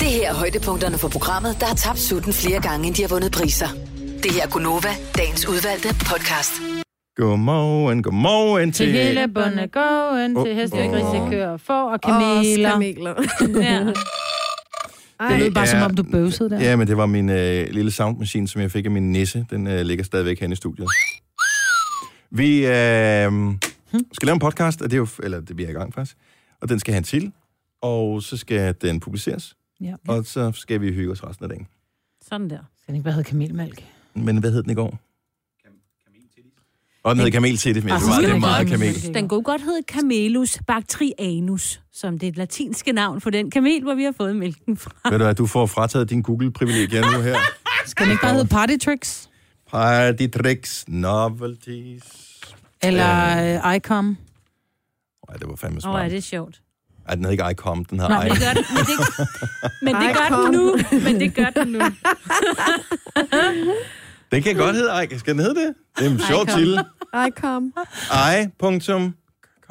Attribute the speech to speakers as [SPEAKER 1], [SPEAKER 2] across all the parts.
[SPEAKER 1] Det her er højdepunkterne for programmet, der har tabt sutten flere gange, end de har vundet priser. Det her er Gunova, dagens udvalgte podcast.
[SPEAKER 2] Godmorgen, godmorgen til...
[SPEAKER 3] Til hele bondegården,
[SPEAKER 2] Åh,
[SPEAKER 3] til heste,
[SPEAKER 2] åh.
[SPEAKER 3] grise, køer, får og
[SPEAKER 4] Kameler.
[SPEAKER 3] kameler.
[SPEAKER 4] kameler.
[SPEAKER 3] Ja.
[SPEAKER 4] Ej,
[SPEAKER 2] Det
[SPEAKER 3] Det lød bare, som
[SPEAKER 2] er-
[SPEAKER 3] om du bøvsede der.
[SPEAKER 2] Ja, men det var min øh, lille soundmaskine, som jeg fik af min nisse. Den øh, ligger stadigvæk herinde i studiet. Vi øh, skal lave en podcast, og det er jo, eller det bliver i gang faktisk. Og den skal have en til, og så skal den publiceres,
[SPEAKER 3] Ja.
[SPEAKER 2] og så skal vi hygge os resten af dagen.
[SPEAKER 5] Sådan der.
[SPEAKER 3] Skal den ikke bare hedde kamelmælk?
[SPEAKER 2] Men hvad hed den i går? Og den hed kamel til det, men
[SPEAKER 3] Ah,
[SPEAKER 2] det
[SPEAKER 3] så
[SPEAKER 2] var
[SPEAKER 3] skal
[SPEAKER 2] det er
[SPEAKER 3] den
[SPEAKER 2] meget
[SPEAKER 3] hedde
[SPEAKER 2] kamel.
[SPEAKER 3] kamelmælk.
[SPEAKER 5] Den kunne godt hedde Camelus bactrianus, som det er et latinske navn for den kamel, hvor vi har fået mælken fra.
[SPEAKER 2] Ved du hvad, du får frataget din Google-privilegier nu her.
[SPEAKER 3] Skal den ikke bare hedde party tricks?
[SPEAKER 2] Party tricks, novelties.
[SPEAKER 3] Eller øh, ICOM?
[SPEAKER 2] Ej, det var fandme
[SPEAKER 5] Åh, oh, er
[SPEAKER 2] smart.
[SPEAKER 5] det sjovt.
[SPEAKER 2] Ej, den hed ikke iCom, den her
[SPEAKER 3] Nå, men
[SPEAKER 2] Icom.
[SPEAKER 5] Det gør den, men det, men det gør den nu. Men det gør den nu.
[SPEAKER 2] Den kan godt hedde Ike. Skal den hedde det? Det er en sjov titel.
[SPEAKER 4] Ej, kom.
[SPEAKER 2] Ej, punktum.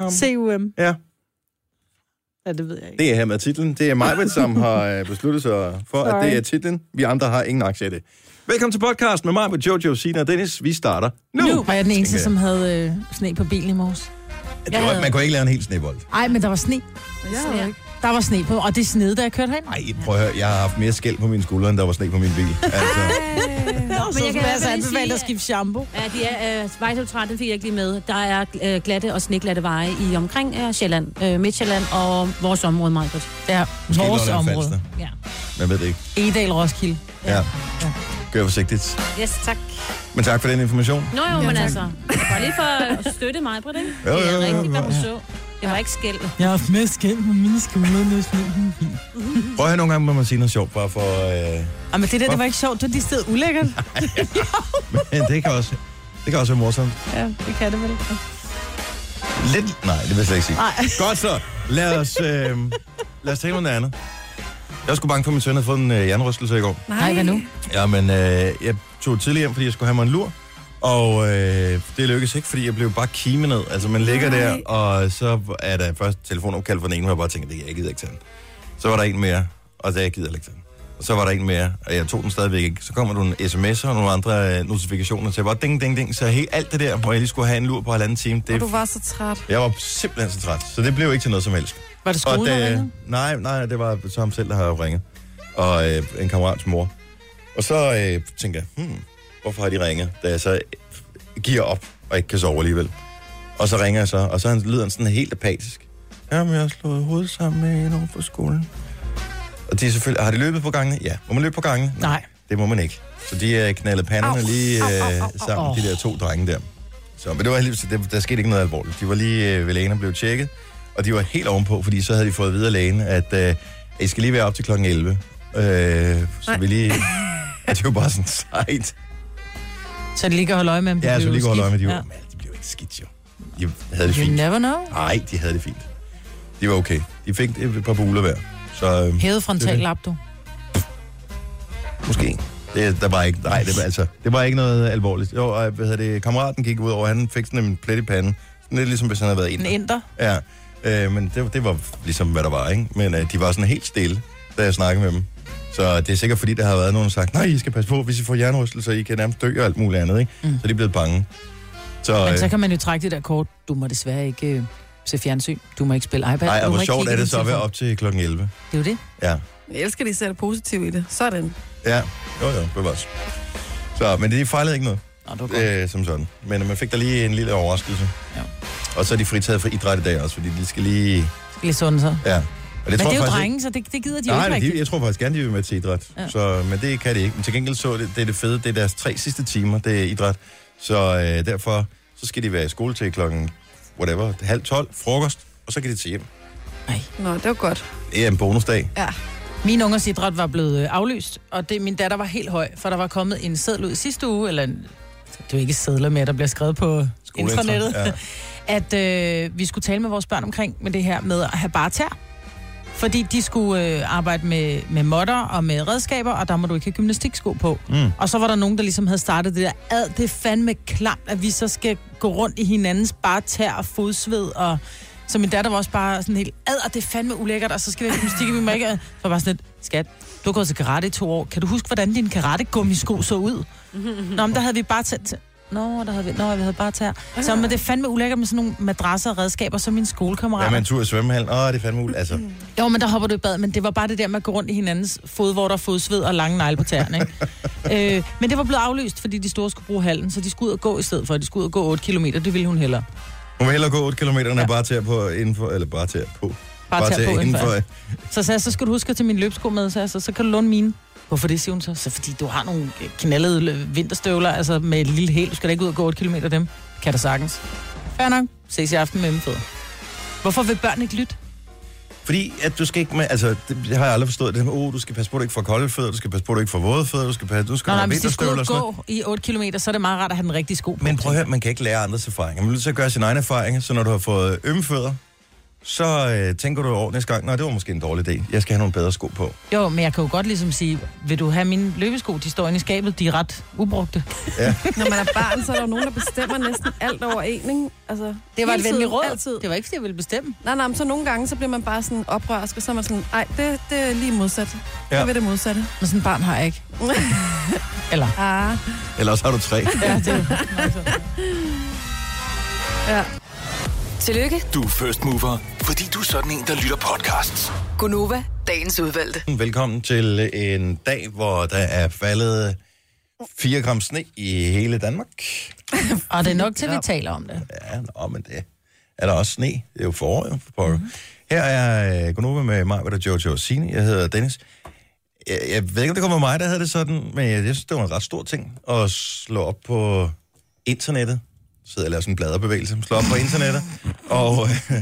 [SPEAKER 2] Kom.
[SPEAKER 3] CUM?
[SPEAKER 2] Ja,
[SPEAKER 3] Ja, det ved jeg ikke.
[SPEAKER 2] det er her med titlen. Det er mig, som har øh, besluttet sig for, at det er titlen. Vi andre har ingen aktie i det. Velkommen til podcast med mig, med Jojo, Sina og Dennis. Vi starter nu.
[SPEAKER 3] Nu var jeg den eneste,
[SPEAKER 2] jeg.
[SPEAKER 3] som havde øh, sne på bilen i morges.
[SPEAKER 2] Det var, man kunne ikke lave en helt snebold.
[SPEAKER 3] Ej, men der var sne.
[SPEAKER 4] Jeg er jo ikke.
[SPEAKER 3] Der var sne på, og det snede, da jeg kørte herind.
[SPEAKER 2] Nej, prøv at høre. Jeg har haft mere skæld på mine skuldre, end der var sne på min bil. Altså,
[SPEAKER 3] Nå, men jeg kan altså
[SPEAKER 5] lige
[SPEAKER 3] anbefale
[SPEAKER 5] sige,
[SPEAKER 3] dig at skifte shampoo.
[SPEAKER 5] Ja, de er, øh, Vejlsøtræt, den fik jeg ikke lige med. Der er øh, glatte og sneglatte veje i omkring øh, Sjælland, øh, Midtjylland og vores område, Majbert.
[SPEAKER 3] Ja,
[SPEAKER 2] måske
[SPEAKER 3] vores
[SPEAKER 2] Lolland
[SPEAKER 3] område.
[SPEAKER 2] Falster.
[SPEAKER 5] Ja.
[SPEAKER 2] Man ved det ikke.
[SPEAKER 3] Edal Roskilde.
[SPEAKER 2] Ja. Gør forsigtigt.
[SPEAKER 5] Yes, tak.
[SPEAKER 2] Men tak for den information.
[SPEAKER 5] Nå jo, ja, men altså, bare lige for at støtte Majbert, ikke?
[SPEAKER 2] Jo,
[SPEAKER 5] det
[SPEAKER 2] jo,
[SPEAKER 5] er
[SPEAKER 2] jo,
[SPEAKER 5] rigtigt, hvad
[SPEAKER 2] jo.
[SPEAKER 5] hun så. Det var ikke skæld.
[SPEAKER 3] Jeg har haft med skæld på mine skulder nu.
[SPEAKER 2] Prøv at høre nogle gange, må man sige noget sjovt, bare for... Øh,
[SPEAKER 3] Ej, men det der, det var ikke sjovt. Det var de sted ulækkert.
[SPEAKER 2] men det kan også, det kan også være morsomt.
[SPEAKER 3] Ja, det kan det vel.
[SPEAKER 2] Lidt? Nej, det vil jeg slet ikke sige.
[SPEAKER 3] Nej.
[SPEAKER 2] Godt så. Lad os, øh, lad os tale om noget andet. Jeg var sgu bange for, at min søn havde fået en øh, hjernerystelse i går.
[SPEAKER 3] Nej, hvad nu?
[SPEAKER 2] Jamen, øh, jeg tog tidligere hjem, fordi jeg skulle have mig en lur. Og øh, det lykkedes ikke, fordi jeg blev bare kimet ned. Altså, man ligger
[SPEAKER 4] Nej.
[SPEAKER 2] der, og så er der først telefonopkald fra den ene, hvor jeg bare tænker, det jeg gider ikke tage den. Så var der en mere, og så jeg gider heller ikke tage den. Og så var der en mere, og jeg tog den stadigvæk ikke. Så kommer nogle sms'er og nogle andre øh, notifikationer til, bare ding, ding, ding. Så helt alt det der, hvor jeg lige skulle have en lur på halvanden time, det
[SPEAKER 4] Og du var så træt.
[SPEAKER 2] jeg var simpelthen så træt, så det blev ikke til noget som helst.
[SPEAKER 3] Var det skolen,
[SPEAKER 2] da-
[SPEAKER 3] der ringede?
[SPEAKER 2] nej, nej, det var så ham selv, der havde ringet. Og øh, en kammerats mor. Og så øh, tænker jeg, hmm, hvorfor har de ringet, da jeg så øh, giver op og ikke kan sove alligevel. Og så ringer jeg så, og så han- lyder han sådan helt apatisk. Jamen, jeg har slået hovedet sammen med en over på skolen. Og de er selvfølgelig, har de løbet på gangen? Ja. Må man løbe på gangen?
[SPEAKER 3] Nej.
[SPEAKER 2] Det må man ikke. Så de øh, knaldede panderne
[SPEAKER 4] Au,
[SPEAKER 2] lige øh,
[SPEAKER 4] au, au, au, au.
[SPEAKER 2] sammen, de der to drenge der. Så, men det var heldigvis, det, der skete ikke noget alvorligt. De var lige øh, ved lægen og blev tjekket, og de var helt ovenpå, fordi så havde de fået videre lægen, at øh, I skal lige være op til kl. 11. Øh, så
[SPEAKER 4] Nej.
[SPEAKER 2] vi lige... At det var bare sådan sejt.
[SPEAKER 3] Så de lige kan holde øje med, om de
[SPEAKER 2] Ja, så
[SPEAKER 3] blev
[SPEAKER 2] lige går og holde øje med, de,
[SPEAKER 3] skidt.
[SPEAKER 2] ja. men, de blev ikke skidt jo. De havde det
[SPEAKER 3] You
[SPEAKER 2] fint.
[SPEAKER 3] never know.
[SPEAKER 2] Nej, de havde det fint. De var okay. De fik et par buler hver. Så øh,
[SPEAKER 3] Hævet
[SPEAKER 2] Det er
[SPEAKER 3] frontal
[SPEAKER 2] det.
[SPEAKER 3] lap, du.
[SPEAKER 2] Måske. Det, der var ikke, nej, det var, altså, det var ikke noget alvorligt. Jo, og, hvad hedder det, kammeraten gik ud over, han fik sådan en plet i panden. Sådan lidt ligesom, hvis han havde været
[SPEAKER 3] En
[SPEAKER 2] ind.
[SPEAKER 3] ender.
[SPEAKER 2] Ja, øh, men det, det var ligesom, hvad der var, ikke? Men øh, de var sådan helt stille, da jeg snakkede med dem. Så det er sikkert, fordi der har været nogen, der har sagt, nej, I skal passe på, hvis I får hjernerystelser, I kan nærmest dø og alt muligt andet, ikke? Mm. Så de er blevet bange. Så,
[SPEAKER 3] Men
[SPEAKER 2] øh,
[SPEAKER 3] så kan man jo trække det der kort. Du må desværre ikke øh, se fjernsyn. Du må ikke spille iPad.
[SPEAKER 2] nej,
[SPEAKER 3] du
[SPEAKER 2] og
[SPEAKER 3] må
[SPEAKER 2] hvor
[SPEAKER 3] ikke
[SPEAKER 2] sjovt
[SPEAKER 3] kigge
[SPEAKER 2] er
[SPEAKER 3] i
[SPEAKER 2] det
[SPEAKER 3] din
[SPEAKER 2] så at være
[SPEAKER 3] telefon.
[SPEAKER 2] op til klokken 11?
[SPEAKER 3] Det er jo det.
[SPEAKER 2] Ja.
[SPEAKER 4] Jeg elsker, at de ser det positive i det. Sådan.
[SPEAKER 2] Ja, jo jo, bevares. Så, men de fejlede ikke noget.
[SPEAKER 3] Nå, det var godt.
[SPEAKER 2] øh, som sådan. Men man fik da lige en lille overraskelse.
[SPEAKER 3] Ja.
[SPEAKER 2] Og så er de fritaget for idræt i dag også, fordi de skal lige...
[SPEAKER 3] Lige sådan så.
[SPEAKER 2] Ja. Og det
[SPEAKER 3] Men
[SPEAKER 2] tror jeg
[SPEAKER 3] det er jo
[SPEAKER 2] faktisk
[SPEAKER 3] drenge, så det, det gider de
[SPEAKER 2] Ikke,
[SPEAKER 3] jo
[SPEAKER 2] nej,
[SPEAKER 3] ikke
[SPEAKER 2] men de,
[SPEAKER 3] rigtigt.
[SPEAKER 2] jeg tror faktisk gerne, de vil med til idræt. Ja.
[SPEAKER 3] Ja.
[SPEAKER 2] Så, men det kan de ikke. Men til gengæld så er det, det er det fede, det er deres tre sidste timer, det er idræt. Så øh, derfor så skal de være i skole til klokken whatever, halv tolv, frokost, og så kan de til hjem.
[SPEAKER 4] Nå, det var godt.
[SPEAKER 2] Det er en bonusdag.
[SPEAKER 4] Ja.
[SPEAKER 3] Min ungers idræt var blevet øh, aflyst, og det, min datter var helt høj, for der var kommet en seddel ud i sidste uge, eller en, det er jo ikke sædler mere, der bliver skrevet på
[SPEAKER 2] Skoleintra,
[SPEAKER 3] internettet,
[SPEAKER 2] ja.
[SPEAKER 3] ja. at øh, vi skulle tale med vores børn omkring med det her med at have bare tær. Fordi de skulle øh, arbejde med, med modder og med redskaber, og der må du ikke have gymnastiksko på.
[SPEAKER 2] Mm.
[SPEAKER 3] Og så var der nogen, der ligesom havde startet det der, ad, det er fandme klamt, at vi så skal gå rundt i hinandens bare tær og fodsved, og Så min datter var også bare sådan helt, ad, og det er fandme ulækkert, og så skal vi have gymnastik, og vi må ikke... Så var jeg bare sådan lidt, skat, du har gået til karate i to år. Kan du huske, hvordan din karate-gummisko så ud? Nå, men der havde vi bare tæt... Nå, der havde vi, nå, vi havde bare tær. Så men det er fandme ulækkert med sådan nogle madrasser og redskaber, som min skolekammerat.
[SPEAKER 2] Ja, man tur i svømmehallen. Åh, det er fandme ul. Altså,
[SPEAKER 3] Jo, men der hopper du i bad, men det var bare det der med at gå rundt i hinandens fodvorter, fodsved og lange negle på tæerne. Ikke? øh, men det var blevet aflyst, fordi de store skulle bruge halen, så de skulle ud og gå i stedet for. De skulle ud og gå 8 km, det ville hun hellere.
[SPEAKER 2] hun vil hellere gå 8 km, end ja. bare til på inden for, eller bare til på.
[SPEAKER 3] Bare, bare tage på
[SPEAKER 2] inden for.
[SPEAKER 3] Så sagde jeg, så skal du huske at tage mine løbsko med, så, så, så kan du låne mine. Hvorfor det, siger hun så? Så fordi du har nogle øh, knaldede øh, vinterstøvler, altså med et lille hæl. Du skal da ikke ud og gå 8 km dem. Kan da sagtens. Fair nok. Ses i aften med MF'et. Hvorfor vil børn ikke lytte?
[SPEAKER 2] Fordi at du skal ikke med, altså, det, det har jeg aldrig forstået. Det med, oh, du skal passe på, at du ikke får kolde fødder, du skal passe på, at du ikke får våde fødder, du skal passe, du skal
[SPEAKER 3] Nå, nej,
[SPEAKER 2] have
[SPEAKER 3] hvis de skal ud
[SPEAKER 2] vinterstøvler
[SPEAKER 3] og
[SPEAKER 2] og sådan noget.
[SPEAKER 3] gå i 8 km, så er det meget rart at have den rigtige sko på.
[SPEAKER 2] Men prøv at høre, man kan ikke lære andres erfaringer. Man er nødt til at gøre sine egne erfaringer, så når du har fået ømme fødder, så øh, tænker du over næste gang, nej, det var måske en dårlig idé. Jeg skal have nogle bedre sko på.
[SPEAKER 3] Jo, men jeg kan jo godt ligesom sige, vil du have mine løbesko? De står inde i skabet, de er ret ubrugte.
[SPEAKER 4] Når man er barn, så er der jo nogen, der bestemmer næsten alt over en, ikke? Altså,
[SPEAKER 3] Det var
[SPEAKER 4] hele
[SPEAKER 3] et
[SPEAKER 4] tiden,
[SPEAKER 3] venligt råd.
[SPEAKER 4] Altid.
[SPEAKER 3] Det var ikke, fordi jeg ville bestemme.
[SPEAKER 4] Nej, nej, men så nogle gange, så bliver man bare sådan oprørsk, og så er man sådan, ej, det, det er lige modsat.
[SPEAKER 2] Ja.
[SPEAKER 4] Ja. Jeg vil det modsatte.
[SPEAKER 3] Men sådan en barn har jeg ikke. Eller?
[SPEAKER 4] Ah,
[SPEAKER 2] Ellers har du tre.
[SPEAKER 3] Ja, det,
[SPEAKER 4] ja.
[SPEAKER 1] Tillykke,
[SPEAKER 6] Du er first mover, fordi du er sådan en, der lytter podcasts.
[SPEAKER 1] Gunova, dagens udvalgte.
[SPEAKER 2] Velkommen til en dag, hvor der er faldet 4 gram sne i hele Danmark.
[SPEAKER 3] og det er nok til, vi taler om det.
[SPEAKER 2] Ja, nå, men det er der også sne. Det er jo forår, jo. For pokker.
[SPEAKER 4] Mhm.
[SPEAKER 2] Her er øh, Gunova med mig, der Jojo og Signe. Jeg hedder Dennis. Jeg, jeg ved ikke, om det kommer mig, der havde det sådan, men jeg, jeg synes, det var en ret stor ting at slå op på internettet. Så sidder jeg og laver sådan en bladrebevægelse. Slå op på internettet. Og... Øh,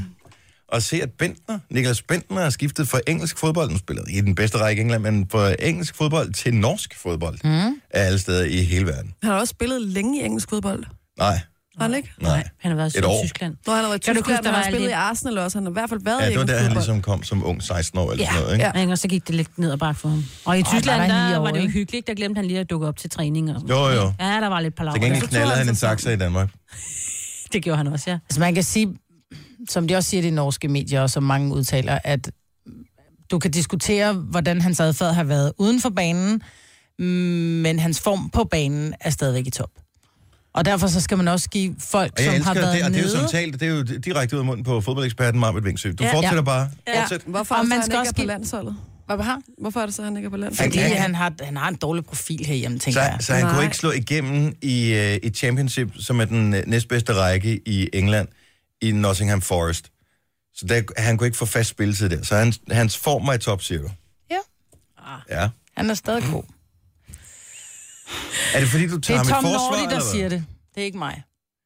[SPEAKER 2] og se, at Bentner, Niklas Bentner, har skiftet fra engelsk fodbold, nu spiller i den bedste række i England, men fra engelsk fodbold til norsk fodbold,
[SPEAKER 4] Mhm.
[SPEAKER 2] mm. af alle steder i hele verden.
[SPEAKER 4] Han har også spillet længe i engelsk fodbold.
[SPEAKER 2] Nej,
[SPEAKER 4] Har han ikke?
[SPEAKER 2] nej.
[SPEAKER 5] Han har været i
[SPEAKER 2] Et år.
[SPEAKER 5] Tyskland.
[SPEAKER 4] Nå, han har været i
[SPEAKER 5] Kan du huske,
[SPEAKER 4] Tyskland,
[SPEAKER 5] der
[SPEAKER 4] men han
[SPEAKER 5] var
[SPEAKER 4] har spillet i
[SPEAKER 5] lidt-
[SPEAKER 4] Arsenal også. Han har i hvert fald været
[SPEAKER 2] Ja,
[SPEAKER 4] i
[SPEAKER 2] det var
[SPEAKER 4] engelsk
[SPEAKER 2] der, han
[SPEAKER 4] fodbold.
[SPEAKER 2] ligesom kom som ung 16 år eller
[SPEAKER 5] Ja,
[SPEAKER 2] sådan noget, ikke?
[SPEAKER 4] ja.
[SPEAKER 5] Og så gik det lidt ned og bare for ham. Og i Tyskland,
[SPEAKER 3] der er ni
[SPEAKER 5] der,
[SPEAKER 3] år,
[SPEAKER 5] var det jo
[SPEAKER 3] ikke?
[SPEAKER 5] hyggeligt. Der glemte han lige at dukke op til træning. Og...
[SPEAKER 2] Jo, jo.
[SPEAKER 5] Ja, der var lidt palaver.
[SPEAKER 2] Til gengæld knaldede han en sakser i Danmark.
[SPEAKER 5] Det gjorde han også, ja.
[SPEAKER 3] Altså man kan sige, som de også siger i de norske medier, og som mange udtaler, at du kan diskutere, hvordan hans adfærd har været uden for banen, mm, men hans form på banen er stadigvæk i top. Og derfor så skal man også give folk,
[SPEAKER 2] Og jeg
[SPEAKER 3] som har
[SPEAKER 2] elsker
[SPEAKER 3] været
[SPEAKER 2] det, og det er jo
[SPEAKER 3] nede...
[SPEAKER 2] sådan talt, det er jo direkte ud af munden på fodboldeksperten Marvind Vingsø. Du
[SPEAKER 4] Ja.
[SPEAKER 2] fortsætter
[SPEAKER 3] Ja.
[SPEAKER 2] bare.
[SPEAKER 4] Ja.
[SPEAKER 2] Fortsæt.
[SPEAKER 4] Hvorfor
[SPEAKER 3] Og
[SPEAKER 4] er det
[SPEAKER 3] man
[SPEAKER 4] så,
[SPEAKER 3] skal
[SPEAKER 4] han ikke
[SPEAKER 3] også
[SPEAKER 4] er på
[SPEAKER 3] give-
[SPEAKER 4] landsholdet?
[SPEAKER 3] Hvad har?
[SPEAKER 4] Hvorfor er det så, han ikke er på landsholdet?
[SPEAKER 3] Fordi
[SPEAKER 2] Han-
[SPEAKER 3] han har, han har en dårlig profil herhjemme, tænker
[SPEAKER 2] Så,
[SPEAKER 3] jeg.
[SPEAKER 2] så han kunne
[SPEAKER 4] Nej.
[SPEAKER 2] ikke slå igennem i, øh, i Championship, som er den øh, næstbedste række i England, i Nottingham Forest. Så der, han kunne ikke få fast spilletid der. Så hans, hans form var i top, siger du?
[SPEAKER 3] Ja.
[SPEAKER 2] Ja.
[SPEAKER 3] Han er stadig god.
[SPEAKER 2] Er det fordi, du
[SPEAKER 3] Det
[SPEAKER 2] tager
[SPEAKER 3] er
[SPEAKER 2] mit
[SPEAKER 3] Tom
[SPEAKER 2] forsvar?
[SPEAKER 3] Norley, der
[SPEAKER 2] eller hvad?
[SPEAKER 3] siger det. Det er ikke mig.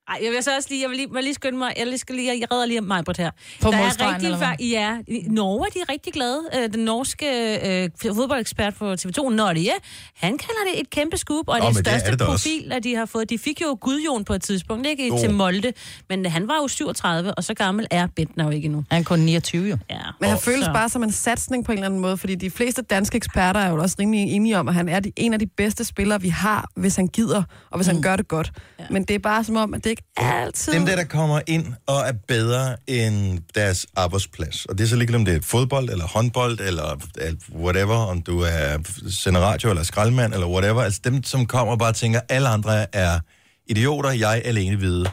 [SPEAKER 5] Ej, jeg vil så også lige, jeg vil lige, må jeg lige skynde mig, jeg, lige skal lige, jeg redder lige mig, Britt, her.
[SPEAKER 3] På
[SPEAKER 5] der
[SPEAKER 3] målstregen,
[SPEAKER 5] er rigtig,
[SPEAKER 3] eller hvad?
[SPEAKER 5] fa- ja, i Norge de er rigtig glade. Øh, Den norske øh, fodboldekspert på TV2, Nolje, han kalder det et kæmpe scoop, og
[SPEAKER 2] Nå,
[SPEAKER 5] det er
[SPEAKER 2] men
[SPEAKER 5] den
[SPEAKER 2] det er
[SPEAKER 5] største
[SPEAKER 2] det da også.
[SPEAKER 5] profil, at de har fået. De fik jo Gudjon på et tidspunkt, ikke?
[SPEAKER 2] Jo.
[SPEAKER 5] Til Molde, men han var jo 37, og så gammel er Bentner jo ikke endnu.
[SPEAKER 3] Han er kun 29, jo.
[SPEAKER 5] Ja.
[SPEAKER 4] Men han
[SPEAKER 5] Og
[SPEAKER 4] føles
[SPEAKER 5] så-
[SPEAKER 4] bare som en satsning på en eller anden måde, fordi de fleste danske eksperter er jo også rimelig enige om, at han er de, en af de bedste spillere, vi har, hvis han gider, og hvis mm. han gør det godt. Ja. Men det er bare som om, at det ikke altid...
[SPEAKER 2] Dem der, der kommer ind og er bedre end deres arbejdsplads. Og det er så ligegyldigt, om det er fodbold, eller håndbold, eller alt whatever, om du er sender radio, eller skraldemand, eller whatever. Altså dem, som kommer og bare tænker, alle andre er idioter, jeg er alene hvide.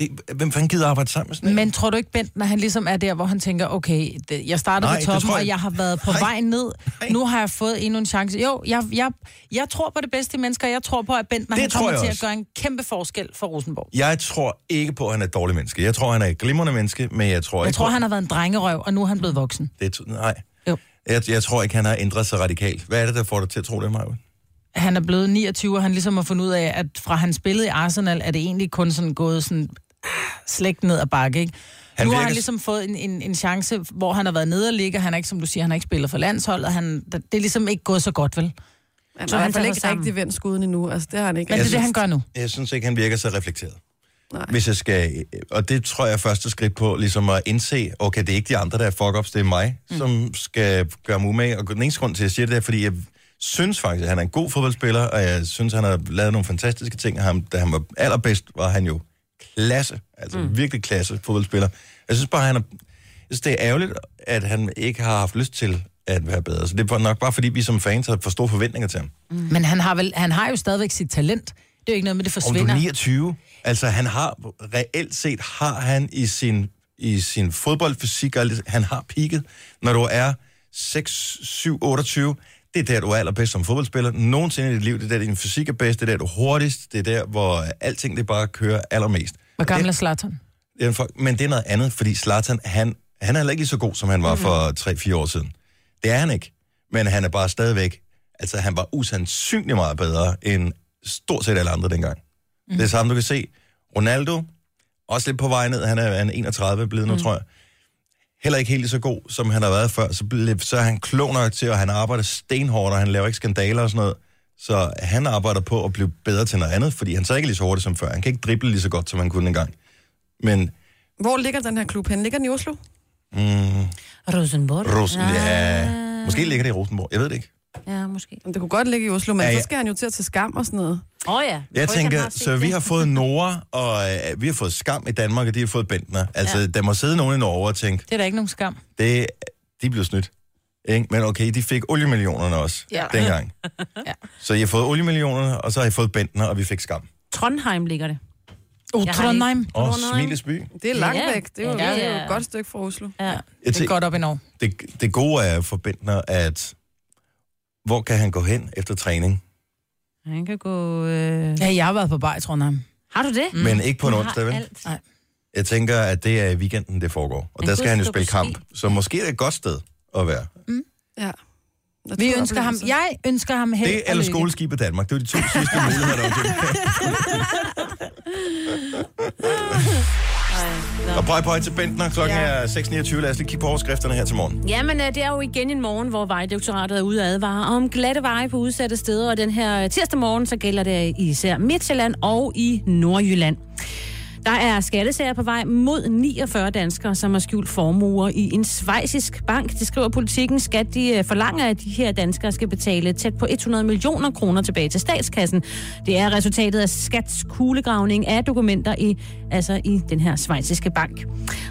[SPEAKER 2] Det, hvem fanden gider arbejde sammen med sådan en?
[SPEAKER 3] Men tror du ikke, Bent, når han ligesom er der, hvor han tænker, okay, det, jeg starter
[SPEAKER 2] Nej,
[SPEAKER 3] på
[SPEAKER 2] det
[SPEAKER 3] toppen,
[SPEAKER 2] tror jeg
[SPEAKER 3] og
[SPEAKER 2] ikke.
[SPEAKER 3] jeg har været på
[SPEAKER 2] Nej.
[SPEAKER 3] vej ned.
[SPEAKER 2] Nej.
[SPEAKER 3] Nu har jeg fået endnu en chance. Jo, jeg, jeg, jeg tror på det bedste i mennesker. Jeg tror på, at Bent, når
[SPEAKER 2] Det
[SPEAKER 3] han
[SPEAKER 2] tror
[SPEAKER 3] kommer
[SPEAKER 2] jeg
[SPEAKER 3] til at
[SPEAKER 2] også.
[SPEAKER 3] gøre en kæmpe forskel for Rosenborg.
[SPEAKER 2] Jeg tror ikke på, at han er et dårligt menneske. Jeg tror, han er et glimrende menneske, men jeg tror
[SPEAKER 3] Jeg
[SPEAKER 2] ikke
[SPEAKER 3] tror,
[SPEAKER 2] på,
[SPEAKER 3] han har været en drengerøv, og nu er han blevet voksen.
[SPEAKER 2] Det, er- nej.
[SPEAKER 3] Jo.
[SPEAKER 2] Jeg, jeg tror ikke, han har ændret sig radikalt. Hvad er det, der får dig til at tro det, Maja?
[SPEAKER 3] Han er blevet 29, og han ligesom har fundet ud af, at fra han spillede i Arsenal, er det egentlig kun sådan gået sådan ah, slægt ned ad bakke, ikke?
[SPEAKER 2] Han
[SPEAKER 3] Han nu har
[SPEAKER 2] virker-
[SPEAKER 3] han ligesom fået en, en, en chance, hvor han har været nede og ligge. Han er ikke, som du siger, han har ikke spillet for landsholdet. Han, det er ligesom ikke gået så godt, vel?
[SPEAKER 4] Han
[SPEAKER 5] Så
[SPEAKER 4] har i
[SPEAKER 5] han
[SPEAKER 4] hvert fald
[SPEAKER 5] tager
[SPEAKER 4] ikke
[SPEAKER 5] sig sammen.
[SPEAKER 4] rigtig vendt skuden endnu. Altså, det har han ikke.
[SPEAKER 3] Men det
[SPEAKER 4] rigtig.
[SPEAKER 3] er det,
[SPEAKER 2] synes-
[SPEAKER 3] han gør nu.
[SPEAKER 2] Jeg synes ikke, han virker så reflekteret.
[SPEAKER 4] Nej.
[SPEAKER 2] Hvis jeg skal, og det tror jeg er første skridt på, ligesom at indse, okay, det er ikke de andre, der er fuck-ups, det er mig, mm. som skal gøre mig umage. Og den eneste grund til, at jeg siger det, er, fordi jeg synes faktisk, at han er en god fodboldspiller, og jeg synes, han har lavet nogle fantastiske ting. Ham, da han var allerbedst, var han jo klasse, altså mm. virkelig klasse fodboldspiller. Jeg synes bare, han er, synes, det er ærgerligt, at han ikke har haft lyst til at være bedre. Så det er nok bare, fordi vi som fans har for store forventninger til ham.
[SPEAKER 5] Mm.
[SPEAKER 3] Men han har, vel, han har jo stadigvæk sit talent. Det er jo ikke noget med, det
[SPEAKER 2] Om du er
[SPEAKER 3] forsvinder.
[SPEAKER 2] 29, altså han har, reelt set har han i sin, i sin fodboldfysik, og alt det- han har peaked, når du er 6, 7, 28, det er der, du er allerbedst som fodboldspiller. Nogensinde i dit liv, det er der, din fysik er bedst, det er der, du er hurtigst, det er der, hvor alting det bare kører allermest.
[SPEAKER 3] Hvor gammel er
[SPEAKER 2] Det-
[SPEAKER 3] Zlatan?
[SPEAKER 2] det er en folk, men det er noget andet, fordi Zlatan, han, han er heller ikke lige så god, som han var for 3-4 år siden. Det er han ikke. Men han er bare stadigvæk... Altså, han var usandsynlig meget bedre end stort set alle andre dengang. Mm. Det er samme, du kan se. Ronaldo, også lidt på vej ned. Han er, han er 31 blevet nu, mm. tror jeg. Heller ikke helt lige så god, som han har været før. Så, blev- så er han klog nok til, og han arbejder stenhårdt, og han laver ikke skandaler og sådan noget. Så han arbejder på at blive bedre til noget andet, fordi han så ikke er lige så hurtigt som før. Han kan ikke drible lige så godt, som han kunne engang. Men
[SPEAKER 4] Hvor ligger den her klub hen? Ligger den i Oslo?
[SPEAKER 5] Rosenborg.
[SPEAKER 2] mm,
[SPEAKER 5] Ah.
[SPEAKER 2] Rosen, ja. Måske ligger det i Rosenborg. Jeg ved det ikke.
[SPEAKER 5] Ja, måske.
[SPEAKER 4] Jamen, Det kunne godt ligge i Oslo, men
[SPEAKER 2] Ja,
[SPEAKER 4] ja,
[SPEAKER 2] ja.
[SPEAKER 4] ja. så skal han jo til at tage skam og sådan noget.
[SPEAKER 5] Åh oh, ja.
[SPEAKER 2] Jeg
[SPEAKER 5] tror ikke, han
[SPEAKER 2] tænker,
[SPEAKER 5] har set
[SPEAKER 2] så vi
[SPEAKER 5] det.
[SPEAKER 2] har fået Nora, og øh, vi har fået Skam i Danmark, og de har fået Bentner. Altså, ja. der må sidde nogen i Norge og tænke,
[SPEAKER 3] Det er da ikke nogen skam.
[SPEAKER 2] det, de blev snydt. Ikke? Men okay, de fik oliemillionerne også ja.
[SPEAKER 3] Ja.
[SPEAKER 2] dengang. ja. Så jeg har fået oliemillionerne, og så har jeg fået Bentner, og vi fik Skam.
[SPEAKER 5] Trondheim ligger det.
[SPEAKER 3] Oh,
[SPEAKER 5] Jeg har
[SPEAKER 3] Trondheim.
[SPEAKER 2] Og
[SPEAKER 5] Trondheim.
[SPEAKER 2] Smilesby.
[SPEAKER 4] Det er langt
[SPEAKER 5] Ja.
[SPEAKER 4] ja. væk. Det er jo,
[SPEAKER 5] Ja,
[SPEAKER 4] ja, ja. Det er jo
[SPEAKER 5] ja.
[SPEAKER 4] et godt stykke fra Oslo.
[SPEAKER 5] Ja.
[SPEAKER 2] Jeg
[SPEAKER 3] Det er godt op i Norge.
[SPEAKER 2] det, det gode er for Bentner, at hvor kan han gå hen efter træning?
[SPEAKER 5] Han kan gå... Øh...
[SPEAKER 3] Ja, jeg har været på bar i Trondheim.
[SPEAKER 5] Har du det?
[SPEAKER 2] Mm. Men ikke på en
[SPEAKER 5] Han har
[SPEAKER 2] onsdag, vel?
[SPEAKER 5] alt.
[SPEAKER 3] Nej.
[SPEAKER 2] Jeg tænker, at det er i weekenden, det foregår. Og
[SPEAKER 5] Men
[SPEAKER 2] der skal
[SPEAKER 5] Gud
[SPEAKER 2] han jo
[SPEAKER 5] skal
[SPEAKER 2] spille
[SPEAKER 5] på
[SPEAKER 2] kamp. Så måske er det et godt sted at være.
[SPEAKER 4] Ja.
[SPEAKER 3] Mm. Vi ønsker ham, jeg ønsker ham held
[SPEAKER 2] Det
[SPEAKER 3] og
[SPEAKER 2] eller
[SPEAKER 3] lykke.
[SPEAKER 2] skoleskib i Danmark. Det er de to sidste muligheder, der er til. Og bøj, bøj til Bentner. Klokken er 6.29. Lad os lige kigge på overskrifterne her til morgen.
[SPEAKER 5] Jamen, øh, det er jo igen en morgen, hvor Vejdirektoratet er ude at advare om glatte veje på udsatte steder, og den her øh, tirsdag morgen, så gælder det især Midtjylland og i Nordjylland. Der er skattesager på vej mod 49 danskere, som har skjult formuer i en svejsisk bank. Det skriver politikken, skat de øh, forlanger, at de her danskere skal betale tæt på 100 millioner kroner tilbage til statskassen. Det er resultatet af skats kuglegravning af dokumenter i, altså i den her svejsiske bank.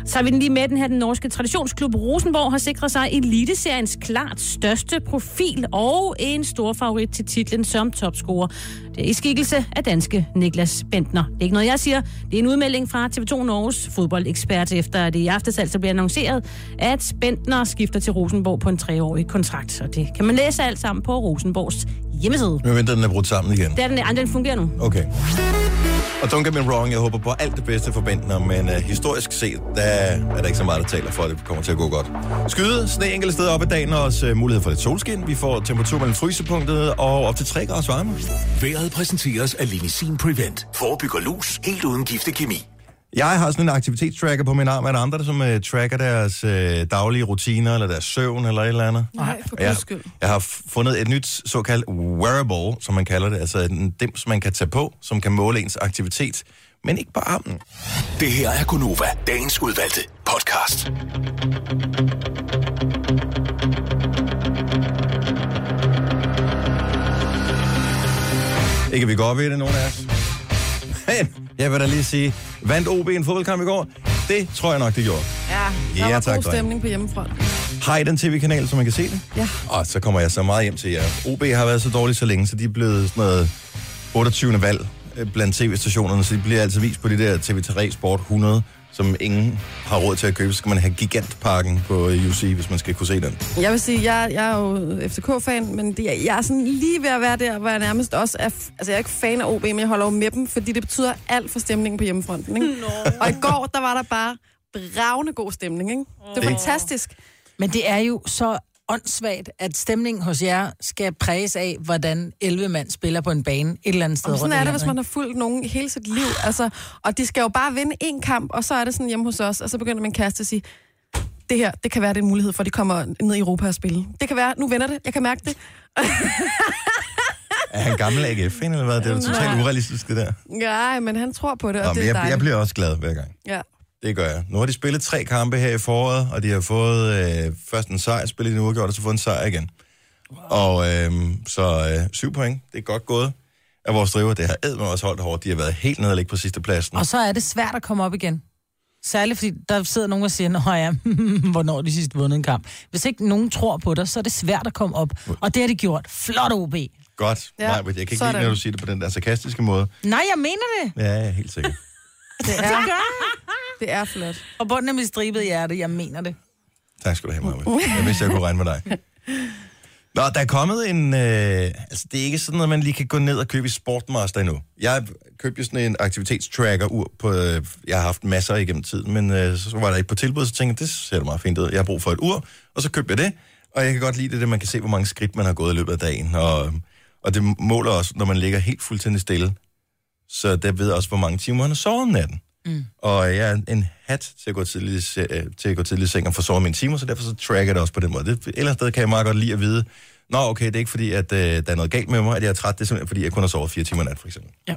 [SPEAKER 5] Så er vi den lige med den her, den norske traditionsklub Rosenborg har sikret sig Eliteseriens klart største profil og en stor favorit til titlen som topscorer. Det er i skikkelse af danske Niklas Bentner. Det er ikke noget, jeg siger. Det er en udmelding fra TV2 Norges fodboldekspert, efter det i aftes altså bliver annonceret, at Bentner skifter til Rosenborg på en treårig kontrakt. Og det kan man læse alt sammen på Rosenborgs hjemmeside.
[SPEAKER 2] Men venter, den er brudt sammen igen.
[SPEAKER 5] Der er den, ej, den fungerer nu.
[SPEAKER 2] Okay. Og don't get me wrong, jeg håber på alt det bedste for Bentner, men uh, historisk set, der er der ikke så meget, der taler for, at det kommer til at gå godt. Skyde, sne enkelte steder op ad dagen, og også uh, mulighed for lidt solskin. Vi får temperatur mellem frysepunktet og op til 3 grader varme.
[SPEAKER 6] Været præsenteres af Linisin Prevent. Forebygger lus helt uden giftig kemi.
[SPEAKER 2] Jeg har sådan en aktivitetstracker på min arm. Er der andre, der som uh, tracker deres uh, daglige rutiner, eller deres søvn, eller et eller andet?
[SPEAKER 4] Nej, for
[SPEAKER 2] Jeg,
[SPEAKER 4] guds skyld.
[SPEAKER 2] jeg har f- fundet et nyt såkaldt wearable, som man kalder det. Altså en dims, man kan tage på, som kan måle ens aktivitet, men ikke på armen.
[SPEAKER 6] Det her er Gonova, dagens udvalgte podcast.
[SPEAKER 2] Ikke at vi går op i det, nogen af os. Men jeg vil da lige sige, vandt OB en fodboldkamp i går? Det tror jeg nok, det gjorde.
[SPEAKER 4] Ja,
[SPEAKER 2] Ja,
[SPEAKER 4] der var
[SPEAKER 2] tak,
[SPEAKER 4] god
[SPEAKER 2] dreng.
[SPEAKER 4] stemning på hjemmefront.
[SPEAKER 2] Har I den tv-kanal, så man kan se det?
[SPEAKER 4] Ja.
[SPEAKER 2] Og så kommer jeg så meget hjem til jer. OB har været så dårlig så længe, så de er blevet sådan noget 28. valg øh, blandt tv-stationerne, så de bliver altså vist på det der TV3 Sport 100, som ingen har råd til at købe. Så skal man have gigantpakken på øh, UC, hvis man skal kunne se den.
[SPEAKER 4] Jeg vil sige, jeg, jeg er jo FCK-fan, men det, er- jeg er sådan lige ved at være der, hvor jeg nærmest også er... f- Altså, jeg er ikke fan af OB, men jeg holder jo med dem, fordi det betyder alt for stemningen på hjemmefronten, ikke? Og i går, der var der bare bravende god stemning, ikke? Det var
[SPEAKER 2] Det-
[SPEAKER 4] fantastisk.
[SPEAKER 3] Men det er jo så åndssvagt, at stemningen hos jer skal præges af, hvordan 11 mand spiller på en bane et eller andet sted
[SPEAKER 4] Jamen, sådan
[SPEAKER 3] rundt i
[SPEAKER 4] er det,
[SPEAKER 3] landet,
[SPEAKER 4] hvis man har fulgt nogen hele sit liv. Altså, og de skal jo bare vinde én kamp, og så er det sådan hjemme hos os, og så begynder min kæreste at sige, det her, det kan være, det er en mulighed for, at de kommer ned i Europa og spille. Det kan være, nu vender det, jeg kan mærke det.
[SPEAKER 2] Er han gammel AGF, eller hvad? Det er jo totalt urealistisk, det der.
[SPEAKER 4] Nej, men han tror på det, og
[SPEAKER 2] Nå,
[SPEAKER 4] det
[SPEAKER 2] men
[SPEAKER 4] er
[SPEAKER 2] jeg, jeg
[SPEAKER 4] dejligt.
[SPEAKER 2] bliver også glad hver gang.
[SPEAKER 4] Ja.
[SPEAKER 2] Det gør jeg. Nu har de spillet tre kampe her i foråret, og de har fået øh, først en sejr, spillet en uafgjort, og så fået en sejr igen. Og øh, så øh, syv point, det er godt gået af vores driver. Det har æd med os holdt hårdt. De har været helt nede og ligge på sidste pladsen.
[SPEAKER 3] Og så er det svært at komme op igen. Særligt fordi der sidder nogen og siger, Nå ja, hvornår har de sidst vundet en kamp. Hvis ikke nogen tror på dig, så er det svært at komme op. Og det har de gjort. Flot OB.
[SPEAKER 2] Godt.
[SPEAKER 4] Ja,
[SPEAKER 2] Ja, Nej, men jeg kan ikke lide,
[SPEAKER 4] sådan.
[SPEAKER 2] når du siger det på den der sarkastiske måde.
[SPEAKER 3] Nej, jeg mener det.
[SPEAKER 2] Ja, jeg er helt sikker.
[SPEAKER 4] Det er, det er flot.
[SPEAKER 3] Og bunden af mit stribede hjerte, jeg mener det.
[SPEAKER 2] Tak skal du have, Maja. Jeg vidste, jeg kunne regne med dig. Nå, der er kommet en... Øh, altså, det er ikke sådan noget, man lige kan gå ned og købe i Sportmaster endnu. Jeg købte jo sådan en aktivitetstracker-ur på... Øh, jeg har haft masser igennem tiden, men øh, så var der ikke på tilbud, så tænkte jeg, det ser da meget fint ud. Jeg har brug for et ur, og så købte jeg det. Og jeg kan godt lide det, at man kan se, hvor mange skridt man har gået i løbet af dagen. Og, øh, og det måler også, når man ligger helt fuldstændig stille. Så der ved jeg også, hvor mange timer han har sovet om natten. Og jeg er en hat til at gå tidligt, i se- øh, til at gå tidligt i seng og få sovet mine timer, så derfor så tracker jeg det også på den måde. Det, ellers sted kan jeg meget godt lide at vide, nå okay, det er ikke fordi, at øh, der er noget galt med mig, at jeg er træt, det er simpelthen fordi, jeg kun har sovet fire timer i nat, for eksempel.
[SPEAKER 3] Ja.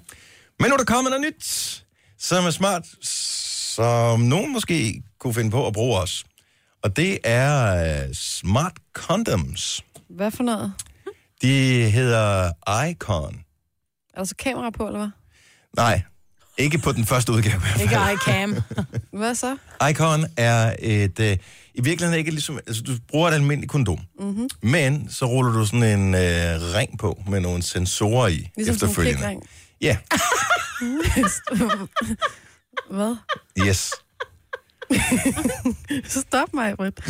[SPEAKER 2] Men nu er der kommet noget nyt, som er smart, som nogen måske kunne finde på at bruge os. Og det er øh, smart condoms.
[SPEAKER 4] Hvad for noget?
[SPEAKER 2] De hedder Icon.
[SPEAKER 4] Er der så kamera på, eller hvad?
[SPEAKER 2] Nej, ikke på den første udgave. i hvert fald.
[SPEAKER 3] Ikke iCam.
[SPEAKER 4] Hvad så?
[SPEAKER 2] Icon er et... Øh, I virkeligheden ikke ligesom... Altså, du bruger et almindeligt kondom.
[SPEAKER 4] Mhm.
[SPEAKER 2] Mm-hmm. Men så ruller du sådan en øh, ring på med nogle sensorer i
[SPEAKER 4] Ligesom sådan en
[SPEAKER 2] efterfølgende.
[SPEAKER 4] klikring.
[SPEAKER 2] Ja,
[SPEAKER 4] Hvad?
[SPEAKER 2] yes.
[SPEAKER 4] Stop mig, Britt.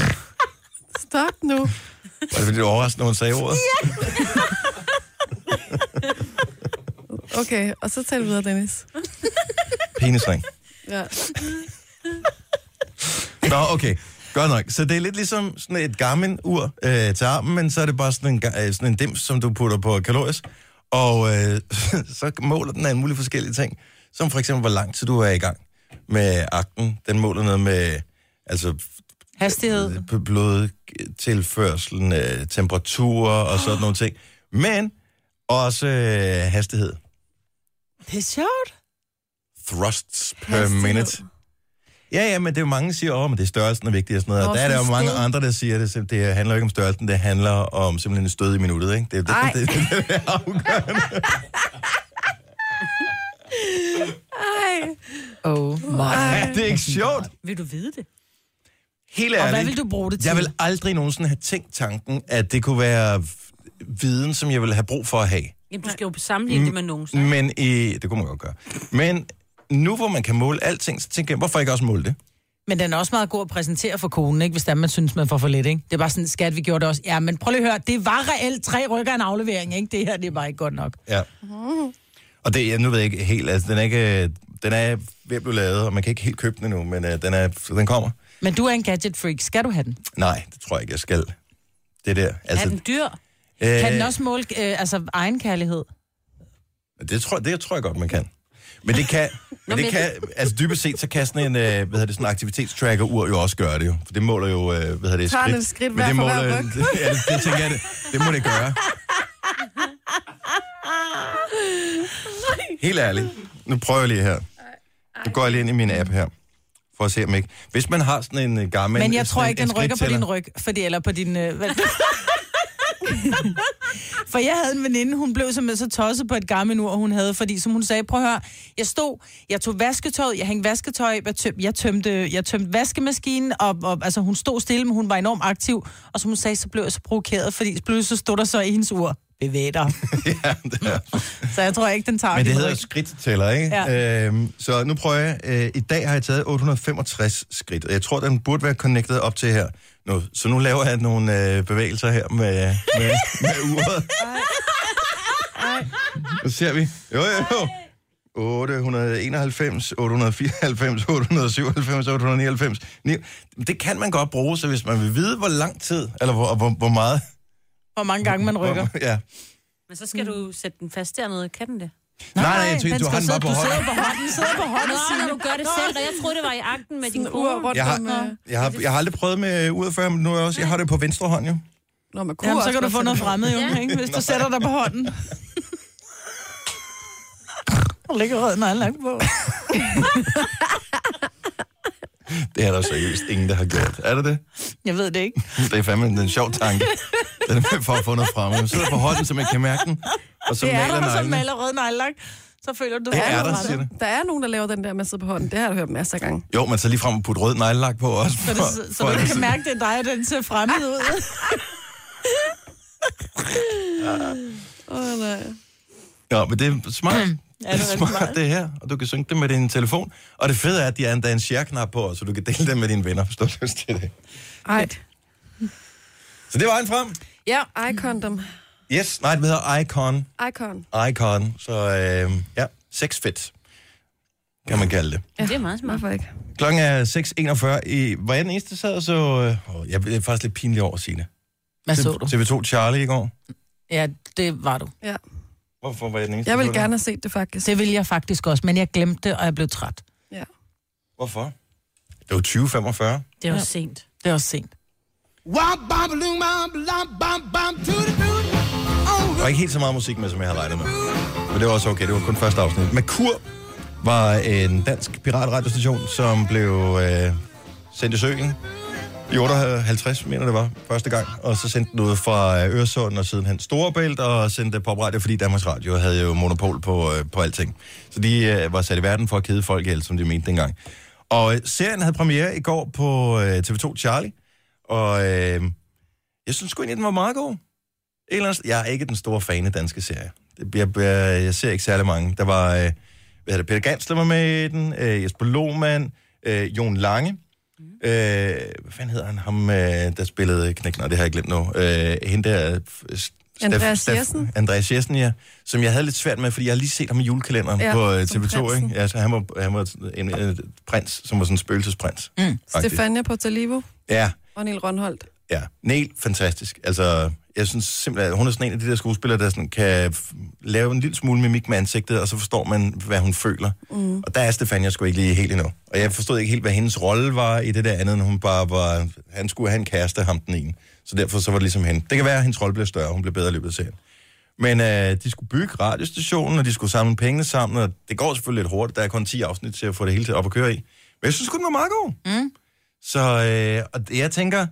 [SPEAKER 4] Stop nu.
[SPEAKER 2] Var det fordi, du var overrasket, når hun sagde ordet?
[SPEAKER 4] Okay, og så tal videre, Dennis.
[SPEAKER 2] Penisring.
[SPEAKER 4] Ja.
[SPEAKER 2] Nå, okay. Godt nok. Så det er lidt ligesom sådan et Garmin-ur øh, til armen, men så er det bare sådan en, ga- øh, sådan en dims, som du putter på kalories. Og øh, så måler den alle mulige forskellige ting, som for eksempel, hvor lang tid du er i gang med akten. Den måler noget med, altså
[SPEAKER 3] Hastighed.
[SPEAKER 2] Bl- blodtilførselen, øh, temperaturer og
[SPEAKER 3] Ah.
[SPEAKER 2] sådan nogle ting. Men også øh, hastighed.
[SPEAKER 3] Det er sjovt.
[SPEAKER 2] Thrusts per
[SPEAKER 4] Hastighed.
[SPEAKER 2] hastighed. minute. Ja, ja, men det er jo mange, der siger, at det er størrelsen, der er vigtig og sådan noget.
[SPEAKER 4] Nå,
[SPEAKER 2] Og der er der jo
[SPEAKER 4] sådan
[SPEAKER 2] mange
[SPEAKER 4] stød.
[SPEAKER 2] andre, der siger, at det, det handler jo ikke om størrelsen, det handler om simpelthen et stød i minuttet, ikke? Det, er
[SPEAKER 4] Ej.
[SPEAKER 2] det, det, det, det, er afgørende.
[SPEAKER 4] Ej.
[SPEAKER 3] Oh my.
[SPEAKER 2] Ja, det er ikke sjovt.
[SPEAKER 5] Vil du vide det?
[SPEAKER 2] Helt
[SPEAKER 3] Og
[SPEAKER 2] ærligt.
[SPEAKER 3] hvad vil du bruge det til?
[SPEAKER 2] Jeg vil aldrig nogensinde have tænkt tanken, at det kunne være v- viden, som jeg ville have brug for at have.
[SPEAKER 5] Jamen, du skal jo sammenligne det med nogen, så.
[SPEAKER 2] Mm, Men i, det kunne man godt gøre. Men nu, hvor man kan måle alting, så tænker jeg, hvorfor ikke også måle det?
[SPEAKER 3] Men den er også meget god at præsentere for konen, ikke? hvis det er, man synes, man får for lidt. Ikke? Det er bare sådan, skat, vi gjorde det også. Ja, men prøv lige at høre, det var reelt tre rykker af en aflevering. Ikke? Det her, det er bare ikke godt nok.
[SPEAKER 2] Ja.
[SPEAKER 5] Mm.
[SPEAKER 2] Og det, jeg nu ved jeg ikke helt, altså den er, ikke, øh, den er ved at blive lavet, og man kan ikke helt købe den endnu, men uh, den, er, den kommer.
[SPEAKER 3] Men du er en gadget freak. Skal du have den?
[SPEAKER 2] Nej, det tror jeg ikke, jeg skal. Det der.
[SPEAKER 5] Er den dyr?
[SPEAKER 2] Altså, øh,
[SPEAKER 3] Kan den også måle øh, altså, egen kærlighed?
[SPEAKER 2] Det tror, det tror jeg godt, man kan. Men det kan, men det
[SPEAKER 5] men-
[SPEAKER 2] kan altså dybest set, så kan sådan en, øh, hvad hedder det, sådan en aktivitetstracker-ur jo også gøre det jo. For det måler jo, øh, hvad hedder det,
[SPEAKER 4] Tager
[SPEAKER 2] skridt.
[SPEAKER 4] den et skridt
[SPEAKER 2] men
[SPEAKER 4] hver
[SPEAKER 2] det
[SPEAKER 4] for hver
[SPEAKER 2] måler,
[SPEAKER 4] ryg?
[SPEAKER 2] ja, det, det, tænker jeg, det, det må det gøre. Helt ærligt. Nu prøver jeg lige her. Nu går jeg lige ind i min app her. For at se om ikke... Hvis man har sådan en øh, gammel...
[SPEAKER 3] Men, men jeg tror
[SPEAKER 2] sådan
[SPEAKER 3] ikke,
[SPEAKER 2] en-
[SPEAKER 3] den
[SPEAKER 2] en
[SPEAKER 3] rykker på
[SPEAKER 2] skridttæller.
[SPEAKER 3] din ryg, fordi, eller på din... Øh, hvad- For jeg havde en veninde, hun blev simpelthen så tosset på et gammelt ur, hun havde, fordi som hun sagde, prøv at høre, jeg stod, jeg tog vasketøjet, jeg hængte vasketøj, op, jeg, tøm, jeg, tømte, jeg tømte vaskemaskinen, og, og, altså hun stod stille, men hun var enormt aktiv, og som hun sagde, så blev jeg så provokeret, fordi pludselig så stod der så i hendes ur, bevæg dig.
[SPEAKER 2] ja, det er.
[SPEAKER 3] Så jeg tror ikke, den tager
[SPEAKER 2] Men det
[SPEAKER 3] din
[SPEAKER 2] hedder
[SPEAKER 3] ryg.
[SPEAKER 2] skridttæller, ikke? Ja. Øhm, så nu prøver jeg. Øh, I dag har jeg taget 865 skridt, og jeg tror, den burde være connected op til her. Nu, så nu laver jeg nogle øh, bevægelser her med, med, med uret. Så ser vi. Jo, jo, jo. 891, 894, 897, 899. Ni- Det kan man godt bruge, så hvis man vil vide, hvor lang tid, eller hvor, hvor, hvor meget...
[SPEAKER 3] Hvor mange gange man rykker.
[SPEAKER 2] Hvor, ja.
[SPEAKER 5] Men så skal du sætte den fast dernede. Kan den det?
[SPEAKER 2] Nej, nej, jeg
[SPEAKER 3] den
[SPEAKER 2] tænker, du
[SPEAKER 3] skal
[SPEAKER 2] har den bare
[SPEAKER 3] sidde-
[SPEAKER 2] på
[SPEAKER 3] du
[SPEAKER 2] hånden.
[SPEAKER 3] sidder på hånden, sidder på
[SPEAKER 5] Nå,
[SPEAKER 3] hånden.
[SPEAKER 5] når du gør det selv, og jeg troede, det var i akten med din
[SPEAKER 4] En ur
[SPEAKER 5] kone.
[SPEAKER 4] rundt
[SPEAKER 2] Jeg har-
[SPEAKER 4] om... øh,
[SPEAKER 2] Jeg har, jeg har aldrig prøvet med øh, uret før, men nu er jeg også, jeg har det på venstre hånd, jo.
[SPEAKER 4] Nå, man kunne
[SPEAKER 3] Jamen, så
[SPEAKER 4] også
[SPEAKER 3] kan du
[SPEAKER 4] godt
[SPEAKER 3] få noget
[SPEAKER 4] sætte den.
[SPEAKER 3] fremmed, jo,
[SPEAKER 5] Ja.
[SPEAKER 3] ikke? hvis du sætter dig på hånden. Og ligger rød med langt på.
[SPEAKER 2] Det er der seriøst ingen, der har gjort. Er det det?
[SPEAKER 3] Jeg ved det ikke.
[SPEAKER 2] Det er fandme en sjov tanke. Den er med for at få noget frem. Man sidder på hånden, så man kan mærke den. Og så
[SPEAKER 3] Det er
[SPEAKER 2] maler
[SPEAKER 3] der, og så
[SPEAKER 2] neglene.
[SPEAKER 3] maler rød nejlak. så føler du
[SPEAKER 2] Det
[SPEAKER 3] dig
[SPEAKER 2] er der,
[SPEAKER 3] underrettet.
[SPEAKER 2] siger det.
[SPEAKER 4] Der er nogen, der laver den der med at sidde på hånden. Det har jeg da hørt masser af gange.
[SPEAKER 2] Jo, men så lige frem og putte rød neglelak på også.
[SPEAKER 3] Så,
[SPEAKER 2] for-
[SPEAKER 3] det, så
[SPEAKER 2] for-
[SPEAKER 3] du kan mærke, det er dig, og den ser fremmed ud.
[SPEAKER 4] Åh, oh, nej.
[SPEAKER 2] Ja, men det er smart. det er
[SPEAKER 3] rigtig
[SPEAKER 2] smart,
[SPEAKER 3] smart.
[SPEAKER 2] det her. Og du kan synge det med din telefon. Og det fede er, at de er endda en share-knap på, så du kan dele den med dine venner. Forstår du lyst til det?
[SPEAKER 4] Ej.
[SPEAKER 2] Så det var en frem.
[SPEAKER 4] Ja, icon dem.
[SPEAKER 2] Yes, nej, det hedder Icon.
[SPEAKER 4] Icon.
[SPEAKER 2] Icon. Så øh, ja, sex fit, kan man kalde det.
[SPEAKER 5] Det er meget smart.
[SPEAKER 4] Hvorfor ikke?
[SPEAKER 2] Klokken er 6.41. I, var jeg den eneste, der sad og så... Øh, åh, jeg blev faktisk lidt pinlig over at sige det.
[SPEAKER 3] Hvad så du?
[SPEAKER 2] TV2 Charlie i går.
[SPEAKER 3] Ja, det var du.
[SPEAKER 4] Ja.
[SPEAKER 2] Hvorfor var jeg den eneste? der
[SPEAKER 4] Jeg ville
[SPEAKER 2] så det?
[SPEAKER 4] gerne have set det, faktisk.
[SPEAKER 3] Det ville jeg faktisk også, men jeg glemte det, og jeg blev træt.
[SPEAKER 4] Ja.
[SPEAKER 2] Hvorfor? Det var 2045.
[SPEAKER 5] Det er jo sent.
[SPEAKER 3] Det er også sent. Oh.
[SPEAKER 2] Der var ikke helt så meget musik med, som jeg havde regnet med. Men det var også okay. Det var kun første afsnit. Merkur var en dansk piratradiostation, som blev øh, sendt i søen i 58, mener det var, første gang. Og så sendte den ud fra øh, Øresund og sidenhen Storebælt og sendte popradio, fordi Danmarks Radio havde jo monopol på, øh, på alting. Så de øh, var sat i verden for at kede folk ihjel, som de mente dengang. Og øh, serien havde premiere i går på øh, TV2 Charlie, og øh, jeg synes sgu egentlig, den var meget god. Et eller andet, sted- jeg er ikke den store fan af danske serier. Det- Jeg, jeg, jeg ser ikke særlig mange. Der var, øh, hvad hedder det, Peter Gansler var med i den, øh, Jesper Lohmann, øh, Jon Lange.
[SPEAKER 4] Mm.
[SPEAKER 2] Øh, hvad fanden hedder han? Ham, øh, der spillede Knæk, nej, det har jeg glemt nu. Øh, hende der... øh, Steff-
[SPEAKER 4] Andreas
[SPEAKER 2] Steff-
[SPEAKER 4] Jessen.
[SPEAKER 2] Andreas Jessen, ja. Som jeg havde lidt svært med, fordi jeg har lige set ham i julekalenderen
[SPEAKER 4] Ja,
[SPEAKER 2] på øh,
[SPEAKER 4] som
[SPEAKER 2] TV2,
[SPEAKER 4] prinsen.
[SPEAKER 2] ikke? Ja, så han var, han var en, en, en prins, som var sådan en spøgelsesprins. Mm.
[SPEAKER 4] Stefania Portalivo
[SPEAKER 2] Ja,
[SPEAKER 4] og Niel Rønholdt.
[SPEAKER 2] Ja, Neil, fantastisk. Altså, jeg synes simpelthen, at hun er sådan en af de der skuespillere, der sådan kan f- lave en lille smule mimik med ansigtet, og så forstår man, hvad hun føler. Mm. Og der er Stefania sgu ikke lige helt endnu. Og jeg forstod ikke helt, hvad hendes rolle var i det der andet, end hun bare var, han skulle have en kæreste, ham den ene. Så derfor så var det ligesom hende. Det kan være, at hendes rolle blev større, hun blev bedre i løbet af serien. Men øh, de skulle bygge radiostationen, og de skulle samle pengene sammen, og det går selvfølgelig lidt hurtigt. Der er kun 10 afsnit til at få det hele til op at køre i. Men jeg synes sgu, den var meget god. Mm. Så øh, og jeg tænker,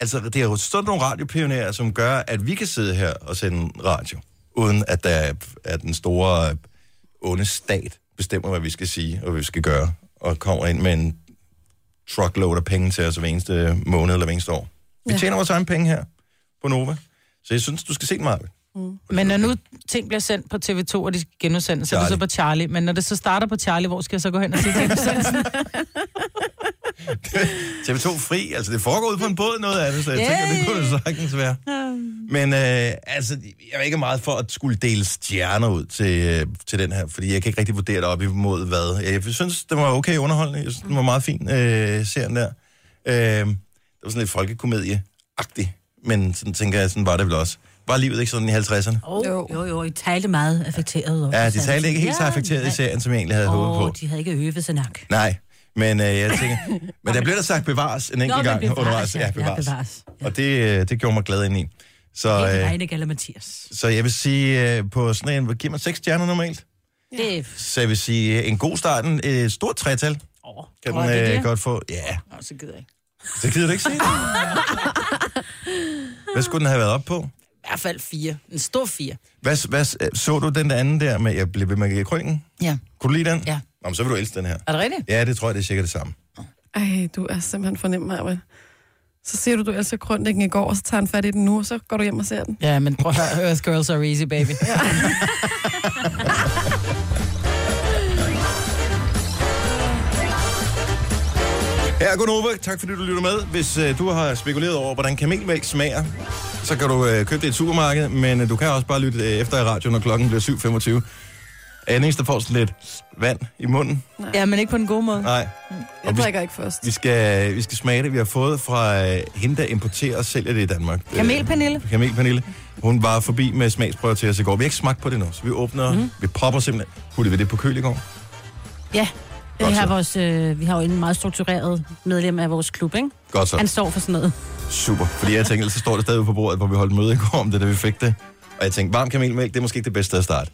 [SPEAKER 2] Altså, det er jo sådan nogle radiopionerer, som gør, at vi kan sidde her og sende radio, uden at der er, er den store øh, onde stat bestemmer, hvad vi skal sige og hvad vi skal gøre, og kommer ind med en truckload af penge til os hver eneste måned eller hver eneste år. Vi
[SPEAKER 4] Ja.
[SPEAKER 2] tjener vores egen penge her på Nova, så jeg synes, du skal se den, Marvel.
[SPEAKER 3] Men når nu ting bliver sendt på TV2, og de genudsendes, så er det så
[SPEAKER 2] Charlie.
[SPEAKER 3] på Charlie. Men når det så starter på Charlie, hvor skal jeg så gå hen og se genudsendelsen?
[SPEAKER 2] TV2 Fri, altså det foregår ud på en båd noget af det, så jeg tænker, det kunne det sagtens være. Men øh, altså, jeg er ikke meget for at skulle dele stjerner ud til, øh, til den her, fordi jeg kan ikke rigtig vurdere det op imod hvad. Jeg synes, den var okay underholdende. Jeg synes, den var meget fin, øh, serien der. Øh, det var sådan lidt folkekomedie-agtig, men sådan tænker jeg, sådan var det vel også. Var livet ikke sådan i 50'erne?
[SPEAKER 5] Oh,
[SPEAKER 4] Jo.
[SPEAKER 5] jo. jo, jo, I talte meget affekteret. også,
[SPEAKER 2] Ja, de
[SPEAKER 5] Sandra.
[SPEAKER 2] talte ikke helt så
[SPEAKER 5] Ja,
[SPEAKER 2] affekteret i
[SPEAKER 5] nej.
[SPEAKER 2] serien, som jeg egentlig havde håbet
[SPEAKER 5] Åh,
[SPEAKER 2] på.
[SPEAKER 5] oh, de havde ikke øvet sig nok.
[SPEAKER 2] Nej, men øh, jeg tænker... Men der blev der sagt bevares en enkelt gang undervejs. Ja, bevares.
[SPEAKER 5] bevares. Ja.
[SPEAKER 2] Og det, øh, det gjorde mig glad ind i. Så,
[SPEAKER 5] Det er
[SPEAKER 2] øh,
[SPEAKER 5] Reine Galler Mathias.
[SPEAKER 2] så jeg vil sige, øh, på sådan en, hvor giver man seks stjerner normalt?
[SPEAKER 5] Det er...
[SPEAKER 2] Så jeg vil sige, øh, en god start, en øh, stort tretal,
[SPEAKER 5] Oh.
[SPEAKER 2] kan
[SPEAKER 3] Åh,
[SPEAKER 2] den
[SPEAKER 3] er det
[SPEAKER 2] øh,
[SPEAKER 3] det?
[SPEAKER 2] godt få. Ja,
[SPEAKER 3] Nå, så gider jeg ikke.
[SPEAKER 2] så gider du ikke se det. Hvad skulle den have været op på?
[SPEAKER 3] I hvert fald fire. En stor fire.
[SPEAKER 2] Hvad, hvad, øh, så du den der anden der med, jeg blev ved med at give krønken?
[SPEAKER 3] Ja.
[SPEAKER 2] Kunne du lide den?
[SPEAKER 3] Ja.
[SPEAKER 2] Nå, men så vil du elske den her.
[SPEAKER 3] Er det rigtigt?
[SPEAKER 2] Ja, det tror jeg, det er cirka det samme.
[SPEAKER 4] Ej, du er simpelthen fornem, Maja. Så siger du, du elsker Grundlæggen i går, og så tager han fat i den nu, og så går du hjem og ser den.
[SPEAKER 3] Ja, men prøv at høre. Earth Girls are easy, baby.
[SPEAKER 2] Her er Gunova. Tak fordi du lytter med. Hvis øh, du har spekuleret over, hvordan kamelmælk smager, så kan du øh, købe det i et supermarked, men øh, du kan også bare lytte øh, efter i radioen, når klokken bliver 7.25. Er den eneste, der får sådan lidt vand i munden?
[SPEAKER 3] Ja, men ikke på en god måde.
[SPEAKER 2] Nej.
[SPEAKER 4] Jeg drikker ikke først.
[SPEAKER 2] Vi skal, vi skal smage det, vi har fået fra øh, hende, der importerer og sælger det i Danmark.
[SPEAKER 3] Kamel, Pernille.
[SPEAKER 2] Øh, Kamel Pernille. Hun var forbi med smagsprøver til os i går. Vi har ikke smagt på det nu, så vi åbner, mm. vi popper simpelthen. Puttede vi det på køl i går?
[SPEAKER 5] Ja,
[SPEAKER 2] Godt
[SPEAKER 5] vi
[SPEAKER 2] så.
[SPEAKER 5] har, vores, øh, vi har jo en meget struktureret medlem af vores klub, ikke?
[SPEAKER 2] Godt så.
[SPEAKER 5] Han står for sådan noget.
[SPEAKER 2] Super, fordi jeg tænkte, så står det stadig ude på bordet, hvor vi holdt møde i går om det, da vi fik det. Og jeg tænkte, varm kamelmælk, det er måske ikke det bedste sted at starte.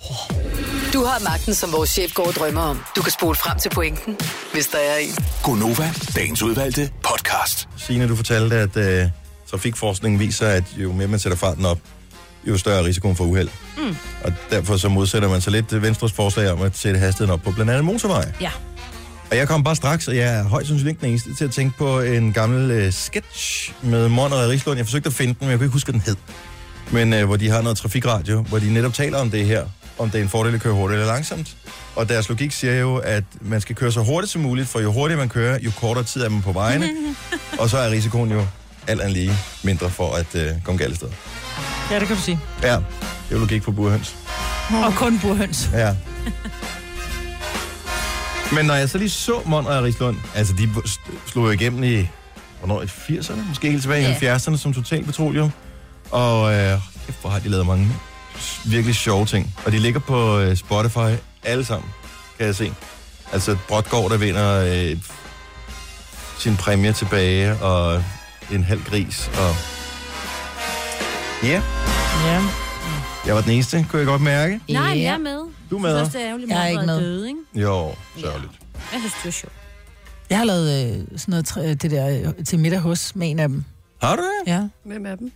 [SPEAKER 1] Du har magten, som vores chef går og drømmer om. Du kan spole frem til pointen, hvis der er en.
[SPEAKER 6] Gonova, dagens udvalgte podcast.
[SPEAKER 2] Signe, du fortalte, at øh, trafikforskningen viser, at jo mere man sætter farten op, jo større er risikoen for uheld. Mm. Og derfor så modsætter man sig lidt Venstres forslag om at sætte hastigheden op på blandt andet motorveje.
[SPEAKER 5] Ja.
[SPEAKER 2] Og jeg kom bare straks, og jeg er højst sandsynligt ikke den eneste, til at tænke på en gammel øh, sketch med Monrad Rislund. Jeg forsøgte at finde den, men jeg kunne ikke huske, hvad den hed. Men øh, hvor de har noget trafikradio, hvor de netop taler om det her, om det er en fordel at køre hurtigt eller langsomt. Og deres logik siger jo, at man skal køre så hurtigt som muligt, for jo hurtigere man kører, jo kortere tid er man på vejene. og så er risikoen jo alt andet lige mindre for at øh, komme galt af sted.
[SPEAKER 3] Ja, det kan du sige.
[SPEAKER 2] Ja, det er jo logik for burhøns.
[SPEAKER 4] Mm.
[SPEAKER 3] Og kun burhøns.
[SPEAKER 2] Ja. Men når jeg så lige så Monrad og Rislund, altså de st- slog jo igennem i, hvornår, i 80'erne? Måske helt tilbage i
[SPEAKER 5] Ja.
[SPEAKER 2] 70'erne som total petroleum. Og øh, kæft, hvor har de lavet mange s- virkelig sjove ting. Og de ligger på øh, Spotify alle sammen, kan jeg se. Altså Brodgaard, der vinder øh, sin præmie tilbage, og en halv gris, og... Ja, yeah,
[SPEAKER 3] Ja.
[SPEAKER 2] jeg var den eneste, kunne jeg godt mærke.
[SPEAKER 5] Nej,
[SPEAKER 3] Ja.
[SPEAKER 5] jeg er med.
[SPEAKER 2] Du er med.
[SPEAKER 5] Jeg synes også, det er ærgerligt,
[SPEAKER 3] Jeg er
[SPEAKER 5] at
[SPEAKER 3] ikke
[SPEAKER 5] Monrad
[SPEAKER 3] med.
[SPEAKER 5] døde, ikke?
[SPEAKER 2] Jo, sørgeligt.
[SPEAKER 5] Jeg synes, det var sjovt.
[SPEAKER 3] Jeg har lavet øh, sådan noget, træ- øh, det der øh, til middag hos med en af dem.
[SPEAKER 2] Har du det?
[SPEAKER 3] Ja.
[SPEAKER 4] Hvem er dem?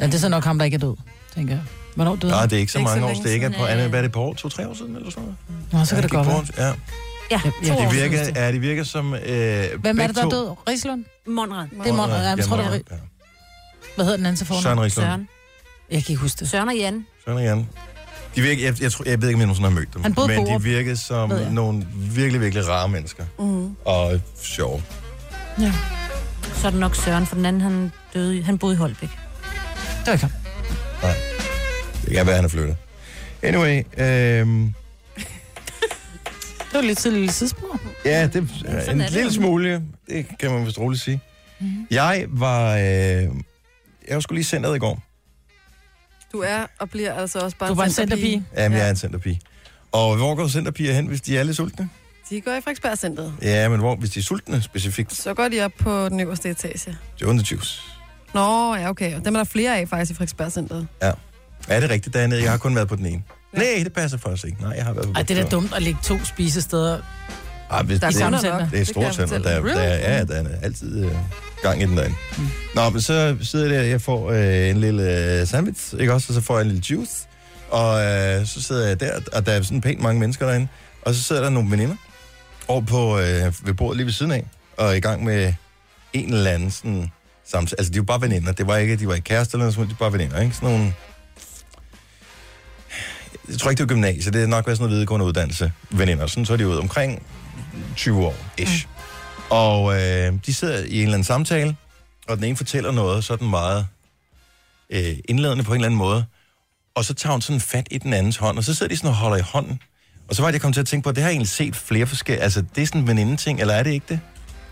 [SPEAKER 3] ja det er så nok ham, der ikke er død, tænker jeg. Hvornår døde
[SPEAKER 2] Nej,
[SPEAKER 3] han?
[SPEAKER 2] det er ikke så
[SPEAKER 4] Ikke så
[SPEAKER 2] mange år,
[SPEAKER 4] længe
[SPEAKER 2] så det ikke er
[SPEAKER 5] siden,
[SPEAKER 2] på
[SPEAKER 5] øh.
[SPEAKER 2] andet, hvad er det på år, to-tre år siden eller sådan noget?
[SPEAKER 3] Nå, så kan det
[SPEAKER 2] Ja,
[SPEAKER 3] godt
[SPEAKER 2] gik
[SPEAKER 3] være.
[SPEAKER 2] rundt, Ja,
[SPEAKER 5] Ja,
[SPEAKER 3] Ja, ja,
[SPEAKER 5] to år
[SPEAKER 2] de
[SPEAKER 3] det
[SPEAKER 5] siden.
[SPEAKER 2] virker,
[SPEAKER 3] synes
[SPEAKER 2] ja, de virker som... Øh,
[SPEAKER 3] Hvem er
[SPEAKER 2] begge
[SPEAKER 3] det, der
[SPEAKER 2] to-
[SPEAKER 3] er død? Rislund?
[SPEAKER 5] Monrad.
[SPEAKER 3] Det er Monrad.
[SPEAKER 2] Ja,
[SPEAKER 3] Jeg tror, det er...
[SPEAKER 2] Monrad, ja.
[SPEAKER 3] Hvad hedder den anden til
[SPEAKER 2] Søren
[SPEAKER 3] fornavn?
[SPEAKER 2] Rislund.
[SPEAKER 5] Søren.
[SPEAKER 3] Jeg kan ikke huske det.
[SPEAKER 5] Søren og Jan.
[SPEAKER 2] Søren igen. De virker, jeg, jeg, tror, jeg ved ikke, om jeg nogensinde har mødt dem.
[SPEAKER 3] Han boede
[SPEAKER 2] men
[SPEAKER 3] på
[SPEAKER 2] de
[SPEAKER 3] Orup,
[SPEAKER 2] virkede som
[SPEAKER 3] ved jeg.
[SPEAKER 2] nogle virkelig, virkelig rare mennesker.
[SPEAKER 5] Mm-hmm.
[SPEAKER 2] Mm. Og sjove.
[SPEAKER 5] Så er det nok Søren, for den anden, han døde, i- han boede i Holbæk.
[SPEAKER 3] Det var ikke ham.
[SPEAKER 2] Nej. Det kan være, han er flyttet. Anyway, øhm,
[SPEAKER 3] Det var lidt til lille sidespor.
[SPEAKER 2] ja, det
[SPEAKER 5] er
[SPEAKER 2] er en
[SPEAKER 5] det.
[SPEAKER 2] lille smule. Det kan man vist roligt sige.
[SPEAKER 3] Mm-hmm.
[SPEAKER 2] Mm. Jeg var... Øh, jeg skulle lige sendt i går.
[SPEAKER 4] Du er og bliver altså også bare
[SPEAKER 3] Du var en centerpige.
[SPEAKER 2] Jamen, ja.
[SPEAKER 4] Ja.
[SPEAKER 2] jeg er en centerpige. Og hvor går centerpiger hen, hvis de er lidt sultne?
[SPEAKER 4] De går i Frederiksberg Centeret.
[SPEAKER 2] Ja, men hvor, hvis de er sultne specifikt?
[SPEAKER 4] Så går de op på den øverste etage.
[SPEAKER 2] Joan the Juice.
[SPEAKER 4] Nå, ja, okay. Og Dem er der flere af faktisk i Frederiksberg Centeret.
[SPEAKER 2] Ja. Er det rigtigt dernede? Jeg har kun været på den ene. Ja. Nej, det passer faktisk ikke. Nej, jeg har været på
[SPEAKER 3] Ej, det er da
[SPEAKER 2] begge
[SPEAKER 3] dumt at lægge to spisesteder.
[SPEAKER 2] to. Ej, Ah, hvis
[SPEAKER 3] Der er
[SPEAKER 2] det,
[SPEAKER 3] samme
[SPEAKER 2] det,
[SPEAKER 3] center.
[SPEAKER 2] det er et stort center. Der, der, er, ja, der er altid øh, gang i den derinde. Mm. Nå, men så sidder jeg der, jeg får øh, en lille øh, sandwich, ikke også? Og så får jeg en lille juice. Og øh, så sidder jeg der, og der er sådan pænt mange mennesker derinde. Og så sidder der nogle veninder over på, øh, ved bordet lige ved siden af, og er i gang med en eller anden sådan, samtale. Altså, de var bare veninder. Det var ikke, de var ikke kærester eller noget, som helst. de var bare veninder, ikke? Sådan nogle... Jeg tror ikke, det var gymnasiet. Det er nok været sådan noget videregående uddannelse. Veninder. Sådan så er de ud omkring 20 år, ish. Mm. Og øh, de sidder i en eller anden samtale, og den ene fortæller noget sådan meget øh, indledende på en eller anden måde. Og så tager hun sådan fat i den andens hånd, og så sidder de sådan og holder i hånden. Og så var det, jeg kom til at tænke på, det har jeg egentlig set flere forskellige... Altså, det er sådan en veninde-ting, eller er det ikke det?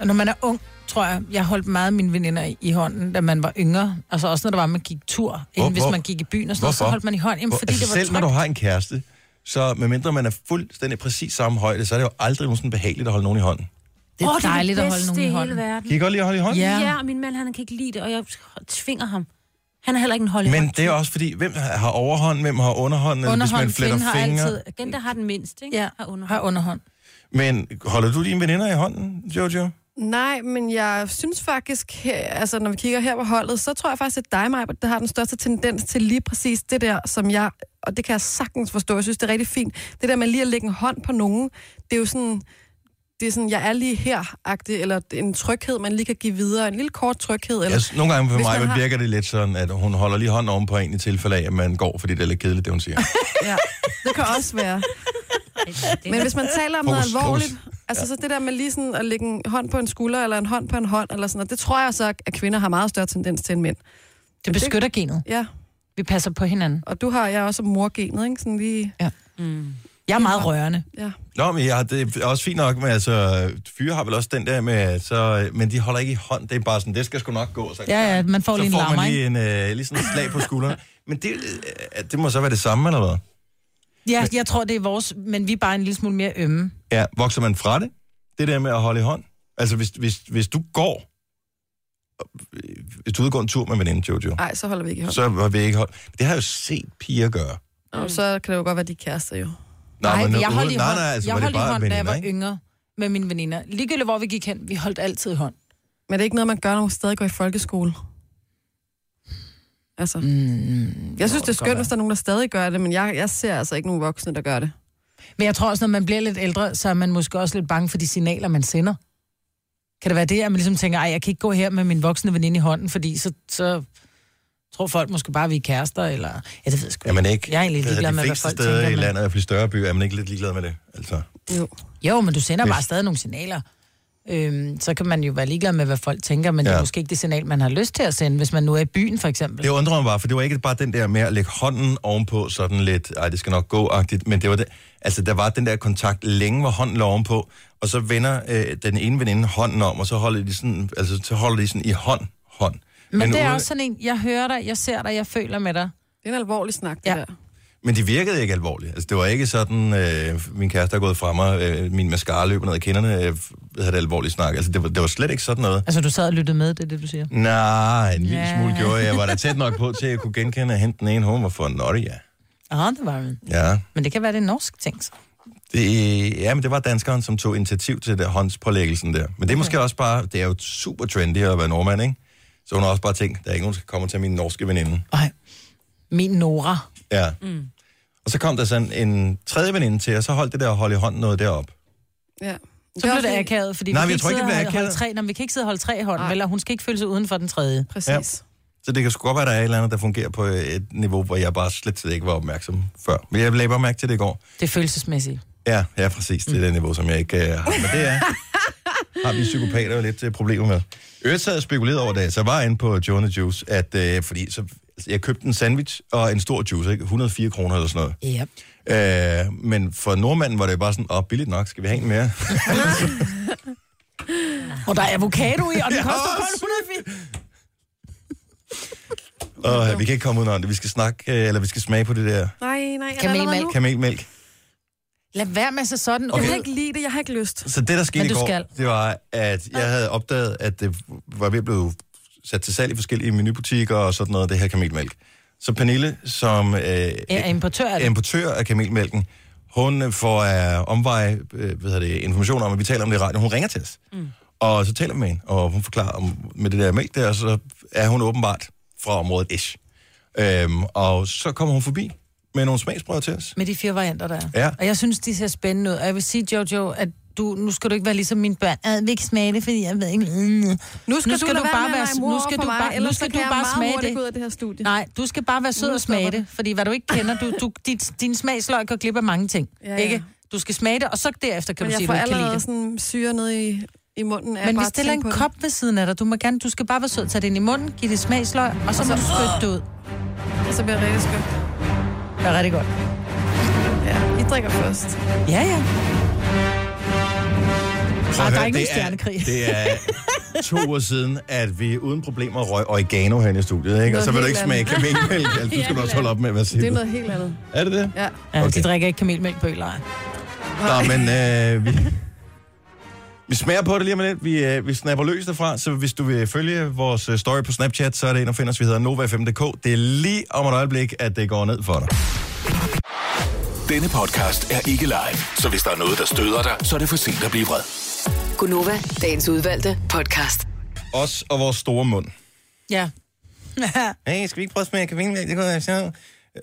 [SPEAKER 3] Og Når man er ung, tror jeg, jeg holdt meget af mine veninder i- i hånden, da man var yngre. Altså også når der var, man gik tur. Inden, hvis
[SPEAKER 2] hvor-
[SPEAKER 3] man gik i byen og sådan noget, så
[SPEAKER 2] hvorfor?
[SPEAKER 3] holdt man i hånden. Jamen,
[SPEAKER 2] Hvor,
[SPEAKER 3] fordi
[SPEAKER 2] altså,
[SPEAKER 3] det var
[SPEAKER 2] selv når du
[SPEAKER 3] trygt.
[SPEAKER 2] har en kæreste, så medmindre man er fuldstændig præcis samme højde, så er det jo aldrig nogen sådan behageligt at holde nogen i hånden.
[SPEAKER 3] Det er dejligt at holde nogen i
[SPEAKER 5] Det er det bedste
[SPEAKER 3] hånden.
[SPEAKER 5] hele verden.
[SPEAKER 2] Kan I godt lide at holde i hånden?
[SPEAKER 3] Ja.
[SPEAKER 5] Ja, og min mand, han kan ikke lide det, og jeg tvinger ham. Han er heller ikke en hold i
[SPEAKER 2] Men
[SPEAKER 5] hånden.
[SPEAKER 2] det er også fordi, hvem har overhånd, hvem har underhånd, eller hvis man
[SPEAKER 3] Underhånd,
[SPEAKER 2] fletter
[SPEAKER 3] kvinden har
[SPEAKER 2] fingre.
[SPEAKER 3] altid...
[SPEAKER 5] Den, der har den mindste, ikke?
[SPEAKER 3] Ja,
[SPEAKER 5] Har under.
[SPEAKER 3] har underhånd.
[SPEAKER 2] Men holder du dine veninder i hånden, Jojo?
[SPEAKER 4] Nej, men jeg synes faktisk, her, altså når vi kigger her på holdet, så tror jeg faktisk, at dig, Maja, der har den største tendens til lige præcis det der, som jeg, og det kan jeg sagtens forstå, jeg synes, det er rigtig fint. Det der med lige at lægge en hånd på nogen, det er jo sådan, det er sådan, jeg er lige her -agtig, eller en tryghed, man lige kan give videre, en lille kort tryghed. Eller,
[SPEAKER 2] Altså, nogle gange for
[SPEAKER 4] Hvis
[SPEAKER 2] mig
[SPEAKER 4] man
[SPEAKER 2] har...
[SPEAKER 4] har-
[SPEAKER 2] virker det lidt sådan, at hun holder lige hånden oven på en i tilfælde af, at man går, fordi det er lidt kedeligt, det hun siger.
[SPEAKER 4] ja, det kan også være.
[SPEAKER 5] Det-
[SPEAKER 4] Men hvis man taler om noget
[SPEAKER 2] Fokus,
[SPEAKER 4] alvorligt, altså så det der med lige sådan at lægge en hånd på en skulder, eller en hånd på en hånd, eller sådan noget, det tror jeg så, at kvinder har meget større tendens til end mænd.
[SPEAKER 3] Det beskytter genet.
[SPEAKER 4] Ja,
[SPEAKER 3] Vi passer på hinanden.
[SPEAKER 4] og du har jeg er også morgenet, ikke? Sådan lige, Mm.
[SPEAKER 3] Jeg er meget rørende.
[SPEAKER 4] ja.
[SPEAKER 2] Nå, men ja, det er også fint nok, men altså, fyre har vel også den der med, at så, men de holder ikke i hånd, det er bare sådan, det skal sgu nok gå. Så,
[SPEAKER 3] Ja, ja, man får lige
[SPEAKER 2] så
[SPEAKER 3] en
[SPEAKER 2] får
[SPEAKER 3] lammer,
[SPEAKER 2] man
[SPEAKER 3] ikke?
[SPEAKER 2] lige en, øh, lige sådan en slag på skulderen. Men det, øh, det må så være det samme, eller hvad?
[SPEAKER 3] Ja, jeg tror, det er vores, men vi er bare en lille smule mere ømme.
[SPEAKER 2] Ja, vokser man fra det? Det der med at holde i hånd? Altså, hvis, hvis, hvis du går, hvis du udgår en tur med en veninde, Jojo,
[SPEAKER 4] Ej, så holder vi ikke i hånd. Så,
[SPEAKER 2] så var vi ikke hold... Det har jeg jo set piger gøre.
[SPEAKER 4] og så kan det jo godt være, de er kærester jo.
[SPEAKER 2] Nå,
[SPEAKER 3] Nej,
[SPEAKER 2] men nu-
[SPEAKER 3] jeg holdt i
[SPEAKER 2] nej,
[SPEAKER 3] hånd,
[SPEAKER 2] nej, altså,
[SPEAKER 3] jeg
[SPEAKER 2] var det
[SPEAKER 3] holdt i
[SPEAKER 2] bare
[SPEAKER 3] hånd da jeg
[SPEAKER 2] veninder,
[SPEAKER 3] var
[SPEAKER 2] ikke?
[SPEAKER 3] yngre med mine veninder. Ligegyldigt, hvor vi gik hen, vi holdt altid hånd.
[SPEAKER 4] Men det er ikke noget, man gør, når man stadig går i folkeskole. Altså, mm, jeg synes, det er skønt, hvis der er nogen, der stadig gør det, men jeg, jeg ser altså ikke nogen voksne, der gør det.
[SPEAKER 3] Men jeg tror også, når man bliver lidt ældre, så er man måske også lidt bange for de signaler, man sender. Kan det være det, at man ligesom tænker, ej, jeg kan ikke gå her med min voksne veninde i hånden, fordi så, så tror folk måske bare, at vi er kærester, eller... Ja, det ved jeg sgu
[SPEAKER 2] Er man ikke?
[SPEAKER 3] Jeg er egentlig ligeglad med,
[SPEAKER 2] de
[SPEAKER 3] hvad
[SPEAKER 2] fleste
[SPEAKER 3] folk
[SPEAKER 2] steder
[SPEAKER 3] tænker.
[SPEAKER 2] i
[SPEAKER 3] men-
[SPEAKER 2] landet, i hvert fald i større byer, er man ikke lidt ligeglad med det. Altså,
[SPEAKER 4] Jo.
[SPEAKER 3] Jo, men du sender
[SPEAKER 2] Hvis-
[SPEAKER 3] bare stadig nogle signaler. Øhm, så kan man jo være ligeglad med, hvad folk tænker, men ja. det
[SPEAKER 2] Ja.
[SPEAKER 3] er måske ikke det signal, man har lyst til at sende, hvis man nu er i byen, for eksempel.
[SPEAKER 2] det undrer mig bare, for det var ikke bare den der med at lægge hånden ovenpå, sådan lidt, ej, det skal nok gå-agtigt, men det var det, altså, der var den der kontakt længe, hvor hånden lå ovenpå, og så vender øh, den ene veninde hånden om, og så holder de sådan, altså, så holder de sådan i hånd, hånd.
[SPEAKER 3] Men, men det er
[SPEAKER 2] uden-
[SPEAKER 3] også sådan en, jeg hører dig, jeg ser dig, jeg føler med dig.
[SPEAKER 4] Det er en alvorlig snak, det
[SPEAKER 3] Ja.
[SPEAKER 4] ja. der.
[SPEAKER 2] Men de virkede ikke alvorligt. Altså, det var ikke sådan, øh, min kæreste er gået fra mig, øh, min mascara løber ned ad kinderne, øh, havde det alvorligt snak. Altså, det var, det var slet ikke sådan noget.
[SPEAKER 3] Altså, du sad og lyttede med, det er det, du siger.
[SPEAKER 2] Nej, en lille
[SPEAKER 3] Ja.
[SPEAKER 2] smule gjorde jeg. Jeg var da tæt nok på til, at jeg kunne genkende, at hente den ene hun var for en notte, ja.
[SPEAKER 3] Ah, det var den.
[SPEAKER 2] Ja.
[SPEAKER 3] Men det kan være, det er en norsk ting. så.
[SPEAKER 2] Det, ja, men det var danskeren, som tog initiativ til det, håndspålæggelsen der. Men det er måske også bare, det er jo super trendy at være nordmand, ikke? Så hun har også bare tænkt, der er ikke nogen, der skal komme til min norske veninde.
[SPEAKER 3] Ej, min Nora.
[SPEAKER 2] Ja. Mm. Og så kom der sådan en tredje veninde til, og så holdt det der at holde i hånden noget deroppe.
[SPEAKER 4] Ja.
[SPEAKER 3] Så blev
[SPEAKER 4] også
[SPEAKER 3] det
[SPEAKER 4] lige-
[SPEAKER 3] akavet, fordi
[SPEAKER 2] Nej, men
[SPEAKER 3] vi, kan
[SPEAKER 2] jeg
[SPEAKER 3] ikke
[SPEAKER 2] tror ikke,
[SPEAKER 3] sidde
[SPEAKER 2] det
[SPEAKER 3] og
[SPEAKER 2] bliver
[SPEAKER 3] holde
[SPEAKER 2] akavet.
[SPEAKER 3] tre, når vi kan ikke sidde og holde tre i hånden,
[SPEAKER 4] Nej.
[SPEAKER 3] vel, og hun skal ikke føle sig uden for den tredje.
[SPEAKER 4] Præcis.
[SPEAKER 2] Så det kan sgu godt være, at der er et eller andet, der fungerer på et niveau, hvor jeg bare slet slet ikke var opmærksom før. Men jeg lagde bare mærke til det i går.
[SPEAKER 3] Det er følelsesmæssigt.
[SPEAKER 2] Ja, ja, præcis. Det er det niveau, som jeg ikke øh, har. Men det er, har vi psykopater jo lidt øh, problemer med. Øvrigt så havde jeg spekuleret over det, så jeg var inde på Jonah Juice, at, øh, fordi så, altså, jeg købte en sandwich og en stor juice, ikke? 104 kroner eller sådan noget.
[SPEAKER 3] Ja.
[SPEAKER 2] Øh, men for nordmanden var det jo bare sådan, åh, oh, billigt nok, skal vi have en mere?
[SPEAKER 3] Og der er avocado i, og den koster kun 180.
[SPEAKER 2] og øh, vi kan ikke komme udenom det, vi skal snakke, øh, eller vi skal smage på det der
[SPEAKER 4] Nej, nej. er der
[SPEAKER 3] Kamelmælk.
[SPEAKER 4] allerede nu?
[SPEAKER 2] kamelmælk.
[SPEAKER 3] Lad være med sig sådan.
[SPEAKER 4] Jeg
[SPEAKER 2] Okay.
[SPEAKER 4] kan ikke lide det, jeg har ikke lyst.
[SPEAKER 2] Så det, der skete
[SPEAKER 3] Men
[SPEAKER 2] i
[SPEAKER 3] du
[SPEAKER 2] går,
[SPEAKER 3] skal.
[SPEAKER 2] det var, at jeg havde opdaget, at det var ved at blive sat til salg i forskellige menubutikker og sådan noget, det her kamelmælk. Så Pernille, som øh,
[SPEAKER 3] Ja, importør er
[SPEAKER 2] er
[SPEAKER 3] det.
[SPEAKER 2] importør af kamelmælken. Hun øh, får øh, omvej øh, hvad hedder det, information om, at vi taler om det i radioen. Hun ringer til os. Mm. Og så taler vi med hende, og hun forklarer om, med det der mælk der, og så er hun åbenbart fra området Ish. Øhm, og så kommer hun forbi med nogle smagsprøver til os.
[SPEAKER 3] Med de fire varianter, der er.
[SPEAKER 2] Ja.
[SPEAKER 3] Og jeg synes, de ser spændende ud. Og jeg vil sige, Jojo, at du, nu skal du ikke være ligesom mine børn. Jeg vil ikke smage det, fordi jeg ved ikke... Mm.
[SPEAKER 4] Nu skal, nu skal du, lade være med at lege mor
[SPEAKER 3] nu skal
[SPEAKER 4] over
[SPEAKER 3] du
[SPEAKER 4] for mig,
[SPEAKER 3] bare, nu
[SPEAKER 4] ellers
[SPEAKER 3] skal
[SPEAKER 4] så kan
[SPEAKER 3] du
[SPEAKER 4] jeg
[SPEAKER 3] bare
[SPEAKER 4] meget
[SPEAKER 3] smage
[SPEAKER 4] hurtigt gå ud
[SPEAKER 3] det.
[SPEAKER 4] af det her studie.
[SPEAKER 3] Nej, du skal bare være sød
[SPEAKER 4] Nu
[SPEAKER 3] og smage
[SPEAKER 4] stopper
[SPEAKER 3] det, fordi hvad du ikke kender, du, du, dit, din smagsløg går glip af mange ting.
[SPEAKER 4] Ja, ja.
[SPEAKER 3] Ikke? Du skal smage det, og så derefter kan
[SPEAKER 4] Men
[SPEAKER 3] du
[SPEAKER 4] jeg
[SPEAKER 3] sige,
[SPEAKER 4] får
[SPEAKER 3] at du ikke kan lide
[SPEAKER 4] allerede
[SPEAKER 3] det.
[SPEAKER 4] sådan syre ned i, i munden. af
[SPEAKER 3] Men vi
[SPEAKER 4] bare at
[SPEAKER 3] stiller en
[SPEAKER 4] tænke på
[SPEAKER 3] kop ved siden af dig. Du, må gerne, du skal bare være sød, tage det ind i munden, give det smagsløg, og
[SPEAKER 4] Altså,
[SPEAKER 3] så må du spytte det ud.
[SPEAKER 4] det, Så bliver det rigtig skønt.
[SPEAKER 3] Det er rigtig godt.
[SPEAKER 4] Ja, I drikker først.
[SPEAKER 3] Ja, ja.
[SPEAKER 2] Prøv
[SPEAKER 3] Ah,
[SPEAKER 2] at
[SPEAKER 3] der er
[SPEAKER 2] høre,
[SPEAKER 3] ikke
[SPEAKER 2] det
[SPEAKER 3] nogen stjernekrig.
[SPEAKER 2] Det er to år siden, at vi uden problemer røg oregano herinde i studiet, ikke? Og
[SPEAKER 4] Noget
[SPEAKER 2] så vil du
[SPEAKER 4] helt
[SPEAKER 2] ikke smage kamelmælk. Altså, nu skal du også holde op med, hvad
[SPEAKER 4] Det
[SPEAKER 2] siger
[SPEAKER 4] er
[SPEAKER 2] du?
[SPEAKER 4] noget helt andet.
[SPEAKER 2] Er det det?
[SPEAKER 4] Ja.
[SPEAKER 3] Ja, okay.
[SPEAKER 2] Okay.
[SPEAKER 3] de drikker ikke kamelmælk på ølejren.
[SPEAKER 2] Nå, men øh, vi, vi smager på det lige om lidt. Vi, øh, vi snapper løs derfra, så hvis du vil følge vores øh, story på Snapchat, så er det ind og find os. Vi hedder NovaFM.dk. Det er lige om et øjeblik, at det går ned for dig.
[SPEAKER 6] Denne podcast er ikke live, så hvis der er noget, der støder dig, så er det for sent at blive vred.
[SPEAKER 1] Gunova, dagens udvalgte podcast.
[SPEAKER 2] Os og vores store mund.
[SPEAKER 3] Ja.
[SPEAKER 2] Hey, skal vi ikke prøve at smage kamelmælk? Det kunne være sjovt.